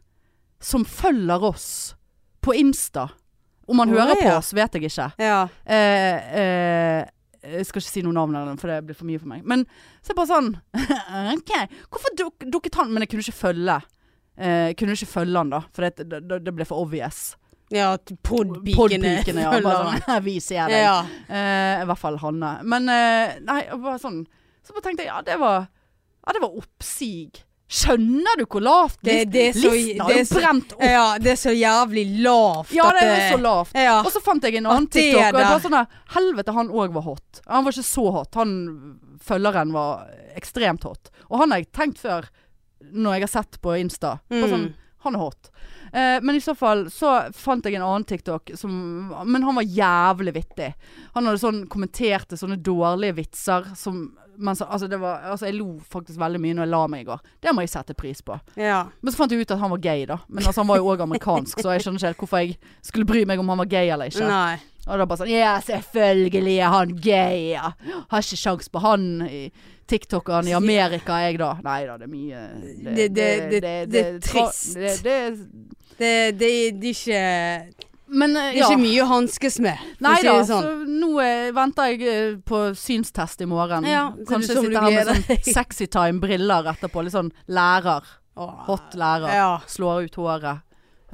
[SPEAKER 1] som følger oss på Insta. Om han
[SPEAKER 2] Å,
[SPEAKER 1] hører på
[SPEAKER 2] ja.
[SPEAKER 1] oss, vet jeg ikke.
[SPEAKER 2] Ja.
[SPEAKER 1] Eh, eh, jeg skal ikke si noe navn, eller noe, for det blir for mye for meg. Men så er jeg bare sånn OK. Hvorfor duk, dukket han Men jeg kunne ikke følge. Eh, jeg kunne ikke følge han, da. For det, det, det ble for obvious.
[SPEAKER 2] Ja, at podpikene
[SPEAKER 1] Podpikene, ja.
[SPEAKER 2] følger
[SPEAKER 1] Bare
[SPEAKER 2] meg.
[SPEAKER 1] sånn, vi ser deg.
[SPEAKER 2] Ja.
[SPEAKER 1] Eh, I hvert fall Hanne. Men eh, nei, og bare sånn. Så bare tenkte jeg, ja det var, ja, det var oppsig. Skjønner du hvor lavt
[SPEAKER 2] Det-
[SPEAKER 1] list-
[SPEAKER 2] det er så-
[SPEAKER 1] listen har
[SPEAKER 2] det er
[SPEAKER 1] jo
[SPEAKER 2] så-
[SPEAKER 1] brent opp?
[SPEAKER 2] ja, det er så jævlig lavt
[SPEAKER 1] Ja,
[SPEAKER 2] at
[SPEAKER 1] det er så lavt.
[SPEAKER 2] Ja.
[SPEAKER 1] Og så fant jeg en annen
[SPEAKER 2] At det er
[SPEAKER 1] TikTok, og jeg bare
[SPEAKER 2] det.
[SPEAKER 1] sånn der, helvete, han òg var hot. Han var ikke så hot. Han følgeren var ekstremt hot. Og han har jeg tenkt før, når jeg har sett på Insta. Bare
[SPEAKER 2] Mm.
[SPEAKER 1] sånn, han er hot. Eh, men i så fall så fant jeg en annen TikTok som Men han var jævlig vittig. Han hadde sånn kommenterte sånne dårlige vitser som men så, altså, det var, altså jeg lo faktisk veldig mye når jeg la meg i går. Det må jeg sette pris på.
[SPEAKER 2] ja.
[SPEAKER 1] Men så fant jeg ut at han var gay, da. Men altså, han var jo òg amerikansk, så jeg skjønner ikke helt hvorfor jeg skulle bry meg om han var gay eller ikke.
[SPEAKER 2] Nei.
[SPEAKER 1] Og da bare sånn Ja, selvfølgelig er han gay, ja. Har ikke sjans på han i TikTokeren i Amerika, jeg da. Nei da, det er mye
[SPEAKER 2] Det- det- det- det er
[SPEAKER 1] tra-
[SPEAKER 2] trist.
[SPEAKER 1] Det, det,
[SPEAKER 2] Det, det, det er ikke,
[SPEAKER 1] men
[SPEAKER 2] det
[SPEAKER 1] eh,
[SPEAKER 2] er
[SPEAKER 1] ja.
[SPEAKER 2] ikke mye å hanskes med, for å
[SPEAKER 1] Nei
[SPEAKER 2] si
[SPEAKER 1] da,
[SPEAKER 2] det sånn.
[SPEAKER 1] så nå eh, venter jeg eh, på synstest i morgen.
[SPEAKER 2] Ja, så du-
[SPEAKER 1] Kanskje
[SPEAKER 2] som
[SPEAKER 1] jeg
[SPEAKER 2] du
[SPEAKER 1] sitter her
[SPEAKER 2] gleder
[SPEAKER 1] med sånn sexy time-briller etterpå. Litt sånn lærer.
[SPEAKER 2] Åh.
[SPEAKER 1] Hot lærer.
[SPEAKER 2] Ja.
[SPEAKER 1] Slår ut håret.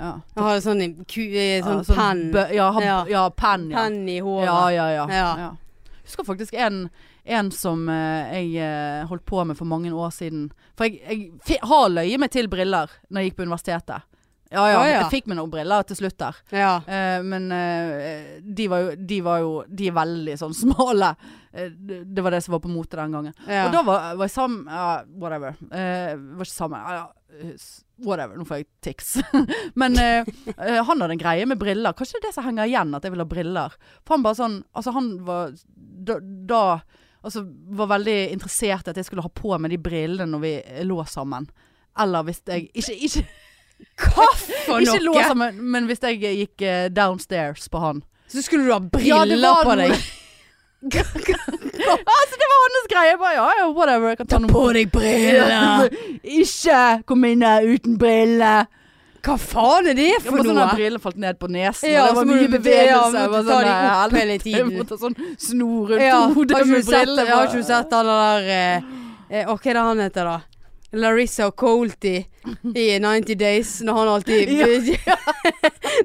[SPEAKER 1] Ja.
[SPEAKER 2] Jeg har sånn, i ku, eh, sånn,
[SPEAKER 1] Ja, sånn
[SPEAKER 2] penn
[SPEAKER 1] bø- Ja, ha-
[SPEAKER 2] Ja.
[SPEAKER 1] ja penn. Ja.
[SPEAKER 2] penn i håret.
[SPEAKER 1] Ja, ja, ja.
[SPEAKER 2] Ja.
[SPEAKER 1] ja. Husker faktisk en, en som eh, jeg eh, holdt på med for mange år siden. For jeg, jeg fi- har løyet meg til briller når jeg gikk på universitetet. Ja ja,
[SPEAKER 2] Å, ja.
[SPEAKER 1] jeg fikk meg noen briller til slutt der.
[SPEAKER 2] Ja.
[SPEAKER 1] Eh, men eh, de, var jo, de var jo De er veldig sånn smale. Eh, det, det var det som var på mote den gangen.
[SPEAKER 2] Ja.
[SPEAKER 1] Og da var, var jeg sammen ja, Whatever. Eh, var ikke sammen. Ja, ja, eh, s- whatever. Nå får jeg tics. Men eh, eh, han hadde en greie med briller. Kanskje det er det som henger igjen, at jeg vil ha briller. For han bare sånn Altså, han var da, da Altså, var veldig interessert i at jeg skulle ha på meg de brillene når vi eh, lå sammen. Eller hvis jeg Ikke, ikke,
[SPEAKER 2] Hva for
[SPEAKER 1] ikke lå
[SPEAKER 2] noe?
[SPEAKER 1] sammen, men hvis jeg gikk eh, downstairs på han.
[SPEAKER 2] Så skulle du ha
[SPEAKER 1] Ja,
[SPEAKER 2] briller
[SPEAKER 1] det var
[SPEAKER 2] på
[SPEAKER 1] noe-
[SPEAKER 2] deg.
[SPEAKER 1] Hans greie bare Ja, ja, whatever. Jeg kan ta noen
[SPEAKER 2] deg
[SPEAKER 1] Ikke kom inn her uten briller.
[SPEAKER 2] Hva faen er det
[SPEAKER 1] Ja,
[SPEAKER 2] for
[SPEAKER 1] bare sånn
[SPEAKER 2] noe?
[SPEAKER 1] at brillene falt ned på nesen.
[SPEAKER 2] Ja,
[SPEAKER 1] og det
[SPEAKER 2] så
[SPEAKER 1] var
[SPEAKER 2] må
[SPEAKER 1] mye
[SPEAKER 2] du-
[SPEAKER 1] bevegelse.
[SPEAKER 2] ja,
[SPEAKER 1] jeg
[SPEAKER 2] må
[SPEAKER 1] var
[SPEAKER 2] du ta
[SPEAKER 1] sånn,
[SPEAKER 2] de opp
[SPEAKER 1] eh,
[SPEAKER 2] hele
[SPEAKER 1] Jeg
[SPEAKER 2] tiden.
[SPEAKER 1] måtte sånn sno rundt
[SPEAKER 2] Ja, har
[SPEAKER 1] hodet
[SPEAKER 2] ikke du
[SPEAKER 1] med
[SPEAKER 2] sett,
[SPEAKER 1] briller.
[SPEAKER 2] jeg har ikke du sett han der eh, eh, Hva er det han heter da? Larissa Colty i 90 Days, når han alltid
[SPEAKER 1] Ja.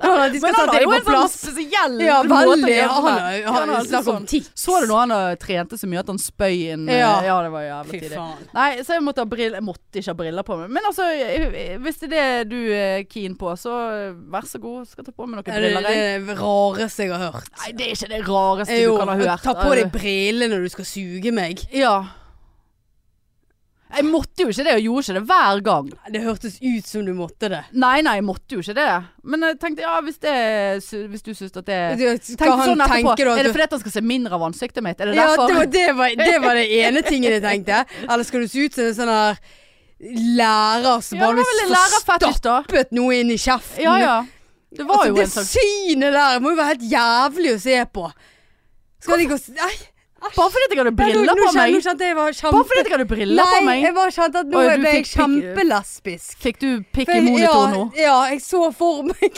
[SPEAKER 2] Når han alltid
[SPEAKER 1] Men
[SPEAKER 2] skal
[SPEAKER 1] han har
[SPEAKER 2] sette deg
[SPEAKER 1] jo
[SPEAKER 2] på
[SPEAKER 1] en sånn
[SPEAKER 2] plass.
[SPEAKER 1] spesiell
[SPEAKER 2] Ja,
[SPEAKER 1] måte å
[SPEAKER 2] veldig.
[SPEAKER 1] gjøre det.
[SPEAKER 2] Han har-
[SPEAKER 1] Ja, han
[SPEAKER 2] han
[SPEAKER 1] har
[SPEAKER 2] snakk
[SPEAKER 1] sånn-
[SPEAKER 2] om tics.
[SPEAKER 1] Så du når han eh, trente så mye at han spøy inn eh,
[SPEAKER 2] Ja.
[SPEAKER 1] ja det var jævlig
[SPEAKER 2] Fy
[SPEAKER 1] tidlig.
[SPEAKER 2] faen.
[SPEAKER 1] Nei, så jeg måtte ha briller Jeg måtte ikke ha briller på meg. Men altså, jeg- jeg- hvis det er det du er keen på, så eh, vær så god. Skal ta på meg noen
[SPEAKER 2] Det er
[SPEAKER 1] briller.
[SPEAKER 2] det
[SPEAKER 1] jeg.
[SPEAKER 2] er det rareste jeg har hørt.
[SPEAKER 1] Nei, det er ikke det rareste
[SPEAKER 2] Eh, Jo,
[SPEAKER 1] du kan ha hørt.
[SPEAKER 2] ta på deg brillene når du skal suge meg.
[SPEAKER 1] Ja. Jeg måtte jo ikke det, og gjorde ikke det hver gang.
[SPEAKER 2] Det hørtes ut som du måtte det.
[SPEAKER 1] Nei, nei, jeg måtte jo ikke det. Men jeg tenkte, ja, hvis, det, sy- hvis du syns at det
[SPEAKER 2] Hva
[SPEAKER 1] Tenkte
[SPEAKER 2] han
[SPEAKER 1] Eh, sånn etterpå.
[SPEAKER 2] tenker da?
[SPEAKER 1] Er det fordi at han skal se mindre av ansiktet mitt? Er det
[SPEAKER 2] Ja, det
[SPEAKER 1] derfor?
[SPEAKER 2] var det, var, det var det ene tingen jeg tenkte. Eller skal du se ut som en sånn her lærer
[SPEAKER 1] Ja,
[SPEAKER 2] som
[SPEAKER 1] det
[SPEAKER 2] bare
[SPEAKER 1] var vel en
[SPEAKER 2] får
[SPEAKER 1] lærerfetisj, da.
[SPEAKER 2] stappet noe inn i kjeften?
[SPEAKER 1] Ja ja. Det var
[SPEAKER 2] altså,
[SPEAKER 1] jo
[SPEAKER 2] det
[SPEAKER 1] en sånn- slags
[SPEAKER 2] synet der må jo være helt jævlig å se på. Skal de gå s- Nei,
[SPEAKER 1] Bare fordi at jeg hadde
[SPEAKER 2] nei, nå-
[SPEAKER 1] briller
[SPEAKER 2] nå
[SPEAKER 1] på
[SPEAKER 2] kjen-
[SPEAKER 1] meg.
[SPEAKER 2] Nå kjente jeg var kjempe...
[SPEAKER 1] Bare fordi at jeg hadde briller på
[SPEAKER 2] Nei,
[SPEAKER 1] meg.
[SPEAKER 2] jeg bare kjente at nå
[SPEAKER 1] Å, ja, du
[SPEAKER 2] ble jeg
[SPEAKER 1] fikk pikk-
[SPEAKER 2] kjempelesbisk.
[SPEAKER 1] Fikk du pikk
[SPEAKER 2] For
[SPEAKER 1] i
[SPEAKER 2] jeg-
[SPEAKER 1] monitor
[SPEAKER 2] ja,
[SPEAKER 1] nå?
[SPEAKER 2] Ja, jeg så for meg deg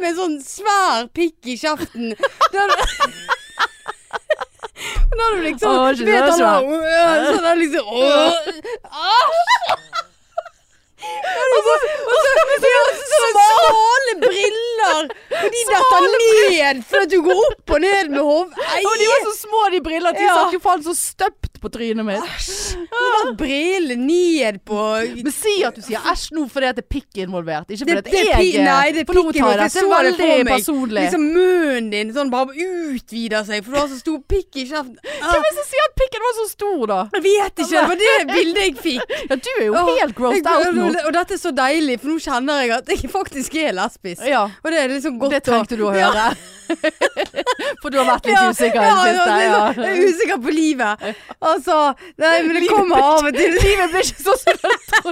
[SPEAKER 2] med en sånn svær pikk i kjeften. Da hadde Men da hadde du liksom
[SPEAKER 1] Åh, ikke
[SPEAKER 2] vet
[SPEAKER 1] så
[SPEAKER 2] han da, øh, Sånn der liksom åh. Og så, og så, ja, så, så, smale briller! Og de detter ned fordi at du går opp og ned med hodet.
[SPEAKER 1] Og de var så små, de brillene. De
[SPEAKER 2] Ja.
[SPEAKER 1] satt jo faen så støpt på trynet mitt.
[SPEAKER 2] Briller ned på
[SPEAKER 1] Men si at du sier æsj nå fordi at det er pikk involvert. Ikke fordi
[SPEAKER 2] Det,
[SPEAKER 1] at
[SPEAKER 2] det er
[SPEAKER 1] jeg
[SPEAKER 2] pi- nei, det er
[SPEAKER 1] for nå
[SPEAKER 2] pikken
[SPEAKER 1] tar jeg
[SPEAKER 2] vår. Jeg
[SPEAKER 1] dette
[SPEAKER 2] så det
[SPEAKER 1] veldig
[SPEAKER 2] for meg.
[SPEAKER 1] personlig.
[SPEAKER 2] Liksom munnen din sånn bare utvider seg, for du har så stor pikk i kjeften. Ah,
[SPEAKER 1] Hvem er det som sier at pikken var så stor, da?
[SPEAKER 2] jeg vet ikke, det var det bildet jeg fikk.
[SPEAKER 1] Ja, du er jo
[SPEAKER 2] Åh,
[SPEAKER 1] helt grossed
[SPEAKER 2] jeg-
[SPEAKER 1] out nå.
[SPEAKER 2] Og dette er så deilig, for nå kjenner jeg at jeg faktisk er lesbisk.
[SPEAKER 1] Ja,
[SPEAKER 2] Og det er liksom godt
[SPEAKER 1] det trengte du å
[SPEAKER 2] Ja,
[SPEAKER 1] høre. For du har vært litt
[SPEAKER 2] ja,
[SPEAKER 1] usikker i
[SPEAKER 2] ja,
[SPEAKER 1] det siste.
[SPEAKER 2] ja,
[SPEAKER 1] Ja.
[SPEAKER 2] Jeg er usikker på livet. Altså, nei, men det kommer av og til.
[SPEAKER 1] Livet blir ikke sånn som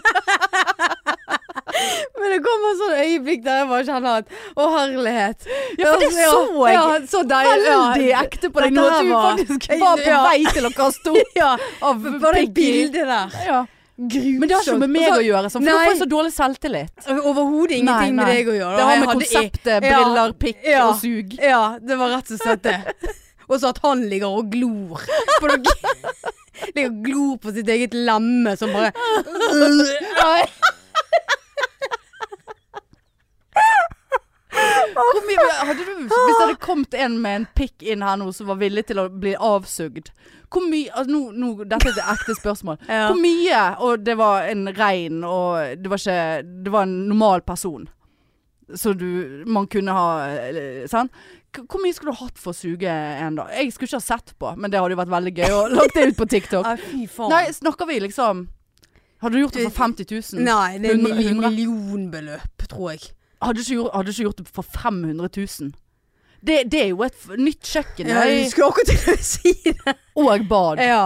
[SPEAKER 2] Men det kommer sånn øyeblikk der jeg bare kjenner at Å, herlighet. Ja,
[SPEAKER 1] for det så jeg.
[SPEAKER 2] Ja, så deilig. ja.
[SPEAKER 1] veldig ekte på deg nå
[SPEAKER 2] Dette
[SPEAKER 1] at du
[SPEAKER 2] her
[SPEAKER 1] faktisk var på
[SPEAKER 2] Ja.
[SPEAKER 1] vei til å kaste opp
[SPEAKER 2] Ja,
[SPEAKER 1] av
[SPEAKER 2] bare det
[SPEAKER 1] pikk i-
[SPEAKER 2] bildet der. Altså,
[SPEAKER 1] Ja. Men det har ikke noe med meg å gjøre, sånn, for
[SPEAKER 2] Nei.
[SPEAKER 1] du får så dårlig selvtillit.
[SPEAKER 2] Overhodet ingenting med deg å gjøre.
[SPEAKER 1] Det
[SPEAKER 2] Jeg
[SPEAKER 1] har med
[SPEAKER 2] hadde-
[SPEAKER 1] konseptet
[SPEAKER 2] Ja.
[SPEAKER 1] briller, pikk
[SPEAKER 2] Ja.
[SPEAKER 1] og sug.
[SPEAKER 2] Ja, det var rett og slett det. Og så at han ligger og glor. På noe, ligger og glor på sitt eget lemme som bare
[SPEAKER 1] Hvor mye, hadde du, hvis det hadde
[SPEAKER 2] Ah.
[SPEAKER 1] kommet en med en pikk inn her nå som var villig til å bli avsugd Hvor mye altså, nå, nå, Dette er et ekte spørsmål.
[SPEAKER 2] Ja.
[SPEAKER 1] Hvor mye Og det var en rein og det var, ikke, det var en normal person. Så du Man kunne ha eh, Sant? K- Hvor mye skulle du hatt for å suge en, da? Jeg skulle ikke ha sett på, men det hadde jo vært veldig gøy å lagt det ut på TikTok.
[SPEAKER 2] Nei, fy faen.
[SPEAKER 1] Nei, snakker vi liksom Hadde du gjort det for 50 000?
[SPEAKER 2] Nei, det er
[SPEAKER 1] Hundre-
[SPEAKER 2] mil-
[SPEAKER 1] hundre?
[SPEAKER 2] millionbeløp, tror jeg.
[SPEAKER 1] Hadde du ikke, gjort- hadde du ikke gjort det for 500 000? Det, det er jo et f- nytt kjøkken
[SPEAKER 2] Ja,
[SPEAKER 1] der,
[SPEAKER 2] jeg skulle akkurat til å si det.
[SPEAKER 1] og bad.
[SPEAKER 2] Ja.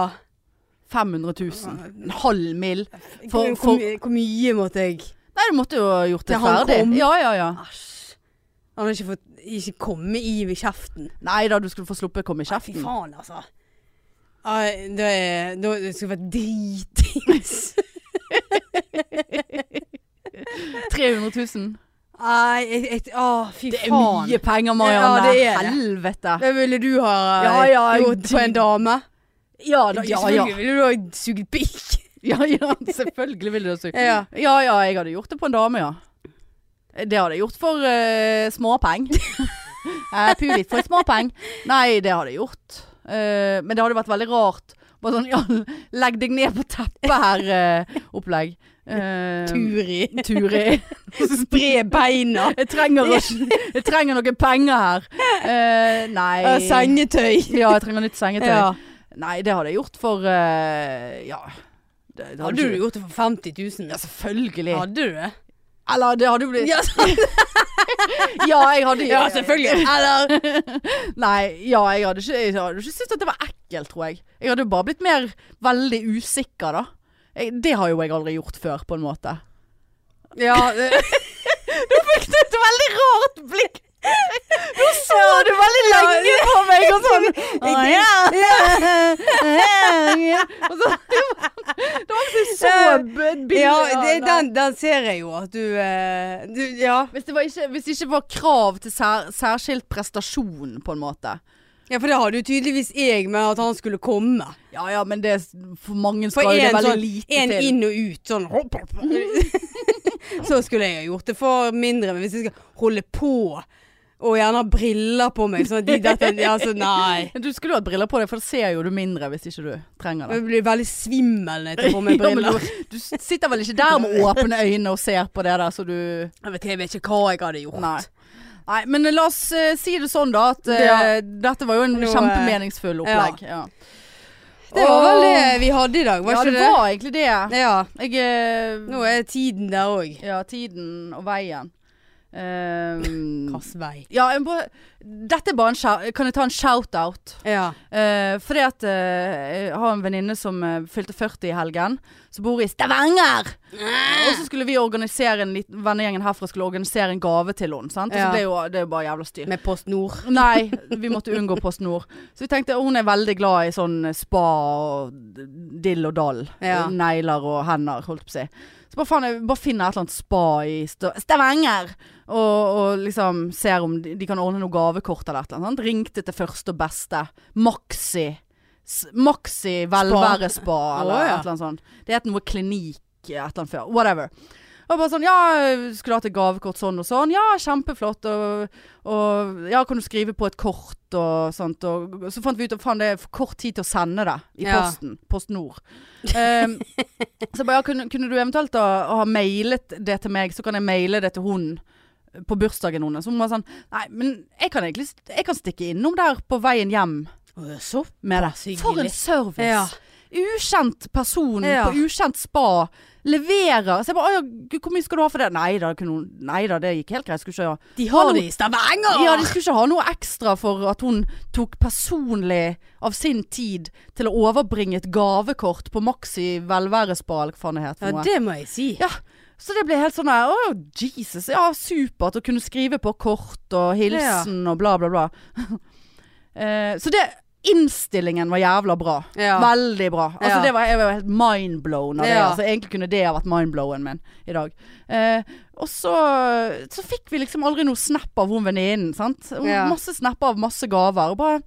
[SPEAKER 1] 500 000.
[SPEAKER 2] eh,
[SPEAKER 1] En halv mil. For-
[SPEAKER 2] Hvor
[SPEAKER 1] for-
[SPEAKER 2] mye- hvor mye måtte jeg
[SPEAKER 1] Nei, du måtte jo ha gjort det
[SPEAKER 2] Til han
[SPEAKER 1] ferdig.
[SPEAKER 2] kom.
[SPEAKER 1] Ja, ja, ja.
[SPEAKER 2] Æsj. Han har ikke fått ikke komme i ved kjeften.
[SPEAKER 1] Nei da, du skulle få sluppet å komme i
[SPEAKER 2] Fy
[SPEAKER 1] kjeften.
[SPEAKER 2] faen, altså. Ai, Da er- da skulle jeg vært dritings.
[SPEAKER 1] 300 000.
[SPEAKER 2] Nei, jeg- jeg- å, fy
[SPEAKER 1] Det er
[SPEAKER 2] faen.
[SPEAKER 1] mye penger, Marianne.
[SPEAKER 2] Ja, det er det.
[SPEAKER 1] Helvete.
[SPEAKER 2] Det ville du ha eh,
[SPEAKER 1] Ja, ja, jeg-
[SPEAKER 2] gjort på en dame.
[SPEAKER 1] Ja da, ja ja.
[SPEAKER 2] Selvfølgelig ville du ha sugd pikk.
[SPEAKER 1] ja, ja selvfølgelig vil du det. Sue.
[SPEAKER 2] Ja.
[SPEAKER 1] ja ja, jeg hadde gjort det på en dame, ja. Det hadde jeg gjort for uh, småpeng. Eh, Pulit for småpeng. Nei, det hadde jeg gjort. Eh, men det hadde vært veldig rart. Bare sånn ja, legg deg ned på teppet her, eh, opplegg. Eh,
[SPEAKER 2] Turi.
[SPEAKER 1] Turi.
[SPEAKER 2] Spre beina.
[SPEAKER 1] Jeg trenger, å- jeg trenger noen penger her. Eh, nei.
[SPEAKER 2] Ja, sengetøy.
[SPEAKER 1] Ja, jeg trenger nytt sengetøy.
[SPEAKER 2] Ja.
[SPEAKER 1] Nei, det hadde jeg gjort for eh, Ja. Det, det
[SPEAKER 2] Hadde du
[SPEAKER 1] ikke-
[SPEAKER 2] gjort det for 50 000?
[SPEAKER 1] Ja, selvfølgelig.
[SPEAKER 2] Hadde du det?
[SPEAKER 1] Eller det hadde jo blitt
[SPEAKER 2] Ja,
[SPEAKER 1] Ja, jeg hadde
[SPEAKER 2] ja selvfølgelig. Eller
[SPEAKER 1] Nei, ja, jeg hadde ikke, jeg hadde ikke syntes at det var ekkelt, tror jeg. Jeg hadde jo bare blitt mer veldig usikker, da. Jeg, det har jo jeg aldri gjort før, på en måte.
[SPEAKER 2] Ja, det,
[SPEAKER 1] Fikk du et veldig rart blikk? Nå så du veldig lenge på meg og sånn. «Å, ja, ja, ja». Og så, det var det var liksom så b- billig.
[SPEAKER 2] ja det,
[SPEAKER 1] nei.
[SPEAKER 2] den, den ser jeg jo at du, eh, du ja.
[SPEAKER 1] Hvis det, var ikke, hvis det ikke var krav til sær, særskilt prestasjon, på en måte.
[SPEAKER 2] ja, for det hadde jo tydeligvis jeg med at han skulle komme.
[SPEAKER 1] Ja ja, men det, for mange
[SPEAKER 2] For
[SPEAKER 1] skal jo det
[SPEAKER 2] en,
[SPEAKER 1] veldig
[SPEAKER 2] sånn,
[SPEAKER 1] lite
[SPEAKER 2] en
[SPEAKER 1] til.
[SPEAKER 2] inn og ut, sånn hopp, hopp. Så skulle jeg ha gjort det for mindre, men hvis jeg skal holde på og gjerne ha briller på meg, sånn at de dette Altså, nei.
[SPEAKER 1] Du skulle jo hatt briller på deg, for da ser jo du mindre hvis ikke du trenger det.
[SPEAKER 2] Jeg blir veldig svimmel når jeg tar på meg
[SPEAKER 1] Ja, men
[SPEAKER 2] briller.
[SPEAKER 1] Du sitter vel ikke der med åpne øyne og ser på det der, så du
[SPEAKER 2] Jeg vet, jeg vet ikke hva jeg hadde gjort.
[SPEAKER 1] Nei. Nei, men la oss eh, si det sånn da, at eh, dette var jo en
[SPEAKER 2] Nå, eh,
[SPEAKER 1] kjempemeningsfull opplegg. Ja.
[SPEAKER 2] Det var vel det
[SPEAKER 1] Åh.
[SPEAKER 2] vi hadde i dag, var
[SPEAKER 1] ja,
[SPEAKER 2] ikke
[SPEAKER 1] det
[SPEAKER 2] det?
[SPEAKER 1] var egentlig det.
[SPEAKER 2] Ja.
[SPEAKER 1] Jeg eh,
[SPEAKER 2] Nå er tiden der òg.
[SPEAKER 1] Ja, tiden og veien. Ehm,
[SPEAKER 2] Hvilken vei?
[SPEAKER 1] ja, jeg må bare, dette er bare en shout, Kan jeg ta en shout-out?
[SPEAKER 2] Ja.
[SPEAKER 1] Eh, fordi at eh, jeg har en venninne som eh, fylte 40 i helgen, som bor i Stavanger. Og så skulle vi organisere en liten vennegjengen herfra skulle organisere en gave til henne. Sant? Og
[SPEAKER 2] Ja.
[SPEAKER 1] så ble jo, det er jo bare jævla styr.
[SPEAKER 2] Med Post Nord.
[SPEAKER 1] Nei, vi måtte unngå Post Nord. Så vi tenkte hun er veldig glad i sånn spa og dill og dall.
[SPEAKER 2] Ja.
[SPEAKER 1] Negler og hender, holdt på å si. Så bare, faen, jeg bare finner et eller annet spa i Sta- Stavanger! Og, og liksom ser om de, de kan ordne noe gavekort eller et eller annet. sant? Ringte til første og beste. Maxi. S- Maxi velværespa eller
[SPEAKER 2] Å, ja.
[SPEAKER 1] et eller annet sånt. Det het noe klinikk et eller annet før. Whatever. Og bare sånn, ja, skulle hatt et gavekort sånn og sånn. Ja, kjempeflott. Og, og ja, kan du skrive på et kort og sånt. Og, og så fant vi ut at faen, det er for kort tid til å sende det i
[SPEAKER 2] Ja.
[SPEAKER 1] posten. Post Nord. Ehm, så jeg bare, ja, kunne, kunne du eventuelt da, ha mailet det til meg, så kan jeg maile det til hun på bursdagen hennes. Så hun var sånn, nei, men jeg kan egentlig jeg kan stikke innom der på veien hjem
[SPEAKER 2] Så
[SPEAKER 1] med det.
[SPEAKER 2] hyggelig.
[SPEAKER 1] For en service!
[SPEAKER 2] Ja.
[SPEAKER 1] Ukjent person
[SPEAKER 2] Ja.
[SPEAKER 1] på ukjent spa leverer. Så jeg bare, «Å ja, gud, hvor mye skal du ha for det? Nei da, kunne hun, nei da det gikk helt greit. Skulle ikke ha
[SPEAKER 2] De
[SPEAKER 1] Hallo.
[SPEAKER 2] har det i Stavanger!
[SPEAKER 1] ja, de skulle ikke ha noe ekstra for at hun tok personlig av sin tid til å overbringe et gavekort på Maxi velværespa, eller hva faen det het. for
[SPEAKER 2] Ja,
[SPEAKER 1] noe.
[SPEAKER 2] det må jeg si.
[SPEAKER 1] Ja, så det ble helt sånn der, Å, Jesus. Ja, supert å kunne skrive på kort og hilsen og bla, bla, bla. Eh, så det Innstillingen var jævla bra.
[SPEAKER 2] Ja.
[SPEAKER 1] Veldig bra. Altså,
[SPEAKER 2] Ja.
[SPEAKER 1] det var, jeg var helt mindblown av det.
[SPEAKER 2] Ja.
[SPEAKER 1] Altså, egentlig kunne det ha vært mindblowen min i dag. Eh, og så, så fikk vi liksom aldri noe snap av hun venninnen. sant? Hun-
[SPEAKER 2] Ja.
[SPEAKER 1] Masse snapper av masse gaver. Og bare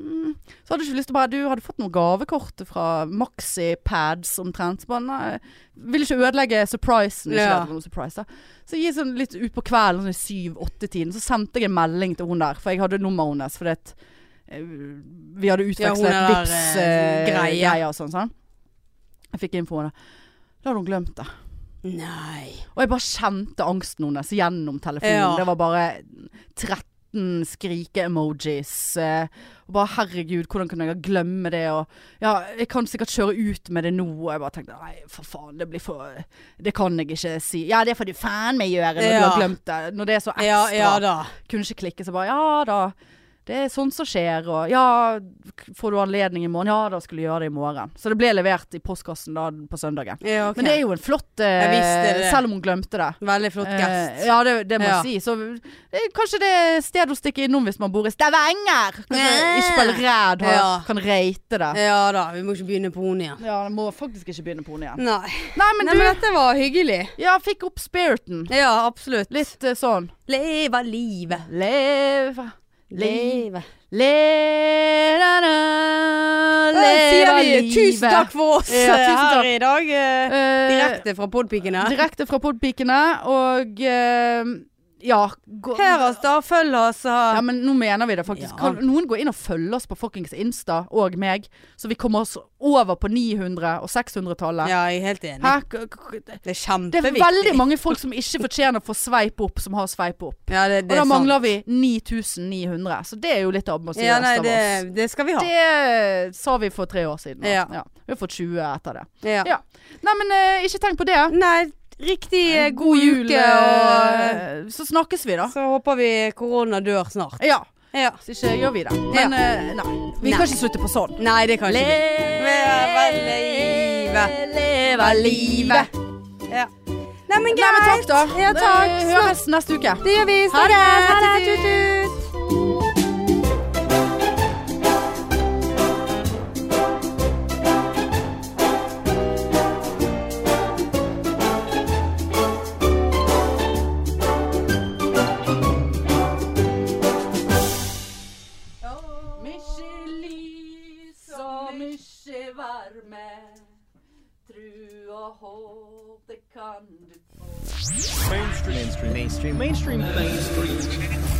[SPEAKER 1] mm, Så hadde jeg ikke lyst til å bare Du hadde fått noen gavekort fra Maxi-pads omtrent. Så bare nei vil ikke ødelegge surprisen. Ikke
[SPEAKER 2] Ja.
[SPEAKER 1] at det var noe surprise, da. Så jeg gikk sånn litt ut på kvelden, sånn i syv-åtte-tiden, så sendte jeg en melding til hun der. For jeg hadde nummeret hennes. Fordi at eh, vi hadde
[SPEAKER 2] Ja, hun er
[SPEAKER 1] utvekslet
[SPEAKER 2] der,
[SPEAKER 1] vips
[SPEAKER 2] eh, greie.
[SPEAKER 1] greier og sånn. sånn. Jeg fikk infoen. da. Da hadde hun glemt det.
[SPEAKER 2] Nei.
[SPEAKER 1] Og jeg bare kjente angsten hennes gjennom telefonen.
[SPEAKER 2] Ja.
[SPEAKER 1] Det var bare 13 skrike-emojis. eh, Og bare herregud, hvordan kunne jeg glemme det? Og ja, jeg kan sikkert kjøre ut med det nå. Og jeg bare tenkte nei, for faen, det blir for Det kan jeg ikke si. Ja, det får du faen meg gjøre når
[SPEAKER 2] Ja.
[SPEAKER 1] du har glemt det. Når det er så ekstra.
[SPEAKER 2] Ja, ja da.
[SPEAKER 1] Kunne ikke klikke, så bare ja da. det er sånn som skjer, og ja, k- får du anledning i morgen? Ja, da skulle jeg gjøre det i morgen. Så det ble levert i postkassen da på søndagen.
[SPEAKER 2] Ja, ok.
[SPEAKER 1] Men det er jo en flott eh,
[SPEAKER 2] Jeg visste det.
[SPEAKER 1] Selv om hun glemte det.
[SPEAKER 2] Veldig flott
[SPEAKER 1] Eh,
[SPEAKER 2] gest.
[SPEAKER 1] ja, det, det må jeg
[SPEAKER 2] Ja.
[SPEAKER 1] si. Så det er kanskje det er et sted å stikke innom hvis man bor i Stavanger. Kanskje
[SPEAKER 2] Ja.
[SPEAKER 1] ikke bare ræd har,
[SPEAKER 2] Ja.
[SPEAKER 1] kan rate det.
[SPEAKER 2] Ja da, vi må ikke begynne på henne igjen.
[SPEAKER 1] Ja, jeg må faktisk ikke begynne på henne igjen.
[SPEAKER 2] Nei.
[SPEAKER 1] Nei, men
[SPEAKER 2] Mm. Nei,
[SPEAKER 1] du
[SPEAKER 2] men dette var hyggelig.
[SPEAKER 1] Ja, fikk opp spiriten.
[SPEAKER 2] Ja, absolutt.
[SPEAKER 1] Litt eh, sånn
[SPEAKER 2] Leve livet.
[SPEAKER 1] Leve Leve
[SPEAKER 2] Livet.
[SPEAKER 1] Leve
[SPEAKER 2] Da Eh, sier vi
[SPEAKER 1] livet.
[SPEAKER 2] tusen takk for oss
[SPEAKER 1] Ja, tusen
[SPEAKER 2] her
[SPEAKER 1] takk.
[SPEAKER 2] i dag. eh,
[SPEAKER 1] Eh,
[SPEAKER 2] Direkte fra podpikene.
[SPEAKER 1] direkte fra podpikene, og eh, ja gå,
[SPEAKER 2] Her oss da, følg oss.
[SPEAKER 1] Ja,
[SPEAKER 2] Og...
[SPEAKER 1] men nå mener vi det faktisk.
[SPEAKER 2] Ja.
[SPEAKER 1] Kan noen gå inn og følge oss på fuckings Insta og meg, så vi kommer oss over på 900- og 600-tallet?
[SPEAKER 2] Ja, jeg er helt enig.
[SPEAKER 1] Hæ? K- k- k-
[SPEAKER 2] Det er
[SPEAKER 1] Det er
[SPEAKER 2] kjempeviktig.
[SPEAKER 1] veldig mange folk som ikke fortjener å få sveip opp, som har sveip opp.
[SPEAKER 2] Ja, det,
[SPEAKER 1] Og
[SPEAKER 2] det er
[SPEAKER 1] da
[SPEAKER 2] sant.
[SPEAKER 1] mangler vi 9900, så det er jo litt ambisiøst
[SPEAKER 2] ja, nei,
[SPEAKER 1] av
[SPEAKER 2] det,
[SPEAKER 1] oss.
[SPEAKER 2] det skal vi ha.
[SPEAKER 1] Det sa vi for tre år siden. da.
[SPEAKER 2] Ja.
[SPEAKER 1] Vi har fått 20 etter det.
[SPEAKER 2] ja.
[SPEAKER 1] Ja. Nei, men eh, ikke tenk på det.
[SPEAKER 2] Nei, riktig eh, god, uke, og
[SPEAKER 1] eh, Så snakkes vi, da.
[SPEAKER 2] så håper vi korona dør snart.
[SPEAKER 1] Ja.
[SPEAKER 2] Ja.
[SPEAKER 1] Så ikke gjør vi det. Men eh, nei. Vi
[SPEAKER 2] Nei.
[SPEAKER 1] kan ikke slutte på sånn.
[SPEAKER 2] Nei, det kan ikke
[SPEAKER 1] Leve livet. Leve livet.
[SPEAKER 2] vi. Ja. Nei, men
[SPEAKER 1] Nei, men takk,
[SPEAKER 2] greit.
[SPEAKER 1] da.
[SPEAKER 2] Ja, takk.
[SPEAKER 1] Eh,
[SPEAKER 2] Snakk-
[SPEAKER 1] Høres neste uke.
[SPEAKER 2] Det gjør vi.
[SPEAKER 1] Ha det.
[SPEAKER 2] Snakkes.
[SPEAKER 1] Ha det.
[SPEAKER 2] Tut, tut.
[SPEAKER 1] Mykje lys og mykje varme. Tru og håp, det kan du få.
[SPEAKER 3] mainstream, mainstream, mainstream, mainstream, mainstream.